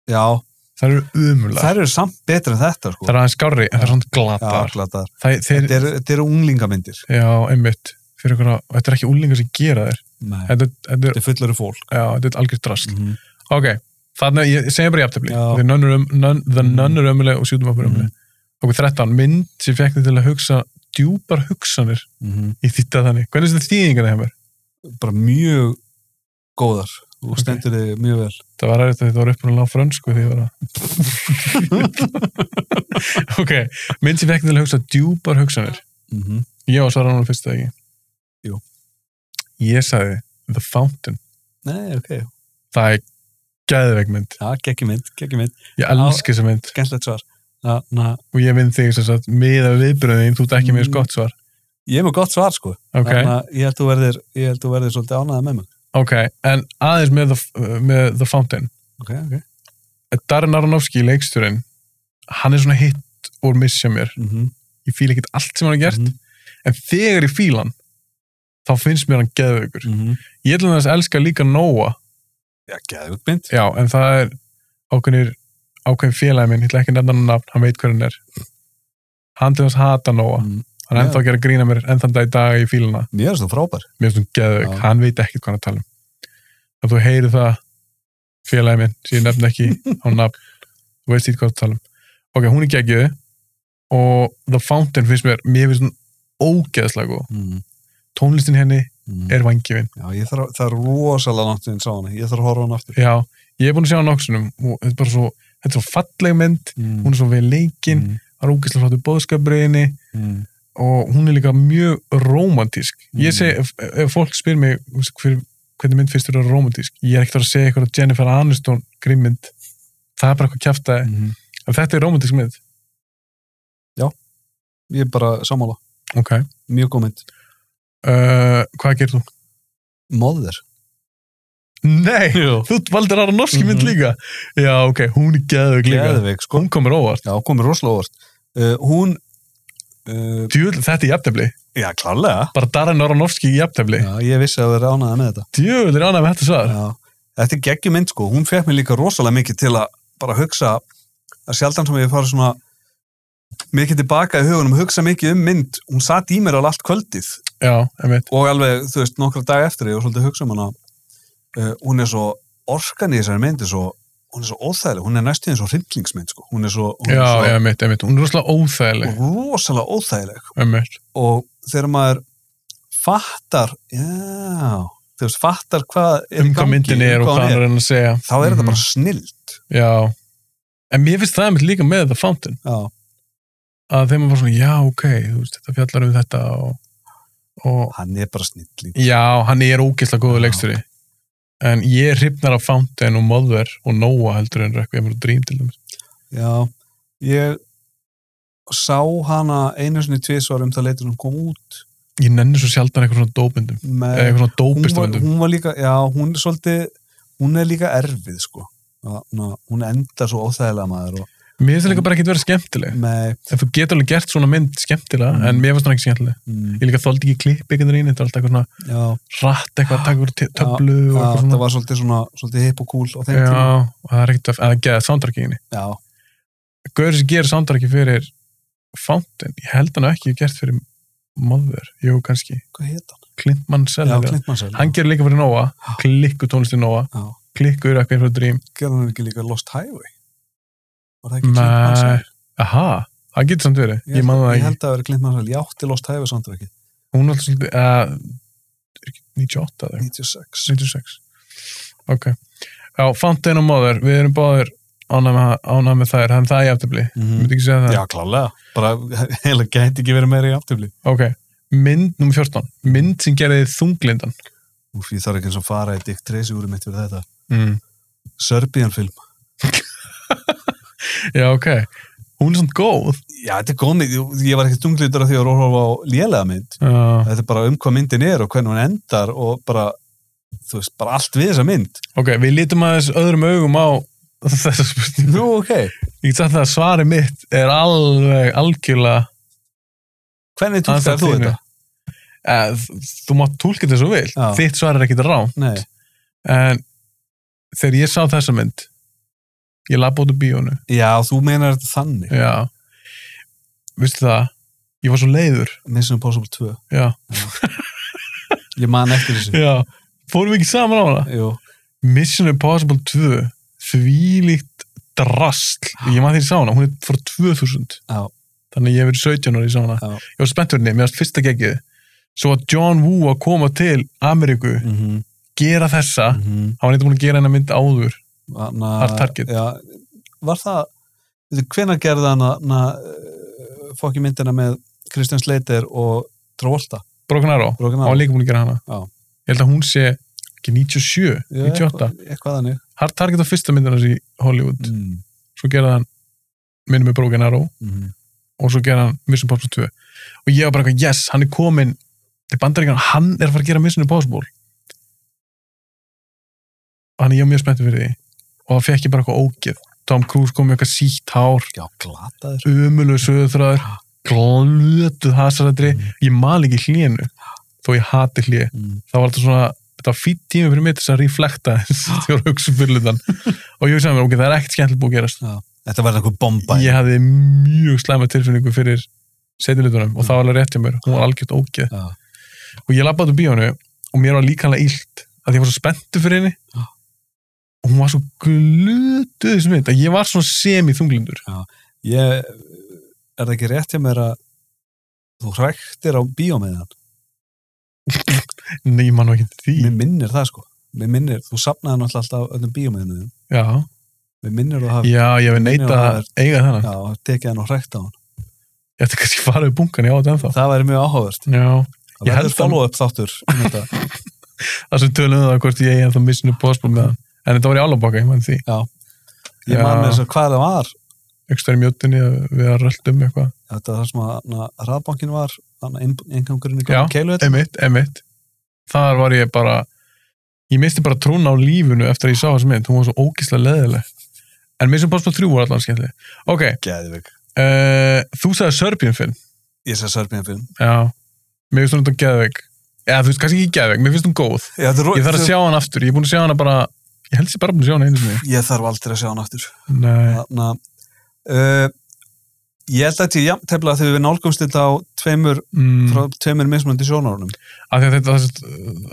Já, Það eru umulega. Það, þær eru samt betur en þetta, sko. það eru aðeins skárri, en það eru svona glatar. Já, glatar. Það, þeir, Þetta eru, þetta eru unglingamyndir. já, einmitt, fyrir ykkur að, þetta er ekki úlingar sem gera þér. Nei. Þetta, þetta, er, Þetta er fullari fólk. já, þetta er algjör drast. Mm Ok, þannig, ég segi bara jafntefli. Já. Mm. Þeir nönnur um, nönn, the Mhm. nönnur ömuleg og shoot them up er ömuleg. Ok, 13, mynd sem fekk þið til að hugsa djúpar hugsanir -hmm. í þýtta þannig. Hvernig er þetta þýðingan það hefur? Bara mjög góðar. Þú Ok. stendur þig mjög vel. Það var aðeins að þetta var uppnáð lág frönsku því ég var að... ok, mynd sem fekk til að hugsa djúpar hugsanir. Mm Ég var svarað núna fyrst eða ekki. Jú. Ég sagði The Fountain. Nei, ok. Það er gæðveik mynd. Já, gekki mynd, gekki mynd. Ég elski þessa mynd Skemmtlegt svar. Þannig og ég vinn þig sem sagt miða við viðbröðin, þú ert ekki með Mm. þess gott svar. Ég er með gott svar sko Ok, að ég held þú verðir, ég held þú verðir svolítið ánæðið með mig ok, en aðeins með The, með the Fountain. Ok, ok Darren Aronofsky, leiksturinn, hann er svona hitt úr missja mér. mm -hmm. Ég fíla ekkert allt sem hann er gert, mhm, en þegar ég fíla hann þá finnst mér hann geðveikur mhm. ég ætlum þess að elska líka Nóa Já, geðvögt mynd já, en það er ákveðnir ákveðin félagi minn, ég ætla ekki að nefna hann nafn hann veit hver hann er hann til þess hata Nóa, Mhm. hann er ennþá Já. að gera grína mér enn þann dag í dag að ég fíla hann Mér er svo frábær mér finnst hann geðveik, Já. hann veit ekkert hvað hann er að tala um ef þú heyrir það félagi minn, sem ég nefna ekki á nafn þú veist ít hvað það tala um ok, hún er geggjöð og The Fountain finnst mér, mér finnst hann ógeðslega góð, mm tónlistin henni -hmm. er vangifin Já, ég þarf, það er rosalega náttuðin sá hana Ég þarf að horfa á hana aftur Já, ég er búin að sjá hann áksunum og þetta er bara svo, þetta er svo falleg mynd Mhm, hún er svo vel leikinn, mm það er ógeðslega flottu bóðskapriðinni -hmm. og hún er líka mjög romantísk Mm. ég segi, ef, ef fólk spyr mig þú veist, hver, hvernig mynd finnst þér að romantísk ég er ekkert að fara að segja eitthvað að Jennifer Aniston grimmynd, það er bara eitthvað kjafta mm. -hmm. en þetta er romantísk mynd Ég er bara sammála, ok, mjög góð mynd uh, hvað gerir þú? Móðir Nei, Jú. þú valdir aðra norski mynd Mhm. líka já, ok, hún er geðug líka Geðveik sko hún komur óvart, Já, komið rosalega óvart uh, Hún uh, djúvill, þetta er jafntefli Já, klarlega bara Darren Aronofsky í jafntefli Já, ég vissi að þú verður ánæðið með þetta djúvill er ánæg með þetta svar Já, þetta er geggjum mynd sko, hún fekk mér líka rosalega mikið til að bara hugsa að sjaldan sem ég farið svona mikið tilbaka í hugunum, hugsa mikið um mynd hún satt í mér alveg allt kvöldið Já, einmitt. og alveg, þú veist, nokkra dag eftir ég og svolítið hugsa um hana uh, hún er svo, orkan í þessari mynd er svo hún er svo óþægileg, hún er næstíðin svo hryllingsmynd sko, hún er svo, hún er Já, svo einmitt, einmitt. Hún er rosalega óþægileg, rosalega óþægileg einmitt. og þegar maður fattar, já þú veist, fattar hvað er um í hvað gangi, myndin er um og hvað hann er að reyna að segja þá er þetta Mhm. bara snillt já, en mér finnst það einmitt líka með The Fountain já, að þeim er bara svona, já, ok, þú veist, þetta fjallar um þetta og, og hann er bara snilling já, hann er ógeðslega góður Já. leiksturi en ég hrifnar af Fountain og Mother og Noah heldur en Requiem og Dream til dæmis já, ég sá hana einu sinni tvisvar um það leitur hún kom út ég nenni svo sjaldan eitthvað svona dópindum eða með, eitthvað svona hún, var, dópistamindum hún var líka já, hún er svolítið, hún er líka erfið sko, Að- ná, hún endar svo óþægilega maður og mér finnst það líka bara ekki að vera skemmtileg með en þú getur alveg gert svona mynd skemmtilega Mm. en mér finnst það ekki skemmtileg mm, ég líka þóldi ekki klipp eitthvað inn þetta var alltaf eitthvað svona já, rætt eitthvað að taka úr t- töflu já, og eitthvað það svona var svolítið svona svolítið hip og cool á þeim tíma já, og það er ekkert að, að geða soundtrackinginni já, Gaur sem gerir soundtracki fyrir Fountain, ég held hann hafi ekki gert fyrir Mother, jú kannski hvað heit hann? Clint Mansell, já, eða- Clint Mansell hann gerir líka fyrir Noah klikku tónlisti Noah, Já. klikkur eitthvað fyrir Dream gerði hann ekki líka Lost Highway var það ekki Clint Mansell? Nei, aha, það getur samt verið ég, held- man það ég ekki, held að það veri Clint Mansell, ég átti Lost Highway soundtrackið, hún er alltaf svolítið uh, 98 eða eitthvað. 96 96 ok já, Fountain og Mother, við erum báðir ánæg með þær, þannig það er jafntöfli mm. myndi ekki segja það, já, klálega, bara heila gæti ekki verið meira í aftöfli ok mynd nr. 14, mynd sem gerði þunglindan úf, ég þarf ekki eins og að fara í Dick Tracy úr mitt fyrir þetta, mm. Serbian film já, ok hún er svona góð já, þetta er góð mynd, Ég- ég var ekki tunglitur af því að róla á lélega mynd uh, þetta er bara um hvað myndin er og hvernig hún endar og bara, þú veist, bara allt við þessa mynd ok, við lítum aðeins öðrum augum á þessa spurningu nú, ok, ég get sagt það að svari mitt er alveg algjörlega hvernig túlkar andstætt þú þínu. þetta? Eh, þ- þú mátt tólka þetta svo vil Já. þitt svar er ekkit rám nei, en þegar ég sá þessa mynd ég labba út úr bíónu já, þú meinar þetta þannig Já Vistu það, ég var svo leiður Mission Impossible 2, Já, ég man eftir þessu já Fórum við ekki saman á hana jú, Mission Impossible 2 Þvílíkt drasl Ég maður því ég sá hana, hún er frá 2000 Já. Þannig að ég hef verið 17 ára í sá hana Já. Ég var spennt fyrir henni, mér varst fyrsta geggið Svo að John Woo að koma til Ameríku, mhm, gera þessa mhm Hann var eitthvað búin að gera hennar mynd áður hana, Hard Target. já, var það hvenar gerði hann að fóki myndina með Kristján Sleiter og Travolta Broken Arrow, Broken hann Arrow? var líka búin að gera hana Já. Ég held að hún sé ekki 97, Já, 98 eitthvað- eitthvað þannig Hard Target á fyrsta myndina hans í Hollywood mm. svo gerði hann minnum með Broken Arrow Mm. og svo gerði hann Mission Impossible 2 og ég var bara eitthvað, yes, hann er komin til bandaríkjan, hann er að fara að gera Mission Impossible og hann er ég var mjög spenntið fyrir því og það fekk ég bara eitthvað ógeð Tom Cruise kom með eitthvað sítt hár já, glataður umulug söðuþræður glötuð hasarættri Mm. ég mal ekki hlénu þó ég hati hlé Mm. það var alltaf svona þetta var fýtt tími fyrir mig til þess að reflekta þess að hugsa fyrir hlutan og ég hugsaði mér, ok, það er ekkert skemmtileg búið að gerast þetta var einhver bomba ég hafði mjög slæma tilfinningu fyrir setjulitunum og það var alveg rétt hjá mér hún var algjört ógeð Mm. Já. og ég labbaði úr bíónu og mér var líkanlega illt að ég var svo spenntu fyrir henni Já. og hún var svo glutuð í þessu mynd að ég var svo semi-þunglindur ég, er það ekki rétt hjá mér að þú hræktir á bíómiðan nei, ég man nú ekki eftir því mér minnir það sko mér minnir, þú sapnaði náttúrulega alltaf öllum bíómiðinu þínum. já. mér minnir að þú hafi já, ég hef Minnir neita að að eiga þennan já, tekið hann og hrækt á hann ég ætti kannski að fara við bunkan, ég á þetta ennþá það væri mjög áhugavert já, það Ég held verður að- follow-up þáttur um þetta. það sem tölum við það hvort ég ennþá missinu bóðspil með hann en þetta var í álabaka, ég man því ég Já. man með þess að hvað það var ekstra í mjótinni við að röldum eitthvað þetta er það sem að hraðbankin var einnangurinn í Já. keilu þetta emitt, emitt þar var ég bara ég misti bara trún á lífinu eftir að ég sá þessu mynd hún var svo ógislega leðileg en Mission Impossible 3 var allan skemmtileg ok, Geðvig. uh, þú sagði Serbian film ég sé Serbian film já, mér finnst hún þetta geðveik eða þú veist, kannski ekki geðveik, mér finnst hún góð ég ég þarf að sjá hann aftur, ég er búin að sjá hana bara ég held sér bara búin að sjá hana einu sinni ég þarf aldrei að sjá hann aftur nei, Þarna, uh, ég held að þetta er jafn tefla þegar við nálgumst þetta á tveimur, mm, frá tveimur mismunandi sjónarunum af því að þetta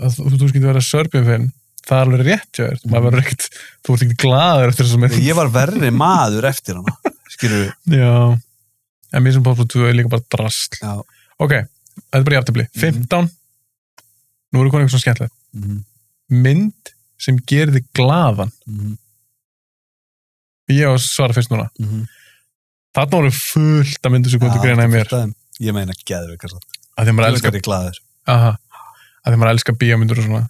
að þú þú skilur vera Serbian film það er alveg rétt hjá þér, maður verður ekkert þú ert ekki glaður eftir þess að ég var verri maður eftir hana skilur Já, en mér sem Poplar 2 er líka bara drasl. Já. Mhm. Ok, þetta er bara jafntefli. 15, nú erum við konið eitthvað svona skemmtilegt. við mynd sem gerir þig glaðan Mhm. ég á að svara fyrst núna Mhm. þarna voru fullt að myndu sem kom til Já, greina í mér fullt af þeim. Ég meina geðveika samt. að því að maður Ég elskar er glæður. aha, að því maður elskar bíómyndur og svona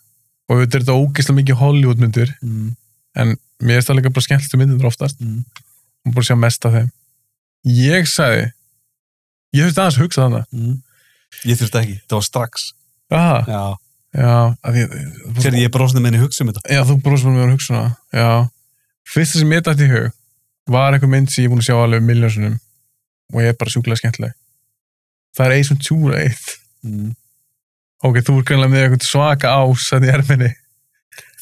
og auðvitað er þetta ógeðslega mikið Hollywoodmyndur Mm. mér er það líka bara skemmtilega myndir oftast Mm. og bara sjá mest af þeim ég sagði ég þurfti aðeins að hugsa þannig Mm. Ég þurfti ekki, það var strax. aha, Já. já, að því Sér ég brosnum minni hugsa um þetta. Já, þú brosir mér með hugsunna. Já. Fyrsta sem ég dætti í hug var eitthvað mynd sem ég er búin að sjá alveg miljónsunum og ég er bara sjúklega skemmtileg. Það er Ace Ventura 1. Mm. Ok, þú er greinlega með eitthvað svaka ás að í erfinni.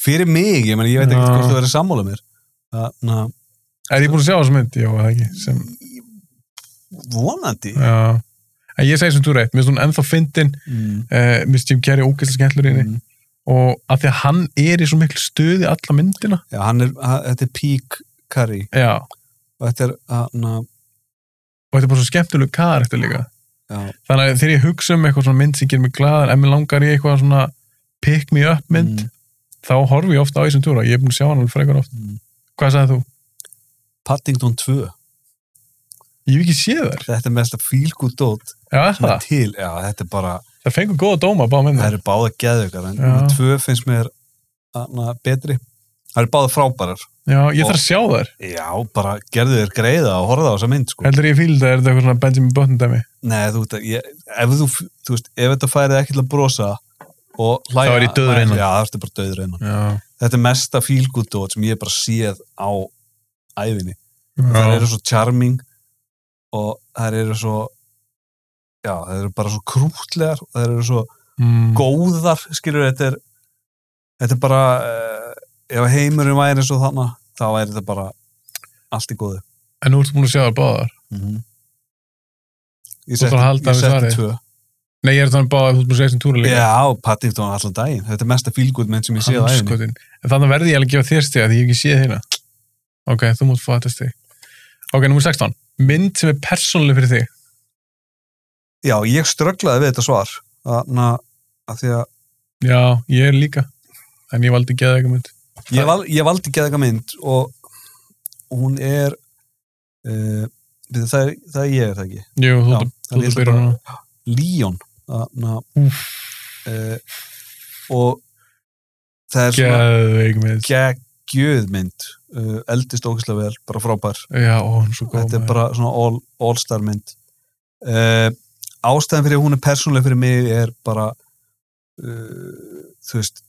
Fyrir mig, ég meina, ég veit ekki Já. hvort þú verður sammála mér. Þannig að, Er ég búin að sjá þessu mynd? Jó, það ekki. Sem, vonandi. já. En ég segi Ace Ventura 1. Mér finnst hún ennþá fyndin, Mm. uh, mér finnst Jim Carrey ógæslega skemmtilegur í henni Mm. og að því að hann er í svo miklu stuði alla myndina. Já, hann er, hann, þetta er Peak Curry Já. og þetta er, hann að, Og þetta er bara svo skemmtileg karakter líka. já, þannig að þegar ég hugsa um eitthvað svona mynd sem gerir mig glaðan, ef mér langar ég eitthvað svona pick me up mynd Mm. þá horfi ég ofta á þessum túra, ég er búin að sjá hann alveg frekar oft Mm. hvað sagði þú? Paddington 2. Ég hef ekki séð þær, Þetta er mest að fílgú dót já er sem er það, til, já, þetta er bara, það fengur góða dóma bá mynd það eru báða geðveikar, en Já. númer tvö finnst mér, hann að, betri. Það eru báða frábærar. já, ég þarf að sjá þær, Já, bara gerðu þér greiða og horfa á þessa mynd, sko. heldur ég fíl það er þetta eitthvað svona Benjamin Button dæmi, Nei, þú veist, ég, ef þú, þú veist, ef þetta færið ekki til að brosa og hlæja... Þá er ég dauður innan. Já, það ertu bara döður einan. já, Þetta er mesta fílgúddót sem ég hef bara séð á æfinni. Það já. eru svo charming og það eru svo, já, það eru bara svo krútlegar og það eru svo Mm. góðar, skilur, þetta er, þetta er bara, uh, ef heimurinn væri eins og þannig, þá er þetta bara allt í góðu. en nú ertu búin að sjá þær báðar Ég Mhm. Þú ætlar að halda ég við setti svarið. tvö. nei, ég er þannig báðar, þú ert búin að sjá þessum túra líka Já, Paddington allan daginn. Þetta er mesta fílgúðmynd sem ég séð á æfni. Hanskotin. en þannig verði ég alveg að gefa þér stig að því ég hef ekki séð hérna ok, þú mútt fá þetta stig ok, númer 16, mynd sem er persónuleg fyrir þig Já, ég strögglaði við þetta svar. Þannig að- að því að Já, ég er líka En ég valdi geða eitthvað mynd ég, val, ég valdi ekki eitthvað mynd og hún er uh, það, er, það er ég er það ekki. Jú, þú Já, ert að þannig ég ætla byrja bara- núna Líón. Þannig Úff. að uh, og það er svona Geða eitthvað mynd geggjöð mynd. Uh, eldist ógislega vel, bara frábær. Já, ó, hún er svo góð þetta er maður. bara svona all, all star mynd uh, ástæðan fyrir að hún er persónuleg fyrir mig er bara uh, þú veist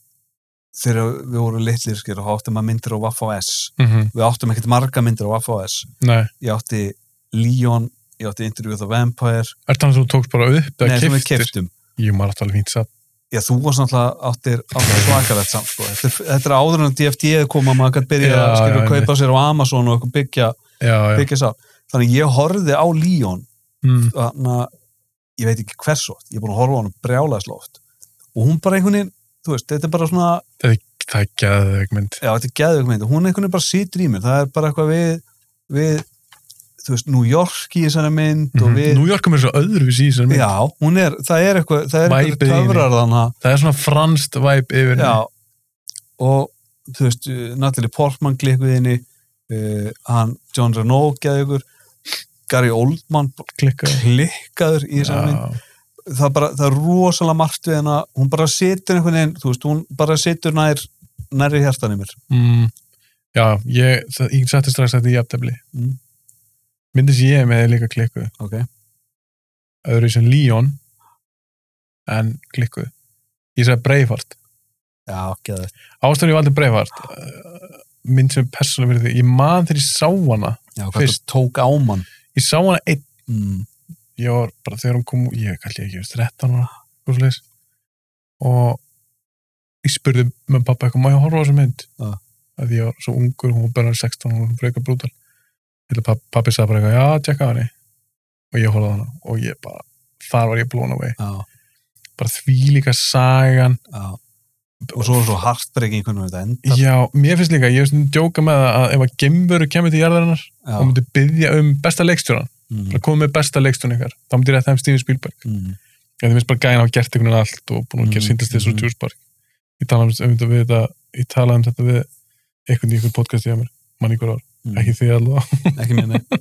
þegar við vorum litlir skil og áttum að myndir á Waffa S Mhm, við áttum ekkert marga myndir á Waffa S Nei, ég átti Leon, ég átti Interview with a Vampire er það að þú tókst bara upp nei, eða sem við keyptir? keftum Jú, maður átti alveg fínt satt já, þú varst náttúrulega áttir, áttir svakalegt samt sko. þetta, er- þetta E er áður en að DFT kom að maður gæti byrja Já, að skilur já, að kaupa sér á Amazon og byggja, Já, já byggja sá þannig að ég horfði á Leon mm. þarna, ég veit ekki hvers oft, ég er búin að horfa á hann brjálæðsloft og hún bara einhvern veginn, þú veist, þetta er bara svona, Það er geða eitthvað mynd já, þetta er geðveik mynd, hún einhvern veginn bara situr í mér, það er bara eitthvað við, við, þú veist, New York í þessari mynd og við, Nú Yorkum Mhm. er svo öðru við síðan mynd já, hún er, það er eitthvað, það er Væpið í eitthvað henni. töfrar þarna, Það er svona franskt væp yfir henni. já, og þú veist, uh, Natalie Portman klikkuð inni, uh, hann, John Renault geðveikur, Gary Oldman Klikka klikkaður í þessari mynd, Já, það, er bara, það er rosalega margt við hennar hún bara situr einhvern veginn þú veist, hún bara situr nær nærri hjartan í mér mm. já ég, það, ég setti strax þetta í jafntefli Mm. Myndis ég er með líka klikkuð ok, öðru sem Leon en klikkuð ég sagði Braveheart já, geða ástæður ég valdi Braveheart eh, mynd sem er persónuleg fyrir því ég man þegar ég sá hana já, hvað Fyrst- það tók á mann ég sá hana einn mm. ég var bara þegar hún kom ég kalli ekki 13 ára eitthvað svoleiðis. og ég spurði með pappa eitthvað má ég horfa á þessu mynd Ja. að því ég var svo ungur hún var bara 16 hún var frekar brútal Þetta pappi, pappi sagði bara eitthvað já tjekka á henni og ég horfði á hana og ég bara þar var ég blown away já, bara þvílíka sagan já og svo er svo hartbreyking einhvern veginn þetta endar Já, mér finnst líka, ég hef svona djóka með það að ef að gemveru kemur til jarðarinnar já, og myndi byggja um besta leikstjóran mm, bara komið með besta leikstjóran ykkar, þá myndi ég rétt þeim Steven Spielberg mm, ég finnst bara gæna að hafa gert einhvern veginn allt og búin að gera Mm, síndast þessu mm. tjúrspark ég tala um, um þetta við þetta ég tala um þetta við einhvern í einhvern podcasti hjá mér, mann einhver Mm. ár ekki því allavega, ekki mér, nei.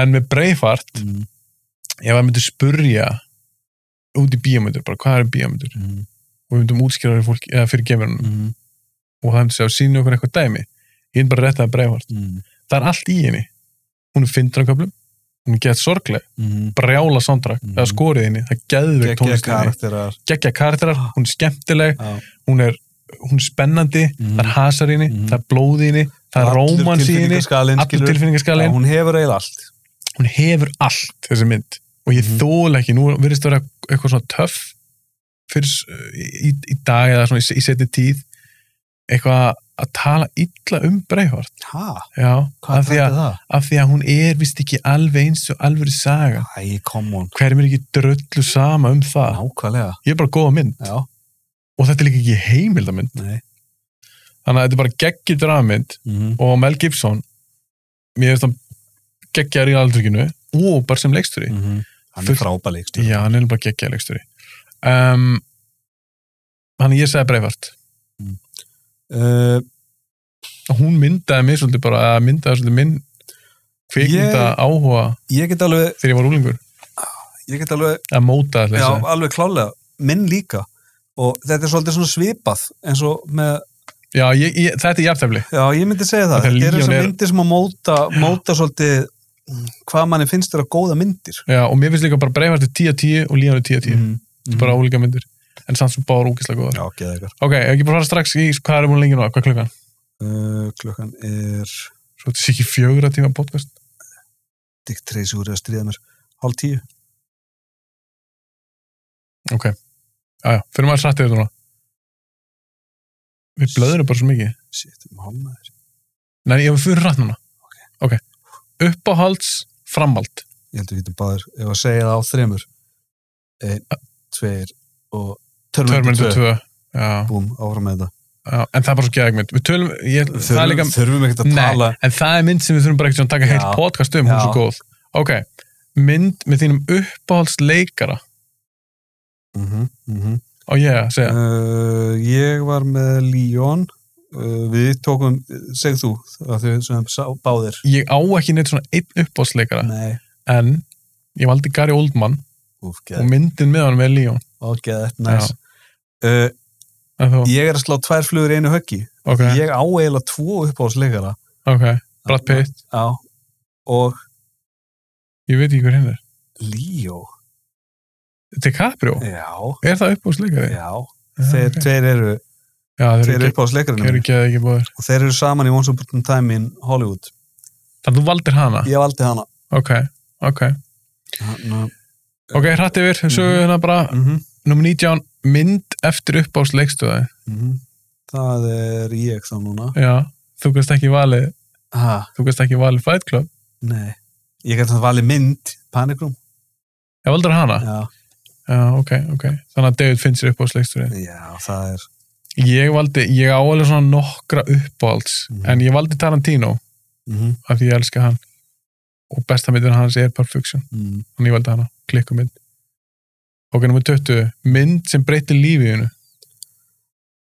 en með Breifart Mm, ef að myndi spurja út í bíómyndur, bara hvað er bíómyndur mm, og við myndum útskýra fyrir fólki, eða fyrir geminunum mm, og það myndi segja, síni okkur eitthvað dæmi ég er bara rétt að Breifart, mm, það er allt í henni hún er fyndranköflum hún er gett sorgleg, mm. brjála sondrak Mhm. eða skorið henni, það er geðveikt geggja tónlist í henni. karakterar geggja karakterar, Ah. hún er skemmtileg Já. hún er, hún er spennandi Ah. Mhm. Mm. það er hasar í henni, Mhm. það er blóð í henni það er Allur rómans í henni, tilfinningaskalinn, allur skilur. Já, tilfinningaskalinn hún hefur eiginlega allt hún hefur allt þessi mynd og ég Mhm. þól ekki, nú virðist að vera eitthvað svona töff fyrir s- í, í dag eða svona í, í setni tíð eitthvað að tala illa um breyfart ha, já, af hvað því, að, er það? af því að hún er vist ekki alveg eins og alveg saga Æ, come on, hverjum er ekki dröllu sama um það nákvæmlega ég er bara góða mynd já, og þetta er líka ekki heimildamynd nei þannig að þetta er bara geggjur drafmynd mm. og Mel Gibson mér finnst hann geggjar í aldryginu og bara sem leiksturi Mm. Mhm. hann Fullt- er frábæleikst já, hann er bara geggjar leiksturi um, þannig að ég segi Breifart uh, og hún myndaði mér svolítið bara að myndaði svolítið minn kvikmynda áhuga ég get alveg, þegar ég var úlingur ég get alveg að móta já, alltaf alveg klálega, minn líka og þetta er svolítið svona svipað eins og með, já, ég, ég, þetta er jartefli já ég myndi segja það Þetta er þetta er þess Leon að er- myndir sem að móta móta svolítið mm, hvað manni finnst þér að góða myndir já, og mér finnst líka bara Breifart er 10 af 10 og Líðan er 10 af 10 mm. mm. bara úlíka myndir en samt sem báður úkislega góðar já, geða ykkur ok, ef ekki bara fara strax í hvað er múin lengi nú, hvað er klukkan? uh, klukkan er svo þetta sé ekki fjögur að tíma podcast Dick Tracy úr að stríða mér hálf tíu Já, já, fyrir maður satt yfir þetta núna. Við blöðurum bara svo mikið. Shit, um hálfnaður. Nei, ég var fyrir rætt núna. Ok. Uppáhalds, framhald. Ég held að við getum báður, ef að segja það á þremur. Einn, tveir og Terminator 2. 2. Já, Búm, áfram með þetta. já, en það er bara svo geðegmynd. Við tölum, ég, það er líka, þurfum ekkert að nei, tala. en það er mynd sem við þurfum bara ekkert að taka heilt Já. podcast um, hún er Já. svo góð. Ok, mynd með þínum uppáhalds leikara. Mm -hmm, Á ég að segja, uh, ég var með Líón. Uh, við tókum, segð þú, að þau sem sá, báðir. ég á ekki neitt svona einn uppáhalds leikara, Nei, en ég valdi Gary Oldman úf, og geðið, myndin með hann með Leon. og geðið, næs. Uh, En þú, ég er að slá tvær flugur í einu höggi. ok, Ég á eiginlega tvo uppáðsleikara. ok, Brad Pitt, Já, og ég veit ekki hver hinn er. Líó. DiCaprio? Já, Er það uppbúðsleikari? já. Þeir tveir eru, Já, þeir þeir eru eru ekki, uppáðsleikarinn. þeir eru ekki, ekki búðir. og þeir eru saman í Once Upon a Time in Hollywood Þannig þú valdir hana? ég valdi hana Ok, ok. Hanna, Ok, hratt yfir, sögum við hérna bara mm -hmm. nummer 19, mynd eftir uppbúðsleikstöði. Mhm. það er ég þá núna Já, þú gæst ekki valið, ha, þú gæst ekki valið Fight Club. nei ég gæti það valið mynd, Panic Room Ég valdir hana? já, Já, ok, ok. Þannig að David finnst sér uppbúðsleikstöði. já það er Ég valdi, ég á alveg svona nokkra uppbúðs, Mhm. en ég valdi Tarantino mm -hmm. af því ég elska hann og besta myndin hans er Perfection. mm. Þannig ég valdi hana, klikkumynd. Ok, nummer 20, mynd sem breytir lífiðinu.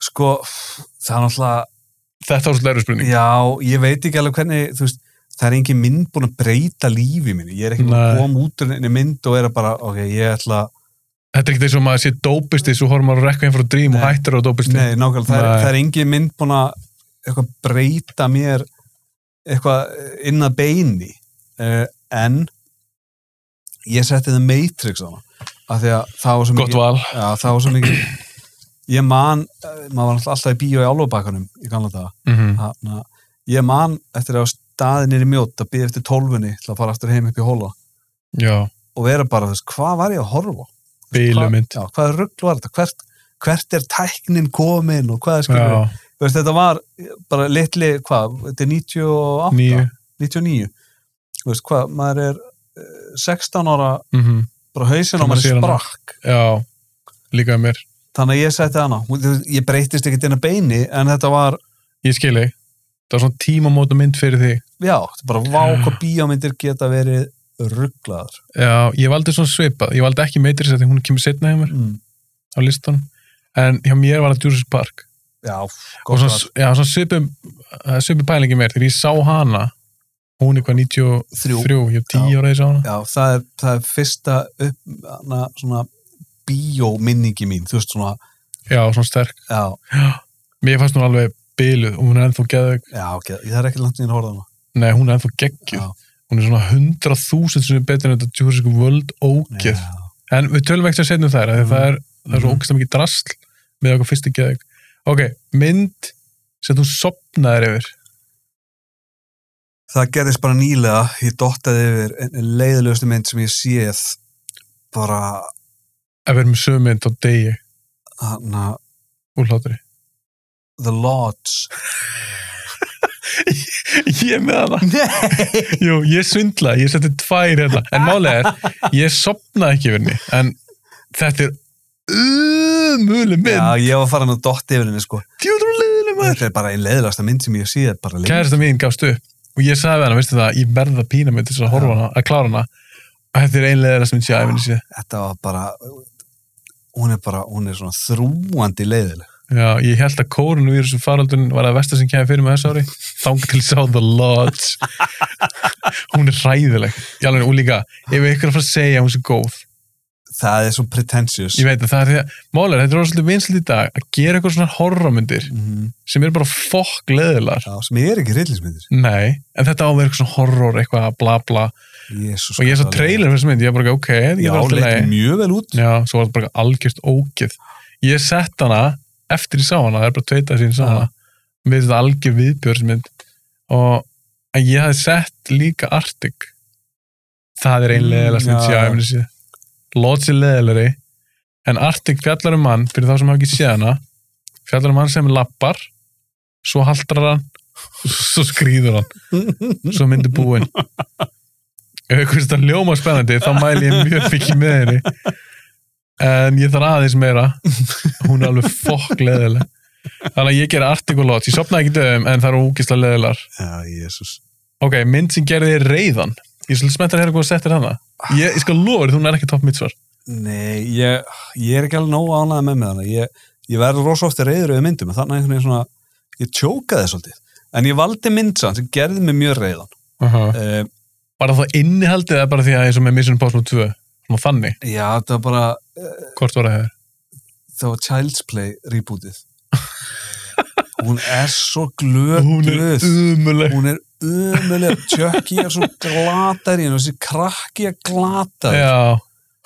sko, það er náttúrulega Þetta var svolítið erfið spurning. já, ég veit ekki alveg hvernig þú veist Það er engin mynd búin að breyta lífi minni. Ég er ekki búin að Nei. koma út úr einni mynd og er að bara, ok, ég ætla... Þetta er ekki þess að maður sé dópistið, svo horfum maður að rekka einn frá drím og Nei. hættur á dópistið. Nei, nákvæmlega, það, Nei. er- það er engin mynd búin að eitthvað breyta mér eitthvað eh, inn að beini uh, en ég setti það Matrix á af því að það var svo Gott mikið val. já, það var svo mikið ég man, eh, maður var náttúrulega alltaf í bíó í álóðbakanum í gamla daga Mm -hmm. Þarna, ég man eftir að staðin er í mjótt að býða eftir tólfunni til að fara aftur heim upp í hóla Já, og vera bara, þú veist, hvað var ég að horfa á? bílumynd. já, hvað ruggl var þetta, hvert, hvert er tæknin komin og hvað er skilur Já, Þú veist, þetta var bara litli, hvað, þetta er 98? nýju. 99. Þú veist, hvað, maður er eh, 16 ára, Mm bara hausinn Þegar maður og maður sér er hana. sprakk. Já, líka mér. Þannig að ég sætti hana. Hún- þú veist, Ég breytist ekkert inn að beini, en þetta var, Ég skili, það var svona tímamóta mynd fyrir þig. já, þetta bara vá Mm. hvað bíómyndir geta verið rugglaðar. Já, ég valdi svona svipað. Ég valdi ekki meitris að því hún kemur setna hjá mér Mm. á listan. en hjá mér var það Jurassic Park já, og gott svona, val. já, svona svipum það er svipum pælingi mér, þegar ég sá hana hún er hvað 93 Þrjú. ég hef 10 Já. ára ég sá hana já, það er, það er fyrsta upp, hana, svona bíóminningi mín, þú veist svona já, svona sterk, já, mér fannst hún alveg biluð og hún er ennþá geðug já, ok, það er ekki langt nýjum að horfa á hana nei, hún er ennþá geggjuð Já. hún er svona 100.000 sem er betur en þetta Jurassic World ógeð Já. en við tölum ekki að setja um þær mm. Mhm. það, er, það er svo Mhm. ógeðslega mikið drasl með okkur fyrstu geðug ok, mynd sem þú sopnaðir yfir það gerðist bara nýlega ég dottaði yfir einn leiðilegustu mynd sem ég séð bara ef við erum með sömu mynd á degi hana, úr hlátri The Lodge ég er með hana Nei! Jú, ég svindla, ég seti tvær hérna En málega er, ég sopna ekki yfir henni En þetta er Umuleg mynd Já, ég var farin að dotta yfir henni sko Djúður leiðileg maður þetta er bara einn leiðilegasta mynd sem ég séð bara lengi. Kærasta mín gafst upp Og ég sagði við hana, veistu það, ég verða pína mig til þess að horfa á hana Að klára hana Og þetta er einlega það sem ég sé að minni sé þetta var bara hún er bara, hún er svona þrúandi leiðileg Já, ég held að kórunu í þessu faraldun Var það versta sem kemur fyrir mig þessu ári Þang til sá The Lodge Hún er hræðileg Í alveg, Og líka, ef ykkur er að fara að segja að hún sé góð það er svo pretentious Ég veit að það er því að, málega, þetta er orðið svolítið vinslit í dag að gera eitthvað svona horrormyndir Mhm. sem eru bara fokk leðilar Já, sem ég er ekki rillismyndir Nei, en þetta á að vera eitthvað svona horror eitthvað bla bla Jesus, og ég sá trailer fyrir þessu mynd, ég var bara ok ég Já, var alltaf leit leið, mjög vel út já, svo var þetta bara algjörst ógið ég sett hana eftir ég sá hana, það er bara tveita sín sá Já. hana með þetta algjör viðbjörnsmynd og en ég hafði sett líka Arctic það er ein Mm, leðilegast mynd já, sem ég já. hafði séð. Lodge er leðilegri en Arctic fjallar um mann, fyrir þá sem hafa ekki séð hana fjallar um mann sem lappar svo haldrar hann svo skrýður hann svo myndi búin ef ykkur finnst það ljóma spennandi þá mæli ég mjög mikið með henni en ég þarf aðeins meira hún er alveg fokk leðileg þannig að ég ger artikulót ég sopnaði ekki döðum en það eru úkislega leðilar Já, Jesus ok, mynd sem gerði þér reiðan ég svolítið smettar að hérna hvað settir hana ég, ég skal lofa þér, hún er ekki topp mitt svar Nei, ég, ég er ekki alveg nóg ánægð með með hana ég, ég verður rosa ofta reyður við myndum en þannig einhvern veginn svona ég tjókaði svolítið en ég valdi mynd sann sem gerði mig mjög reyðan uh, bara þá innihaldið eða bara því að eins og með Mission Impossible 2 svona þannig, Já, þetta var bara eh, hvort var það hefur það var Child's Play rebootið hún er svo glöð hún er glöð. umuleg hún er umulega tjökki er svo glatar í henni og þessi krakki er glatar já,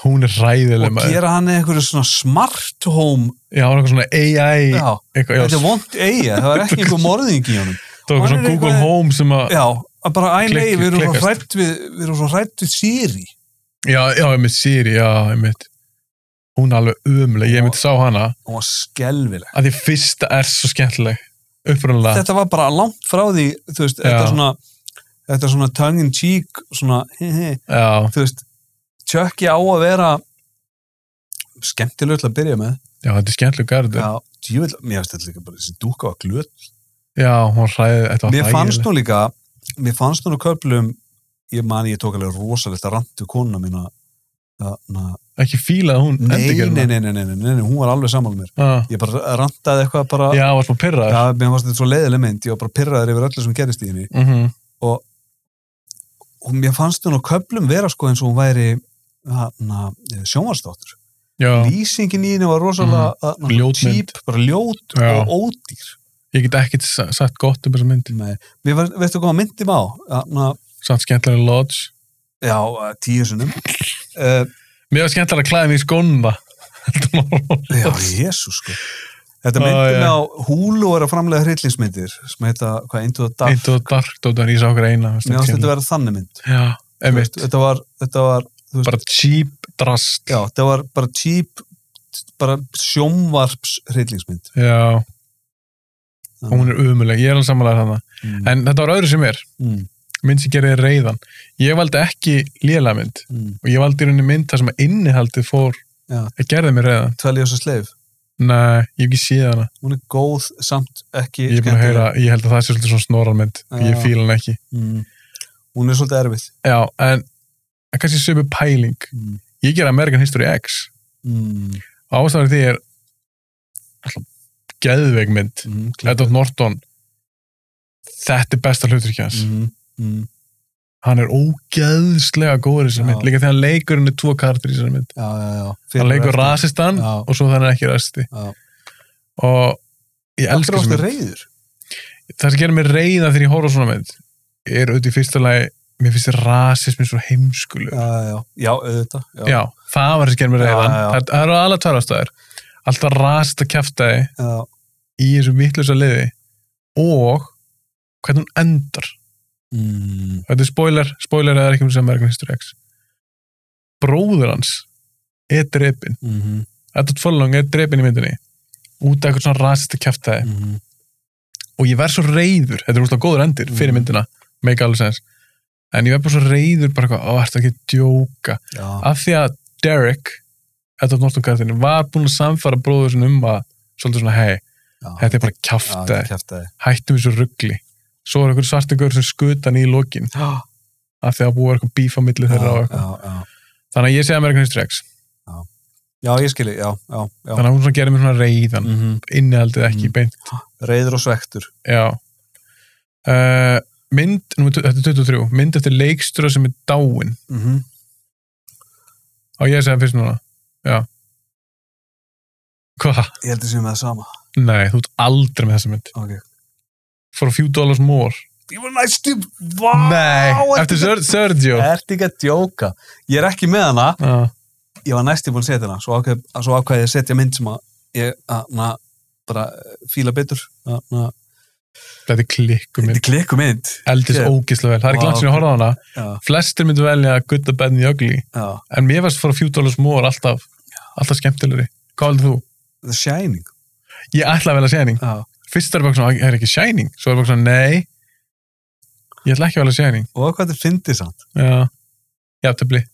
hún er ræðileg og maður. gera hann eitthvað svona smart home já, hún er eitthvað svona AI já, eitthvað, þetta já, er vond eiga, það var ekki einhver morðing í honum það var eitthvað hann er svona Google eitthvað- Home sem að, já, að bara æ nei, Klikki- við erum svo klikkast. hrætt við, við erum svo hrætt við Siri já, já, ég mitt Siri, já, ég mitt hún er alveg umuleg, ég mitt sá hana og skelvileg að því fyrsta er svo skemmtileg upprunnulega, þetta var bara langt frá því þú veist, þetta Já. er svona þetta er svona tongue in cheek svona, he he, já, þú veist tjökki á að vera skemmtilega til að byrja með já, þetta er skemmtileg garður, já, já, djúvill, mér finnst þetta líka bara þessi dúka var glöð hún ræði þetta var mér fannst hræðileg. nú líka mér fannst nú köplum ég man ég tók alveg rosalegt að rantu konuna mína na, na, ekki fílað að hún nei, endur nei, gerði nei, nei, nei, nei, nei, nei, hún var alveg sammála mér Ah, ég bara rantaði eitthvað bara já, hún var svona já, pyrraður mér fannst þetta svo leiðileg mynd ég var bara pyrraður yfir öllu sem gerist í henni mhm, og mér fannst nú köplum vera sko eins og hún væri na, sjónvarsdóttur já, lýsingin í henni var rosalega mm. Ljótmynd. típ, bara ljót Já. og ódýr ég get ekki sa- sagt gott um þessa mynd, Nei, mér var, veistu hvað myndi má na, samt skemmtilega lodge já, eh, tíu sinnum uh, mér var skemmtilega að klæða mig í skónda já, jésus sko þetta Ó, myndi já. mig á húlu er að framlega hryllingsmyndir sem heita, hvað, Into the Dark Into the Dark, Dóttan, ég sá okkur eina mér mér fannst þetta vera þannig mynd já, Þú emitt veist, þetta var, þetta var þú veist, bara cheap drast já, þetta var bara típ bara sjómvarps hryllingsmynd Já, og hún er umuleg, ég er alveg samanlega þarna mm, en þetta var öðru sem er, mm, mynd sem gerði reyðan ég valdi ekki lélega mynd mm, og ég valdi í rauninni mynd þar sem að innihaldið fór Já. að gerði mér reyðan Tvelja og svo sleif Nei, ég hef ekki séð hana hún er góð samt ekki ég, er búin að heyra, ég held að það sé svolítið svona snoralmynd ég Já. fíla hann ekki skemmtileg. mm, hún er svolítið erfið Já, en en kannski sömu pæling mm, ég ger American History X mm, ástæður því er geðveik mynd Mm, Edward Norton þetta er besta hlutverkið hans mm, mm, hann er ógeðslega góður í þessari Já. mynd líka þegar hann leikur henni tvo karakter í þessari mynd já, já, já. hann leikur eftir. rasistan Já. og svo þannig ekki rasisti Já. og ég Af hverju elskar varstu þessari mynd reyður það sem gerir mig reyða þegar ég horfa á svona mynd er auðvitað í fyrsta lagi mér finnst þér rasismin svo heimskulu já, já, já, já, auðvitað já, já, það var það sem gerir mig Já, reyðan já, já. það það eru alveg tverjastæðir alltaf rasist að kjæfta þig já, í þessu vittlusa liði og hvernig hún endar mm, þetta er spoiler, spoiler eða ekki um sem American History X bróður hans er drepin mm -hmm, Edward Furlong er drepin í myndinni út af eitthvað svona rasista kjæftæði mm -hmm, og ég verð svo reyður, þetta er úrslag góður endir fyrir Mhm. myndina, make alveg sens en ég verð bara svo reyður, bara eitthvað, ó, ertu ekki að djóka já, af því að Derek Edward Norton karakterinn var búinn að samfara bróður sinni um að, svolítið svona, hei já, Ah, þetta er bara já, kjæftæði kæftæði hættum við svo ruggli svo er einhver svartugur sem skutan í lokin já, af því að búið er eitthvað bíf á milli þeirra og eitthvað já, já, þannig að ég segi American History X já, ég skilji, já, já, já. þannig að hún svona gerir mér svona reyðan mm. Mm -hmm. innihaldið ekki Mm. beint reyður og svektur já uh, mynd, númer, tu- þetta er 23 mynd eftir leikstura sem er dáin mm -hmm. á ég að segja fyrst núna já hva? ég heldur sem með það sama Nei, þú ert aldrei með þessa mynd okay. for a few dollars more ég var næstu, vá Nei, ertu eftir ekki- Ser- Sergio ertu ekki að djóka ég er ekki með hana, Já, ég var næstu búin að setja hana svo ákveð, svo ákveð ég að setja mynd sem að ég, að, na, bara eh, fíla betur að, na, þetta er klikku þetta mynd er klikku mynd eldist Shit. ógislega vel, það er ekki Vá, langt sér að ok. horfa á hana já, flestir myndu velja Good, the Bad and the Ugly já, en mér varst fyrir Few Dollars More alltaf alltaf skemmtilegri, hvað heldur þú? The Shining Ég ætla að velja Shining, já. fyrst er bara svona "Æ, er ekki Shining, svo er bara svona nei ég ætla ekki að velja Shining og hvað þetta fyndið samt já, já, töfli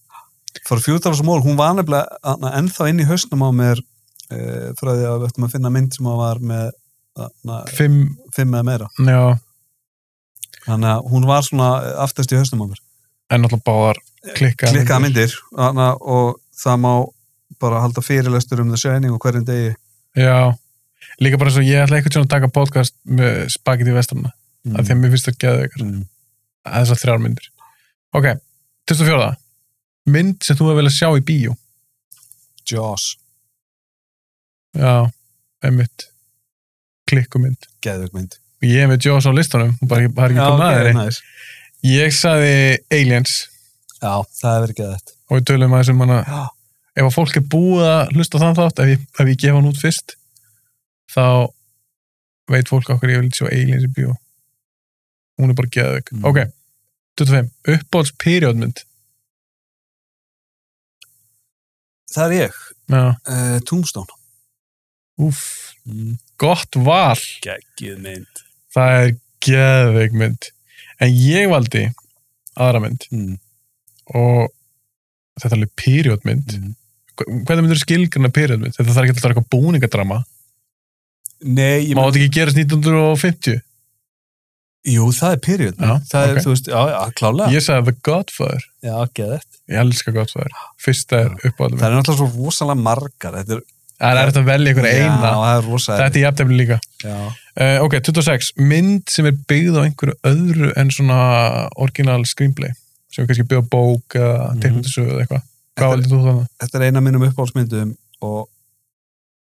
for fjúdalars mól, hún var nefnilega þarna, ennþá inn í hausnum á mér uh, frá því að við ættum að finna mynd sem að var með na, fimm, fimm eða meira já, þannig að hún var svona eh, aftast í hausnum á mér en alltaf báðar klikka klikkaða myndir na, og það má bara halda fyrirlestur um The Shining og hverjum degi já, líka bara svo ég ætla eitthvað svona að taka podcast með spagetti í vestarna, mm. af því að mér finnst það geðu ykkur, mm. þessar þrjár myndir ok, 24. mynd sem þú hefur velja sjá í bíó Jaws, já, einmitt klikkumynd geðvögg mynd ég er með Jaws á listanum og bara, það er ekki komið að þeirri næs. ég sagði Aliens já, það hefur ekki að þetta og við tölum aðeins um hana já, ef að fólk er búið að hlusta á þann þátt ef ég, ef ég gefa hann út fyrst þá veit fólk okkur ég vil sjá Aliens í bíó hún er bara geðveik Mm. ok, 25, uppbóls periodmynd það er ég, já, uh, Tombstone úff, mm. gott val geggið mynd það er geðveik mynd en ég valdi aðra mynd mm. og þetta er alveg periodmynd Mm. hvernig myndur skilgrana periodmynd? Þetta þarf ekki alltaf eitthvað búningadrama. nei, ég Má þetta ekki gerast 1950? Jú, það er period. Já, það ok. er, þú veist, já, já, klálega. Ég sagði The Godfather. Já, geðett. Ég elska Godfather. Fyrsta er uppáðum. Það er náttúrulega svo rosalega margar. Þetta er, Það er þetta að velja ykkur eina. Já, það er rosalega. Þetta er jafntefni líka. Já, Uh, ok, 26. Mynd sem er byggð á einhverju öðru en svona orginal screenplay. Sem er kannski byggð á bók eða Mhm. mm. teiknundisögu eða eitthvað. Hvað Þetta er- valdi þú þannig? þetta er eina af mínum uppáhaldsmyndum og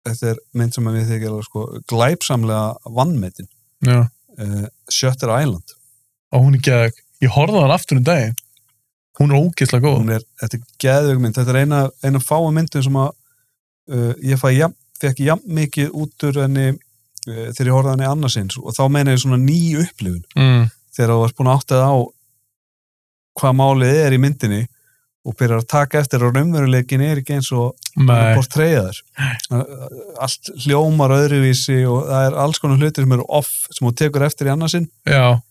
þetta er mynd sem að mér þykir alveg sko glæpsamlega vannmetin. Já. Uh, Shutter Island. Og hún er geðug. Ég horfði á hann aftur um daginn. Hún er ógeðslega góð. Hún er, þetta er geðug mynd. Þetta er eina, eina fáa myndum sem að uh, ég fæ jafn, fekk jafn mikið út úr henni uh, þegar ég horfði á henni annarsins og þá meina ég svona ný upplifun. Mm. þegar þú ert búin að áttað á hvað málið er í myndinni og byrjar að taka eftir að raunveruleikin er ekki eins og Nei. portreyðar allt hljómar öðruvísi og það er alls konar hlutir sem eru off sem hún tekur eftir í annarsinn Já,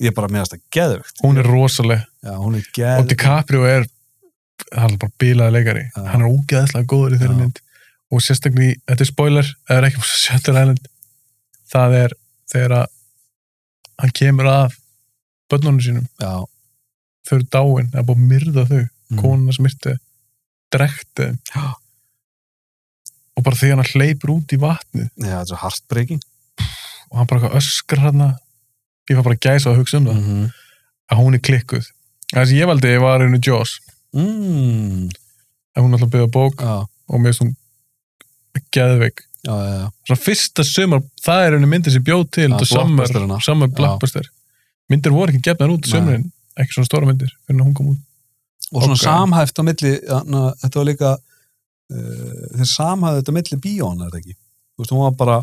ég er bara meðast að geðvögt hún er rosaleg. já, hún er og geðvögt DiCaprio er hann er bara bílaði leikari Já. hann er ógeðslega góður í þeirri Já. mynd og sérstaklega, í- þetta er spoiler það er ekki múið Shutter Island það er þegar að hann kemur að börnunum sínum já, þau eru dáin, það er búið að myrða þau Mm. konuna sem myrti, drekti þeim. Já. og bara þegar hann hleypur út í vatnið Já, þetta er svo heartbreaking. og hann bara eitthvað öskar hérna ég var bara að gæsa að hugsa um það -hmm. að hún er klikkuð það sem ég valdi var einu Jaws mm. en hún ætla að byggja bók Já, og mér finnst hún geðveik já, já, já. svona fyrsta sumar, það er einu myndi sem bjóð til Já, þetta summer, blockbusterina. summer hérna. Já. blockbuster myndir voru ekki gefnar út Nei. sumurinn ekki svona stóra myndir fyrir hún kom út Og svona Ok. samhæft á milli, na, þetta var líka, uh, þeir samhæfðu þetta á milli bíón, er þetta ekki? Þú veist, hún var bara,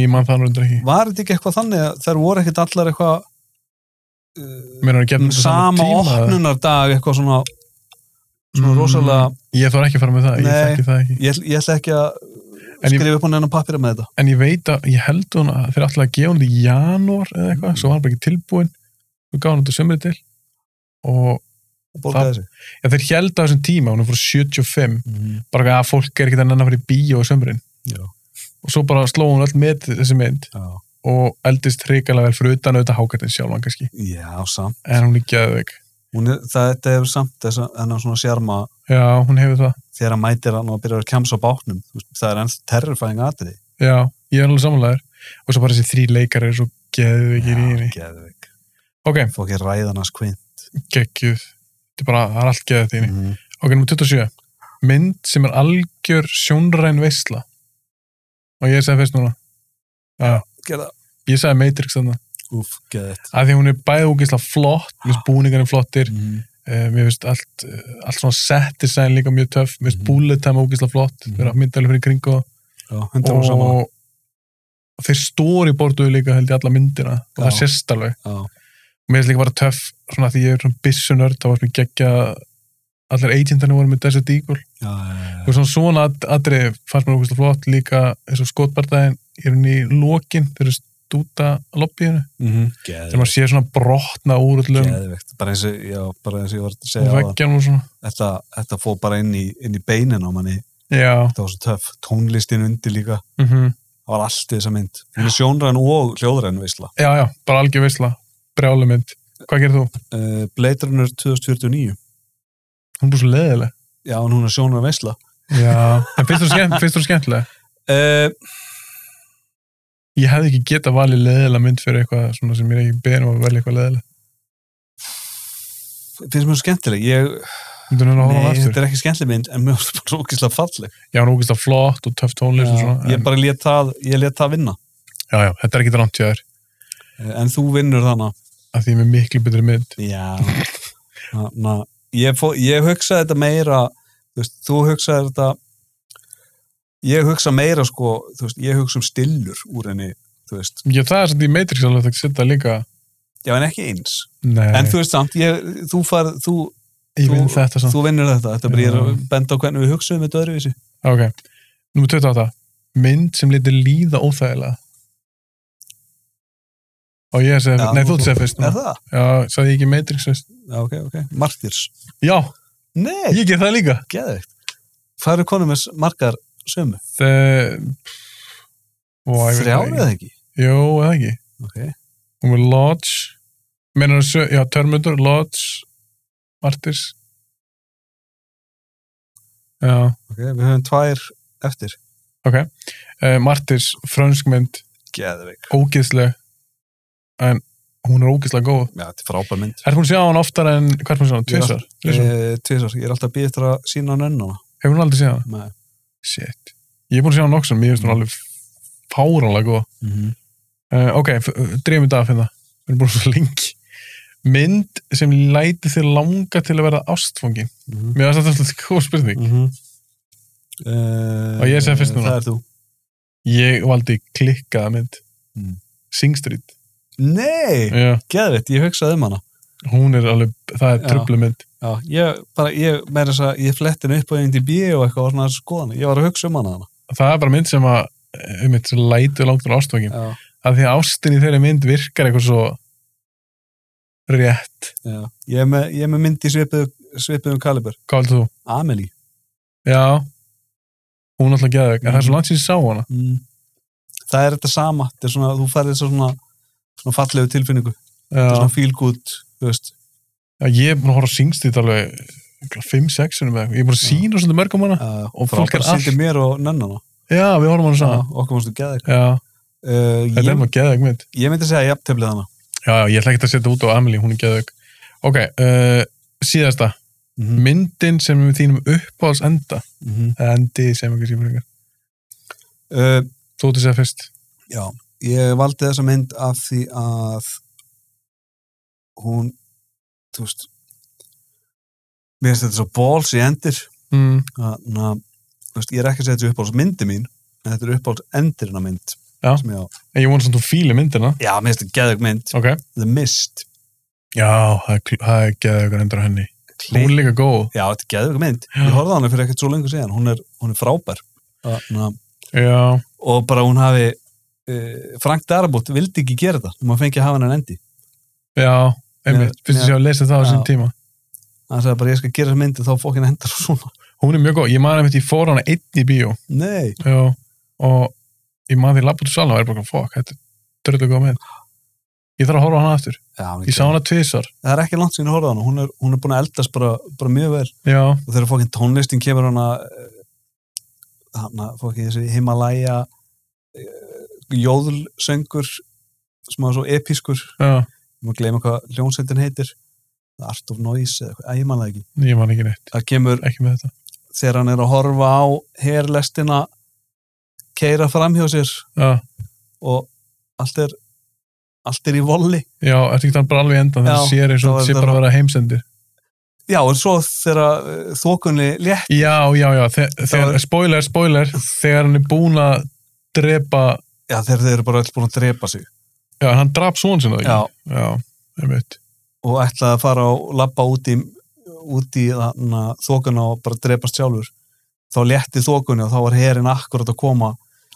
ég man það nú undir ekki var þetta ekki eitthvað þannig að þær voru ekkit allar eitthvað eh, Mér er að gefna þetta Mm, sama opnunardag, eitthvað svona, svona Mm. rosalega, Ég þarf ekki að fara með það, ég Nei. þekki það ekki ég, ætl- ég ætla ekki að En ég- skrifa upp hún enn á pappira með þetta. En ég veit að, ég held hún að þeir ætlaði að gefa hún þetta í janúar eða eitthvað, svo var hann bara ekki tilbúin og gaf hún þetta sömrið til og og borgaði þessi. ja, þeir held á þessum tíma, hún er frá 75 Mm. bara eitthvað að fólk er ekkert að nenn að fara í bíó á sömurinn Já. og svo bara sló hún öll með þessi mynd Já. og eldist hrikalega vel fyrir utan auðvitað hákattin sjálfan kannski, Já, samt. en hún er geðveik Hún Er, það, þetta er samt þess að hennar svona sjarma já, hún hefur það, þegar hann mætir hann og byrjar að kemsa á bátnum. Þú veist, Það er ennþá terrifying atrið. já, ég er alveg samanlegar og svo bara þessi þrý leikar eru svo geðveikir í henni, geðvik. ok, Fá ekki ræðanars kvinn. geggjuð þetta er bara, það er allt geðið í henni Mm. ok, nummer 27, mynd sem er algjör sjónræn veisla og ég sagði fyrst núna já, Gerða. ég sagði Matrix þannig, Úf, geðvikt. að því hún er bæði úkislega flott, mér finnst búningarnir flottir Mm. Uh, mér finnst allt, eh, allt svona set design líka mjög töff, mér finnst Mhm. bullet time ógislega flott, Mhm. mm. vera myndalega fyrir kring og, Já, hundra og saman. og þeir storyboarduðu líka held ég alla myndina og það Já. sérst alveg Já. og mér finnst líka bara töff, svona því ég er svona bissunörd, það var sem ég geggja allar agentarnir voru með Desert Eagle Já, já, já. og svona svona at- atriði fannst mér ógislega flott líka eins og skotbardaginn ég er henni í lokin þegar þeir stúta lobbyinu, Mm. þegar maður sé svona brotna úr öllum Geðvikt. Bara eins og, já, bara eins og ég var að og segja á það. veggjanum og svona Þetta, þetta fór bara inn í, inn í beinin á manni. já, Þetta var svo töff. Tónlistin undir líka. mhm Það var allt í þessa mynd. Hún er sjónræn og hljóðræn veisla. Já, já, bara algjör veisla, brjálu mynd. Hvað gerir þú? Uh, Blade Runner 2049. Hún er bara svo leðileg. Já, en hún er sjónræn veisla. Já. En finnst þú skemmt, finnst þú skemmtileg? Uh, Ég hefði ekki getað valið leðilega mynd fyrir eitthvað svona sem ég er ekki beðin um að velja eitthvað leðileg. finnst mér svo skemmtileg ég, Myndur hún að horfa á nei, hana aftur? þetta er ekki skemmtileg mynd en mér finnst það bara ógislega falleg Já, hún er ógist flott og töff tónlist og svona. ég En, bara let það, ég let það vinna já, já, þetta er ekki rámt hjá þér. Eh, en þú vinnur þannig Af því ég er með miklu betri mynd. já na, na, ég, fó, ég hugsaði þetta meira þú, veist, þú hugsaði þetta ég hugsa meira sko þú veist, ég hugsa um stillur úr henni þú veist, Já, það er svona í Matrix alveg það setja líka. já en ekki eins Nei, en þú veist samt, ég, þú far þú, ég vinn þú- þetta samt. þú vinnur þetta, þetta er bara ég er að Já. benda á hvernig við hugsaðum þetta öðruvísi Ok, nummer 28. Mynd sem liti líða óþægilega. Og ég segi, Já, nei, þú segi fyrst. er núna. það? Já, sagði ég ekki Matrix fyrst. Já, ok, ok, Martyrs Já, nei, Ég ger það líka. geðveikt hvað eru konum með s- margar sömu? þrjár eða ekki? Jó, eða ekki. ok, Hún var Lodge, menar það, já, Terminator, Lodge, Martyrs. Já, ok, við höfum tvær eftir uh, Martyrs, frönskmynd, geðveik, ógeðsleg, en hún er ógeðslega góð. já, þetta er frábær mynd Er hún að sjá hann oftar en, hvað er hún að sjá hann, tvisar? Hefur Eh, tvisvar, ég er alltaf býð eftir að sína hann önnuna hún aldrei séð hann? Nei. Shit. Ég er búin að sjá hann nokksum, ég veist hún alveg fáranlega góð. Mhm. Uh, ok, drefum þetta að finna. Við erum búin svo lengi. Mynd sem læti þér langa til að vera ástfóngin. Mhm. Mér finnst þetta alltaf góð spurning. Mhm. Eh, Og ég segi fyrst núna. það er þú Ég valdi klikkaða mynd. Mm. Sing Street. nei, Já, geðveikt, ég hugsaði um hana hún er alveg, það er Já. tröflu mynd. já, ég bara, ég meira þess að ég fletti henni upp á einn til bíu og eitthvað og svona skoðan ég var að hugsa um hana hana Það er bara mynd sem að, um eitt, læti þér langt til ástfóngin. já, Af því að ástin í þeirri mynd virkar eitthvað svo rétt. já. Ég, er með, ég er með mynd í svipuðu svipuðum kalibur, Hvað heldur þú? Amelie Já, hún er alltaf geðveik. En það er svo Mhm. langt sem ég sá hana. mm. það er þetta sama þetta er svona, þú færði þess að svona, svona fallegu tilfinningu, þetta er Já. svona feel good þú veist, Já, ég er búin að horfa á Sing Street alveg 5-6 erum við, ég er búin að sína svolítið mörgum hana uh, Og fólk er allt- síndi mér og nennana já, við horfum hana saman okkur mástu geða já, þetta er eitthvað uh, maður geðveik mynd ég, ég myndi segja jafnteflið hana já, já, ég ætla ekki að setja út á Amelie, hún er geðveik ok, uh, síðasta Mhm. myndin sem er við þínum uppáðs enda mm -hmm. eða endi sem ekki síðan frekar uh, þú ert að segja fyrst já, ég valdi þessa mynd af því að hún þú veist mér finnst þetta svo balls í endir mm. þannig að þú veist, ég er ekki að segja þetta uppáhalds myndi mín en þetta er uppáhalds endirina mynd Já. sem ég á en ég vona samt að þú fíli myndina já, mér finnst þetta geðug mynd ok, The Mist já, það er kl- það er geðveikur endur á henni hún er líka góð já, þetta er geðug mynd Já. ég horfði á hana fyrir ekkert svo lengur síðan hún er, hún er frábær þannig að já, og bara hún hafi uh, Frank Darabont vildi ekki gera þetta hún maður fengi að hafa hennan endi já, einmitt, Mér- fyrst að mér- sjá að lesa það á já. sinn tíma hann sagði bara ég skal gera þessa mynd og þá fók henni hendar og svona hún er mjög góð, ég man einmitt ég fór hana einn í bíó nei, já, og ég man því lapp út úr salna og er bara, fokk, þetta er dörðu góð mynd ég þarf að horfa á hana aftur já, hún er ég sá geðveik. hana tvisar, það er ekki langt síðan að horfa hana hún er, hún er búin að eldast bara, bara mjög vel já, og þegar fókin tónlistin kemur hana hana fókin þessi Himalaya jóðulsöngur sem var svo episkur já, maður gleyma hvað hljónsveitin heitir Art of Noise eða eitthvað, að ég man það ekki ég man ekki neitt það kemur ekki með þetta, þegar hann er að horfa á herlestina keira fram hjá sér já, og allt er allt er í volli já, ertu ekki þannig bara alveg í endan Já, þessi sér eins þá og er sé þetta bara að bara- vera heimsendir já og svo þegar þókunni létt já, já, já, þe- þegar, var- spoiler, spoiler þegar hann er búin að drepa já þegar þeir eru bara alls búin að drepa sig já, en hann drap svona sinna já ekki já, einmitt, og ætlaði að fara og labba út í, út í þókuna og bara drepast sjálfur þá létti þókunni og þá var herinn akkurat að koma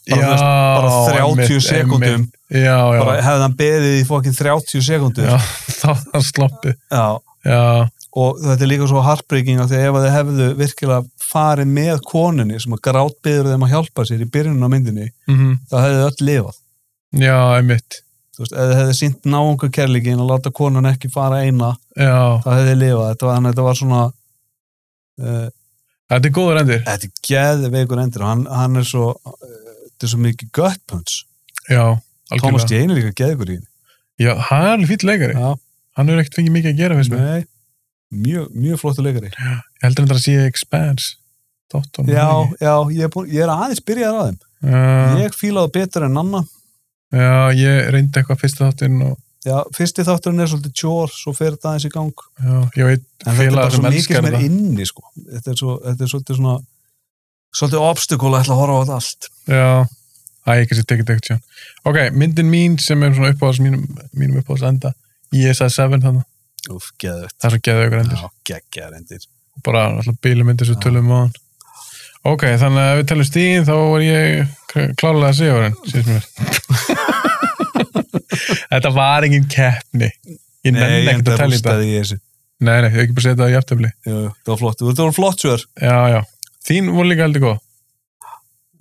Bara, þú veist, bara 30 einmitt, sekúndum. einmitt. já, já, bara hefði hann beðið í fókin 30 sekundur já það var sloppið já, og þetta er líka svo heartbreaking af því að ef þið hefðu virkilega farið með konunni sem að grátbyður þeim að hjálpa sér í byrjunum á myndinni mhm þá hefðu þau öll lifað Já, einmitt. Þú veist, ef þið hefðu sínt náunga kærleikin að láta konun ekki fara eina Já, þá hefðu þið lifað þetta var, þannig að þetta var svona uh, þetta er góður endir. þetta er geðveikur endur og hann, hann er svo uh, þetta er svo mikið gut punch Já, Thomas algjörlega. Jane er líka geðveikur í Já, hann er alveg fýll leikari. henni Hann hefur ekkert fengið mikið að gera, finnst mér. Nei, mjög, mjög flottu leikari Ég heldur hann að sé Expanse. Dóttunum. já, já, ég er, búin, ég er aðeins byrjaður að þeim Já, ég fílaði betur en Nanna já, ég reyndi eitthvað fyrsta þáttinn og Já, fyrsti þátturinn er svolítið tjór, svo fer þetta aðeins í gang. já, ég veit En þetta er bara félagar svo sem mikið elskar sem er þetta. inni, sko. Þetta er, svo, þetta er svolítið svona, svolítið obstacle að ætla að horfa á þetta allt. Já, æ, ég kannski tekið þetta sjón. Ok, myndin mín sem er svona uppáðs, mínum, mínum uppáðs enda. Ég sagði Seven þannig. Úf, geðvett. Það er svo geðið ykkur endir. Já, geggjaðar endir. bara alltaf bílumyndir sem Já. tölum á hann ok, þannig að ef við talum stíðin þá var ég kl- klárlega að segja hann síðan mér þetta var engin keppni ég nenni ekkert að tala í þetta rústaði í þessu. nei, nei, ég hef ekki bara setja það í aftöfli Jú, jú, það var flott. Þú- Þetta var flott svör. já, já, þín voru líka heldur góð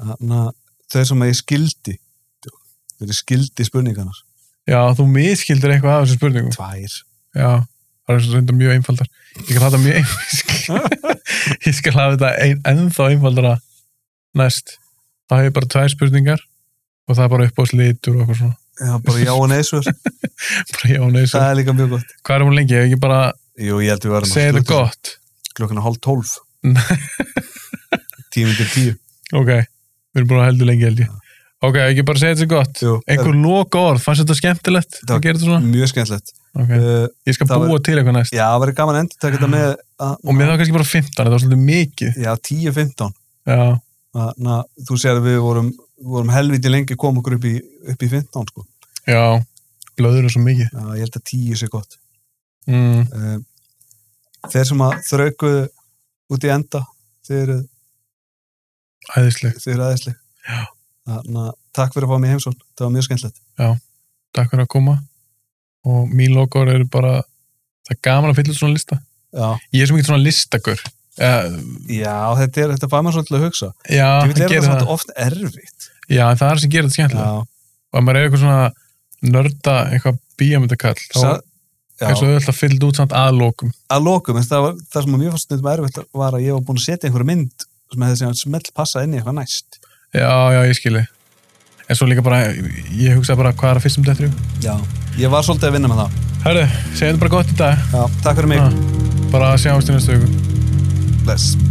Þannig að þau sem að ég skildi, þau eru skildi spurningarnar. já, þú miskildir eitthvað af þessum spurningum Tvær. já, það er reynda mjög einfaldar ég skal hafa þetta mjög einfaldar ég skal hafa þetta ein, ennþá einfaldara næst þá hef ég bara tvær spurningar og það er bara upp á slitur og eitthvað svona Já, bara já og nei svör. bara já, nei, svo það er líka mjög gott. Hvað er hún lengi? Ef ekki bara Jú, ég held við verðum segja þetta gott. Klokkan er hálf tólf. Nei. Tíu myndir tíu. Ok, við erum búin að heldur lengi held ég. Ok, ef ekki bara segja þetta gott. Jú, Einhver loka orð, fannst þetta skemmtilegt? var- Það gerir þetta svona? mjög skemmtilegt. Ok, Uh, ég skal það búa til eitthvað næst. Já, það verður gaman að endurtaka þetta með að, Og mér þá kannski bara 15, þetta var svolítið mikið. Já, 10-15 Já, Þannig að þú sér að við vorum, vorum helviti lengi að koma okkur upp í, upp í 15 sko. já, blöður er svo mikið. Já, Ég held að 10 sé gott Mm, Eh, Þeir sem að þraukuðu út í enda þeir eru, æðisleg. þeir eru aðeinsli Já. Þannig að takk fyrir að fá mig í heimsókn Það var mjög skemmtilegt Takk fyrir að koma. Og mín loka orð eru bara, það er gaman að fylla út svona lista. Já, Ég er svo mikið svona listakur. Eh, já þetta, er, þetta fær maður svolítið að hugsa Já, Ég það vil er gerir þetta það. svolítið oft erfitt Já, en það er það sem gerir þetta skemmtilegt. Já, og ef maður er eitthvað svona nörda eitthvað bíamöndakall þá, Sa- já, eins og auðvitað fyllt út samt aðlokum að lokum, en það, var, það sem mér fannst stundum erfitt var að ég var búin að setja einhverja mynd sem hefði sem smelt passað inn í eitthvað næst já, já, ég skilji en svo líka bara, ég hugsa bara hvað er að fyrstum dættur já, ég var svolítið að vinna með það herru, segjum þetta bara gott í dag já, takk fyrir mig, bara sjáumst í næstu viku bless